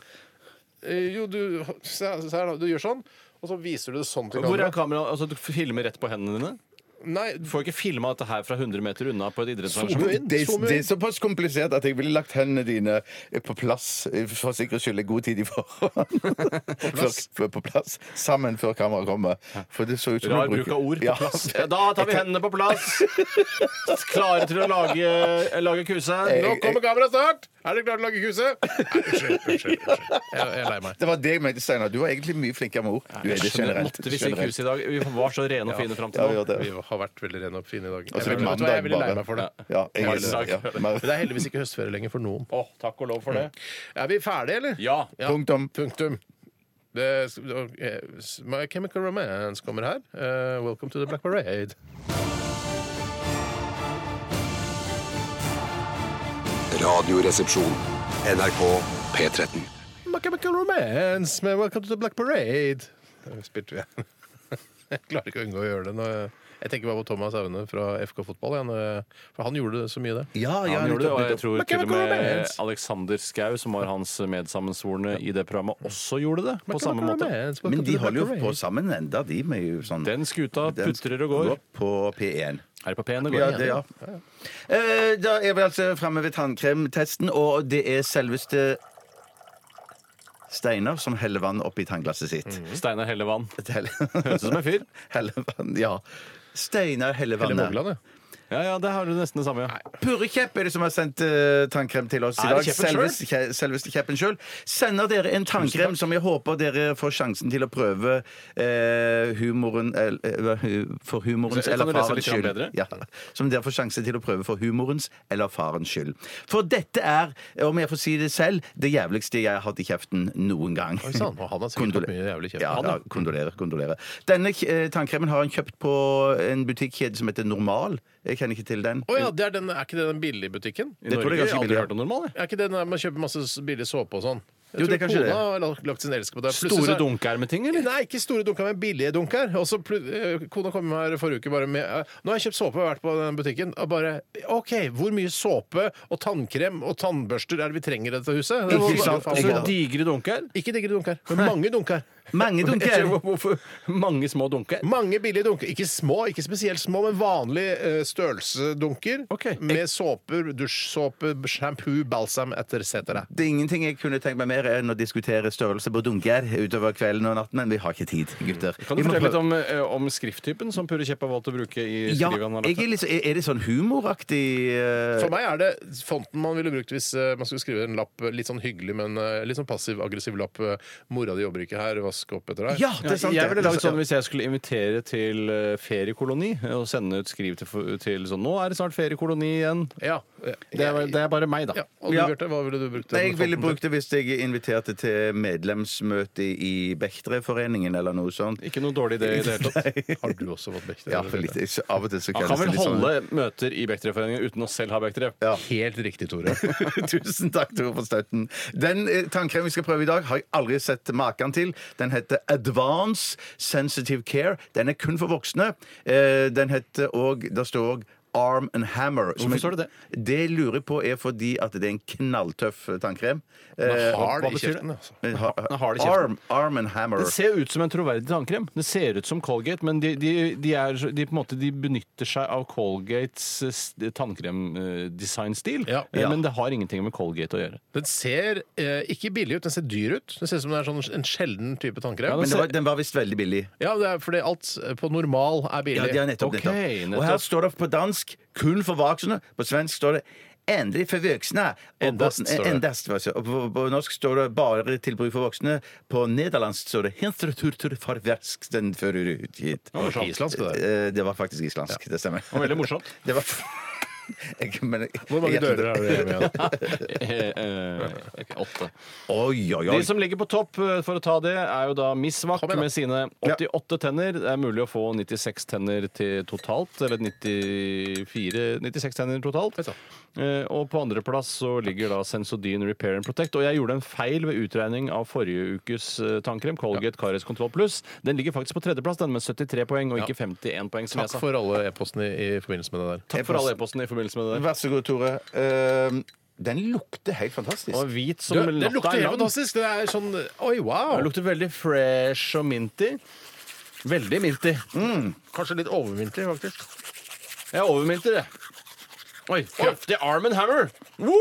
S2: Eh, jo, du, se, her- se her, da. Du gjør sånn, og så viser du det sånn til
S3: Hvor er
S2: kamera.
S3: kamera? Altså, du filmer rett på hendene dine?
S2: Nei,
S3: Du får ikke filma dette her fra 100 meter unna på et
S2: Zoom
S3: idrettsarrangement.
S2: inn,
S1: Det,
S2: zoom
S1: det
S2: inn.
S1: er såpass komplisert at jeg ville lagt hendene dine på plass eh, for sikkerhets skyld i god tid i forhånd. På
S2: plass?
S1: Før, før, på plass. Sammen før kameraet kommer. For det så ut som
S3: Rar
S1: du
S3: bruk av
S1: bruker-
S3: ord
S1: Ja.
S3: på plass. Da tar vi hendene på plass. Klare til å lage, eh, lage kuse.
S1: Eh,
S2: Nå kommer kameraet snart! Er dere klare til å lage kuse? Nei, Unnskyld. unnskyld, unnskyld. Jeg, jeg er lei meg.
S1: Det var det jeg mente, Steinar. Du var egentlig mye flinkere med ord. Du er det generelt.
S3: Måtte vi si
S1: Generelt.
S3: kuse i dag? Vi var så rene og fine fram
S1: Ja,
S3: til
S1: vi
S3: nå.
S1: gjør det.
S2: Vi har vært veldig rene og fine i dag.
S1: Altså,
S2: Jeg, vet du
S1: det er
S2: hva, jeg
S1: mandag
S2: ville lei
S1: bare.
S2: meg for det.
S1: Ja, jeg,
S3: Hva er det du
S1: ja,
S3: sa?
S1: men-
S2: Men det er heldigvis ikke høstferie lenger for noen.
S3: Å, takk og lov for det.
S2: Er vi ferdige, eller?
S3: Mm. Ja.
S1: Punktum.
S2: Punktum. Det, eh, My Chemical Romance kommer her. Eh, welcome to the Black Parade.
S6: Radioresepsjon. NRK P13.
S2: My Chemical Romance med Welcome to the Black Parade. Det Spilte vi. Jeg klarer ikke å unngå å gjøre det. Når jeg, jeg tenker bare på Thomas Aune fra FK Fotball. igjen, eh, For han gjorde det så mye, det.
S1: Ja, ja,
S3: Han gjorde det, og jeg tror
S2: Men
S3: til
S2: hvem
S3: og
S2: kommer
S3: med
S2: med?
S3: Alexander Skau, som var hans medsammensvorne i det programmet, også gjorde det på samme
S2: Chemical
S3: måte.
S2: Romance,
S1: Men
S2: Welcome to
S1: de
S2: the
S1: holder jo
S2: Black
S1: på
S2: Parade.
S1: sammen enda, de med jo sånn
S3: Den skuta
S1: Den
S3: putrer og går.
S1: på P1.
S3: Er det på P-en det
S1: Ja,
S3: går?
S1: det, ja. Eh, Da er vi altså framme ved tannkremtesten, og det er selveste Steinar som heller vann oppi tannglasset sitt.
S3: Steinar Hellevann.
S1: Mm. Høres
S3: ut som en fyr.
S1: Heller vann, ja. Steinar heller
S2: Eller
S1: vannet.
S2: Vågland, ja.
S3: Ja, ja, der har du nesten det samme. Ja.
S1: Purrekjepp er det som har sendt eh, tannkrem til oss i
S3: Er
S1: dag.
S3: det kjeppen selv?
S1: Selveste, kje- selveste kjeppen sjøl. Sender dere en tannkrem som jeg håper dere får sjansen til å prøve eh, humoren el- eh, hu- For humorens
S3: Kan du
S1: eller
S3: lese
S1: farens
S3: litt grann
S1: skyld.
S3: bedre?
S1: Ja. Som dere får sjansen til å prøve for humorens eller farens skyld. For dette er, om jeg får si det selv, det jævligste jeg har hatt i kjeften noen gang.
S2: Oi sann, og han har sikkert hatt mye jævlig kjeft.
S1: Ja,
S2: Han,
S1: ja, kondolerer. kondolerer. Denne eh, tannkremen har han kjøpt på en butikkjede som heter Normal. Jeg kjenner ikke til den.
S2: Å ja, det er, den, er ikke det den billige butikken?
S3: I
S1: Det tror jeg
S3: Norge
S1: er ganske
S3: har aldri
S1: billig, ja.
S3: hørt om normal, jeg.
S2: Er ikke det når man kjøper masse s- billig såpe og sånn? Jeg
S1: Jo,
S2: tror
S1: det er kanskje
S2: kona
S1: det.
S2: har lagt- lagt sin elsk på det. Plutselig så
S3: Store
S2: er-
S3: dunkermeting, eller?
S2: Nei, ikke store dunker, men billige dunker. Og så plu- eh, Kona kom her forrige uke bare med eh, Nå har jeg kjøpt såpe og vært på den butikken. Og bare OK, hvor mye såpe og tannkrem og tannbørster er det vi trenger i dette huset? Det var
S1: Ikke
S2: bare
S1: sant?
S2: faen-
S3: Så digre dunker.
S2: Ikke digre dunker, men mange dunker.
S1: Mange
S3: Jeg
S1: dunker!
S3: tror- Hvorfor mange små dunker?
S1: Mm.
S2: Mange billige dunker. Ikke små, ikke spesielt små, men vanlig eh, størrelse-dunker.
S3: Ok.
S2: Med såper, dusjsåpe, shampoo, balsam etc.
S1: Det er ingenting jeg kunne tenkt meg mer enn å diskutere størrelse på dunker utover kvelden og natten, men vi har ikke tid, gutter.
S3: Kan du fortelle litt om, eh, om skrifttypen som Purre Kjepp har valgt å bruke i
S1: ja,
S3: skrivet han har lagt?
S1: jeg er, litt, er det sånn humoraktig eh,
S2: For meg er det fonten man ville brukt hvis eh, man skulle skrive en lapp eh, litt sånn hyggelig, men eh, litt sånn passiv-aggressiv lapp. eh, 'Mora di jobber ikke her, vask opp etter deg'.
S1: Ja, det er sant. Altså,
S3: jeg ville
S1: det.
S3: laget sånn Hvis jeg skulle invitere til eh, feriekoloni og sende ut skriv til, for- til sånn Nå er det snart feriekoloni igjen.
S2: Ja.
S3: Det er, det er bare meg, da.
S2: ja. Og du,
S1: Ja.
S2: Bjarte, hva ville du brukt
S1: Nei,
S2: den
S1: jeg ville
S2: fonten
S1: brukt det hvis jeg inviterte til medlemsmøte i Bechtreforeningen eller noe sånt.
S3: Ikke noe dårlig idé i det hele tatt.
S2: til? Har du også fått Bechter?
S1: Ja, for litt, så av og til så
S3: Han
S1: kalles
S3: kan
S1: det
S3: vel
S1: litt sånn-
S3: holde møter i Bekterforeningen uten å selv ha Bekter.
S2: Helt riktig, Tore.
S1: Tusen takk, Tore, for støtten. Den eh, tannkremen vi skal prøve i dag, har jeg aldri sett maken til. Den heter Advance Sensitive Care. Den er kun for voksne. Eh, Den heter òg Der står òg Arm and Hammer. som
S3: Hvorfor
S1: jeg-
S3: står det
S1: Det lurer jeg på er fordi at det er en knalltøff eh, tannkrem. Eh,
S2: Hard
S1: hva
S2: i
S1: betyr det?
S2: kjeften, altså.
S1: Men har-
S3: Den er hard i kjeften.
S1: Arm, arm and Hammer.
S3: Det ser ut som en troverdig tannkrem. Det ser ut som Colgate, men de, de, de, er, så- de, på en måte, de benytter seg av Colgates eh, tannkremdesignstil.
S2: Ja.
S3: eh, Men det har ingenting med Colgate å gjøre.
S2: Den ser eh, ikke billig ut, den ser dyr ut. Den ser ut som det er sånn, en sjelden type tannkrem.
S1: Men
S2: Men-
S1: det var, den var visst veldig billig.
S2: Ja, det er fordi alt på normal er billig.
S1: Ja, de er nettopp,
S3: Ok,
S1: nettopp. Og
S3: nettopp.
S1: her står det på dansk 'kun for voksne'. På svensk står det 'endelig for voksne'. Og
S2: Endast,
S1: på-
S2: står det.
S1: endast, hva sier- og på, på norsk står det 'bare til bruk for voksne'. På nederlandsk står det 'hinterturtur for verksten før du er
S2: Det
S1: utgitt'.
S2: var islandsk, det der.
S1: Eh, Det var faktisk islandsk, det stemmer.
S3: Og veldig morsomt.
S1: Det var Jeg, men, jeg,
S2: Hvor mange
S1: jeg-
S2: dører har du hjemme igjen?
S3: Eh, Åtte.
S1: Oi, oi, oi.
S3: De som ligger på topp eh, for å ta det, er jo da Miss Wack
S2: Kom igjen, da.
S3: med sine 88 tenner. Det er mulig å få 96 tenner til totalt, eller 94 96 tenner totalt.
S2: sant.
S3: Eh, Og på andreplass så ligger da Sensodyne Repair and Protect. Og jeg gjorde en feil ved utregning av forrige ukes eh, tannkrem, Colgate Caries Control Plus. Den ligger faktisk på tredjeplass, den med 73 poeng, og ikke 51 poeng, som
S2: Takk
S3: jeg sa.
S2: for alle e-postene i forbindelse med det der.
S3: Takk for alle e-postene i forbindelse med det. der.
S1: Vær så god, Tore. Ehm, den lukter helt fantastisk.
S3: Og hvit som
S2: Du, det
S3: natta
S2: lukter
S3: er
S2: helt
S3: lang.
S2: fantastisk! Det er sånn Oi, wow!
S3: Det lukter veldig fresh og minty. Veldig minty.
S2: Kanskje litt overvintrig, faktisk.
S3: Jeg overmynter, jeg. Oi, kraftig Arm Hammer!
S2: Å, den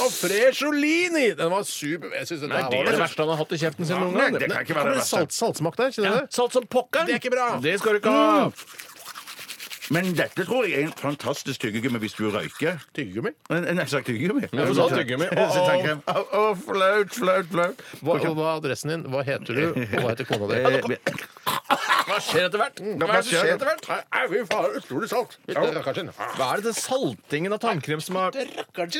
S2: var Frecciolini! Den var super Jeg synes dette
S3: Nei,
S2: her
S3: det
S2: var
S3: er det verste han har hatt i kjeften sin noen
S2: Nei,
S3: gang.
S2: det kan ikke være det verste. Salt, saltsmak der, kjenner
S3: Ja,
S2: du det?
S3: Salt som pokkeren!
S2: Det er ikke bra.
S3: Det skal du ikke ha!
S1: Mm. Men dette tror jeg er en fantastisk tyggegummi hvis du røyker.
S2: Tyggegummi?
S1: En- en- Nei, sagt tyggegummi.
S3: Ja, for sånn tyggegummi.
S1: Å, å, å, flaut, flaut, flaut.
S2: Hva, og hva er adressen din? Hva heter du? Og hva heter kona di?
S1: Eh, men-
S3: Hva skjer etter hvert?
S1: hva
S3: Hva er det som
S1: skjer?
S3: skjer etter hvert?
S2: Au, fy faen, utrolig salt!
S3: Hva er det den saltingen av tannkrem som har
S1: Nei, hva er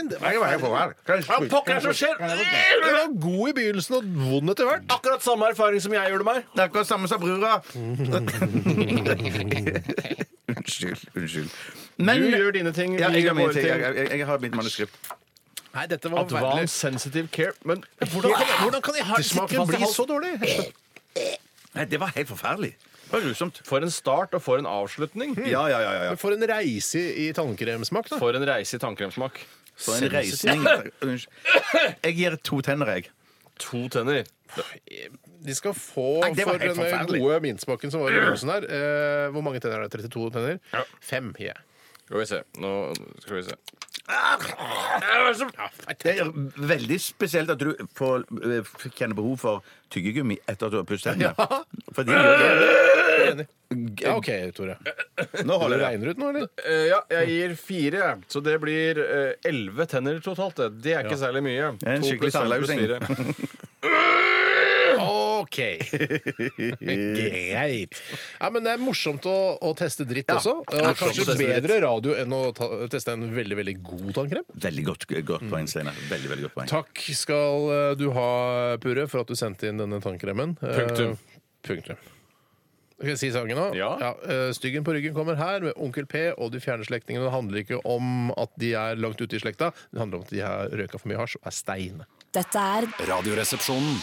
S1: det for her? Kan jeg
S3: Hva
S1: spy-
S3: pokker er det som skjer?
S2: Den var god i begynnelsen og vond etter hvert.
S3: Akkurat samme erfaring som jeg gjorde meg.
S1: Det er akkurat samme som brura. unnskyld. Unnskyld. Men,
S3: Du gjør dine ting,
S1: Ja,
S3: vi gjør
S1: jeg, gjør mine
S3: våre
S1: ting.
S3: ting.
S1: Jeg, jeg, jeg har mitt manuskript.
S2: Nei, dette var
S3: Advanced sensitive care. Men
S2: Hvordan kan, hvordan kan jeg ha
S3: Det smaker
S2: ikke
S3: fast i
S2: bli
S3: halsen.
S2: så dårlig?
S1: Nei, det var helt forferdelig. Det var grusomt.
S3: for en start og for en avslutning.
S1: Ja, ja, ja. ja, ja.
S2: Men For en reise i tannkremsmak, da.
S3: For en reise i tannkremsmak.
S1: For en reisning. Unnskyld. Jeg gir to tenner, jeg.
S3: To tenner.
S2: De skal få
S1: Nei, det var
S2: for den
S1: helt
S2: eh,
S1: forferdelig.
S2: gode mintsmaken som var i begynnelsen her. Eh, hvor mange tenner er det? 32 tenner? Fem. Yeah.
S3: Skal vi se. Nå skal vi se.
S1: Det er Eh, veldig spesielt at du får eh, kjenne behov for tyggegummi etter at du har pusset hendene. Fordi
S2: Ja, OK, Tore.
S1: Nå
S2: Du
S1: holder det.
S2: regner ut nå, eller?
S3: Eh, ja, jeg gir fire, jeg. så det blir eh, elleve tenner totalt. Det, det er ikke særlig mye.
S1: er en
S3: To
S1: skikkelig
S3: pluss fem pluss
S1: tannlausing.
S3: fire.
S2: OK. Greit. Ja, men det er morsomt å, å teste dritt også. Og kanskje bedre radio enn å ta, teste en veldig, veldig god tannkrem.
S1: Veldig godt, eh, godt poeng, Steinar. Veldig, veldig godt poeng.
S2: Takk skal eh, du ha, Purre, for at du sendte inn denne tannkremen. Eh,
S3: Punktum.
S2: Punktum. Skal jeg si sangen nå?
S3: Ja.
S2: eh, Styggen på ryggen kommer her med Onkel P og de fjerne slektningene. Det handler ikke om at de er langt ute i slekta, det handler om at de har røyka for mye hasj og er steine.
S4: Dette er
S6: Radioresepsjonen.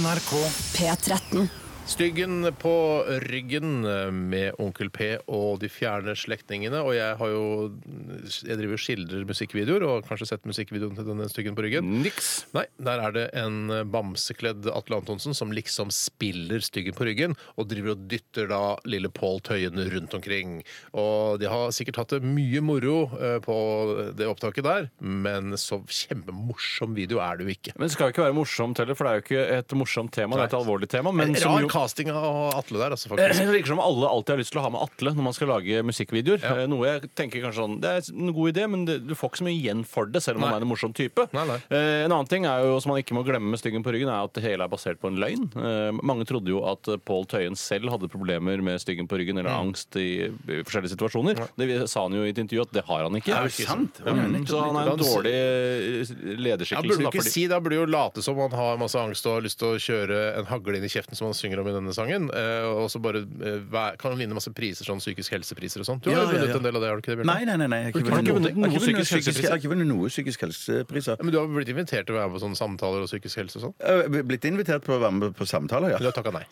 S6: NRK.
S4: P13.
S2: Styggen på ryggen eh, med Onkel P og de fjerne slektningene. Og jeg har jo Jeg driver og skildrer musikkvideoer, og har kanskje sett musikkvideoen til denne Styggen på ryggen.
S3: Niks.
S2: Nei, der er det en eh, bamsekledd Atle Antonsen som liksom spiller Styggen på ryggen, og driver og dytter da lille Pål Tøyen rundt omkring. Og de har sikkert hatt det mye moro eh, på det opptaket der, men så kjempemorsom video er det jo ikke.
S3: Men det skal jo ikke være morsomt heller, for det er jo ikke et morsomt tema. Det er et alvorlig tema. Men
S2: En
S3: som
S2: rar
S3: jo
S2: casting av Atle der, altså,
S3: det
S2: faktisk.
S3: virker som alle alltid har lyst til å ha med Atle når man skal lage musikkvideoer. Eh, Noe jeg tenker kanskje sånn Det er en god idé, men det, du får ikke så mye igjen for det, selv om han er en morsom type.
S2: Nei, nei.
S3: Eh, en annen ting er jo, som man ikke må glemme med styggen på ryggen, er at det hele er basert på en løgn. Eh, mange trodde jo at eh, Pål Tøyen selv hadde problemer med styggen på ryggen eller
S2: Mm.
S3: angst i, i forskjellige situasjoner. Det vi- sa han jo i et intervju at det har han ikke.
S1: Er det sant?
S3: Ja, så han er en dårlig eh,
S2: Ja,
S3: lederskikkelse.
S2: burde du
S3: da,
S2: ikke
S3: fordi-
S2: si, Da burde du jo late som han har masse angst og har lyst til å kjøre en hagle inn i kjeften, som han synger om i denne sangen. eh, Og så bare eh, væ- kan han vinne masse priser, sånn psykisk helsepriser og sånn. Du har
S1: Ja,
S2: jo
S1: ja,
S2: vunnet
S1: ja.
S2: en del av det, har du ikke det? Bjørte?
S1: Nei, nei, nei. nei. Jeg har ikke
S3: Har du ikke
S1: vunnet
S3: vunnet noen
S1: noen
S3: psykisk
S1: psykisk- jeg
S3: helsepriser?
S1: har ikke vunnet noen psykisk helsepriser. Eh,
S2: Ja, Men du har blitt invitert til å være med på sånne samtaler og psykisk helse og sånn?
S1: Jeg har blitt invitert på å være med på samtaler, ja.
S2: Men du har takka nei?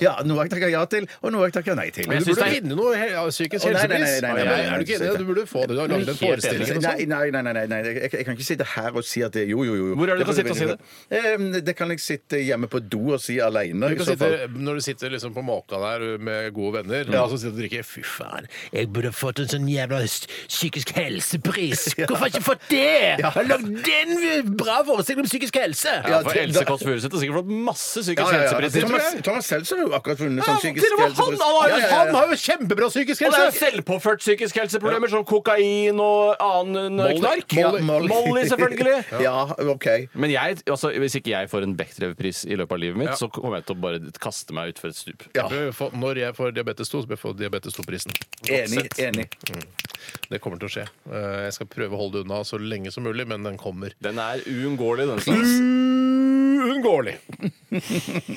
S1: Ja, Noe jeg takker ja til, og noe jeg takker nei til.
S2: Men du
S3: synes
S2: burde
S3: det er-
S2: vinne noe he ja, psykisk
S1: Å, nei, nei, nei,
S2: helsepris.
S1: nei, nei,
S2: Nei,
S1: nei, nei,
S2: Er du ikke enig? i det? Du burde få det. Du har lagd en
S3: Helt enig.
S2: forestilling eller noe sånt.
S1: Nei, nei, nei, nei, nei, nei. Jeg, jeg kan ikke sitte her og si at det Jo, jo, jo.
S3: Hvor er det du kan sitte og si det?
S1: Eh, Det kan jeg sitte hjemme på do og si aleine.
S2: Du kan sitte, når du sitter liksom på måka der med gode venner, og så sitter du og drikker Fy faen, jeg burde fått en sånn jævla psykisk helsepris! Hvorfor har jeg ikke fått det?! Jeg har lagd den bra forestilling om psykisk helse!
S3: Ja,
S1: Ja,
S3: for
S1: til-
S3: Else Kåss Furuseth har sikkert fått masse psykisk
S1: Ja, ja, ja.
S3: helsepriser. tror jeg.
S1: Thomas, Thomas Seltzer har jo akkurat vunnet
S2: Ja,
S1: sånn
S2: til
S1: psykisk
S2: og med han,
S1: helsepris.
S2: han, har jo,
S1: Ja, ja, ja.
S2: han har jo kjempebra
S3: Og
S2: psykisk
S3: det er jo
S2: helse!
S3: selvpåført psykisk helseproblemer som kokain og annen eh,
S2: Molly.
S3: knark.
S1: Ja,
S3: Molly, selvfølgelig.
S1: Ja, OK.
S3: Men jeg, altså, hvis ikke jeg får en Bechdrev-pris i løpet av livet mitt, så kommer jeg til å bare kaste meg utfor et stup.
S2: Jeg bør få, når jeg får diabetes 2, så bør jeg få diabetes 2-prisen.
S1: Enig. enig.
S2: Det kommer til å skje. Eh, Jeg skal prøve å holde det unna så lenge som mulig, men den kommer.
S3: Den er uunngåelig, den slags.
S2: Uunngåelig!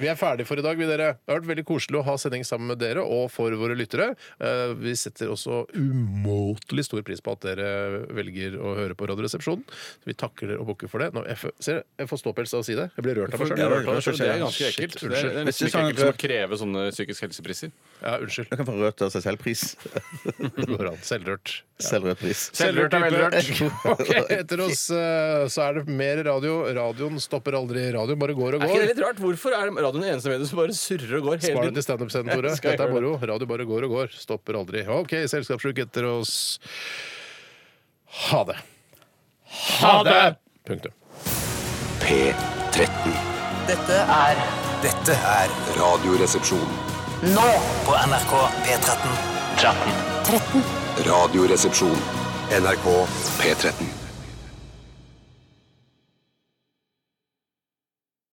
S2: Vi er ferdige for i dag, vi dere. Det har vært veldig koselig å ha sending sammen med dere og for våre lyttere. Eh, Vi setter også umåtelig stor pris på at dere velger å høre på Radioresepsjonen. Så Vi takker dere og bukker for det. Nå, jeg, får- ser, dere, jeg får ståpels av å si det. Jeg blir rørt av meg sjøl.
S1: Ja, det er
S3: Så Det er ganske
S2: Shit,
S3: ekkelt. Det er, det er
S2: unnskyld.
S3: nesten like ekkelt som å kreve sånne psykisk helsepriser.
S2: Ja, unnskyld.
S1: Jeg kan få rørt av seg selv-pris.
S2: Det går an. Selvrørt.
S1: Selvrørt pris.
S3: Selvrørt er velrørt.
S2: Ok, Etter oss eh, så er det mer radio. Radioen stopper aldri. Radioen bare går og
S3: Er ikke det
S2: går.
S3: litt rart? Hvorfor er radioen det eneste mediet som bare surrer og går hele
S2: Spar det
S3: tiden?
S2: til standup-scenen, Tore.
S3: Skal jeg
S2: Dette er
S3: gjøre
S2: moro. Radio bare går og går. Stopper aldri. OK, selskapssjuk etter oss. Ha det. Ha det! Punktum.
S10: P13.
S11: Dette er
S6: Dette er
S10: Radioresepsjon.
S11: nå på NRK P13. 13.
S10: Radioresepsjon. NRK P13.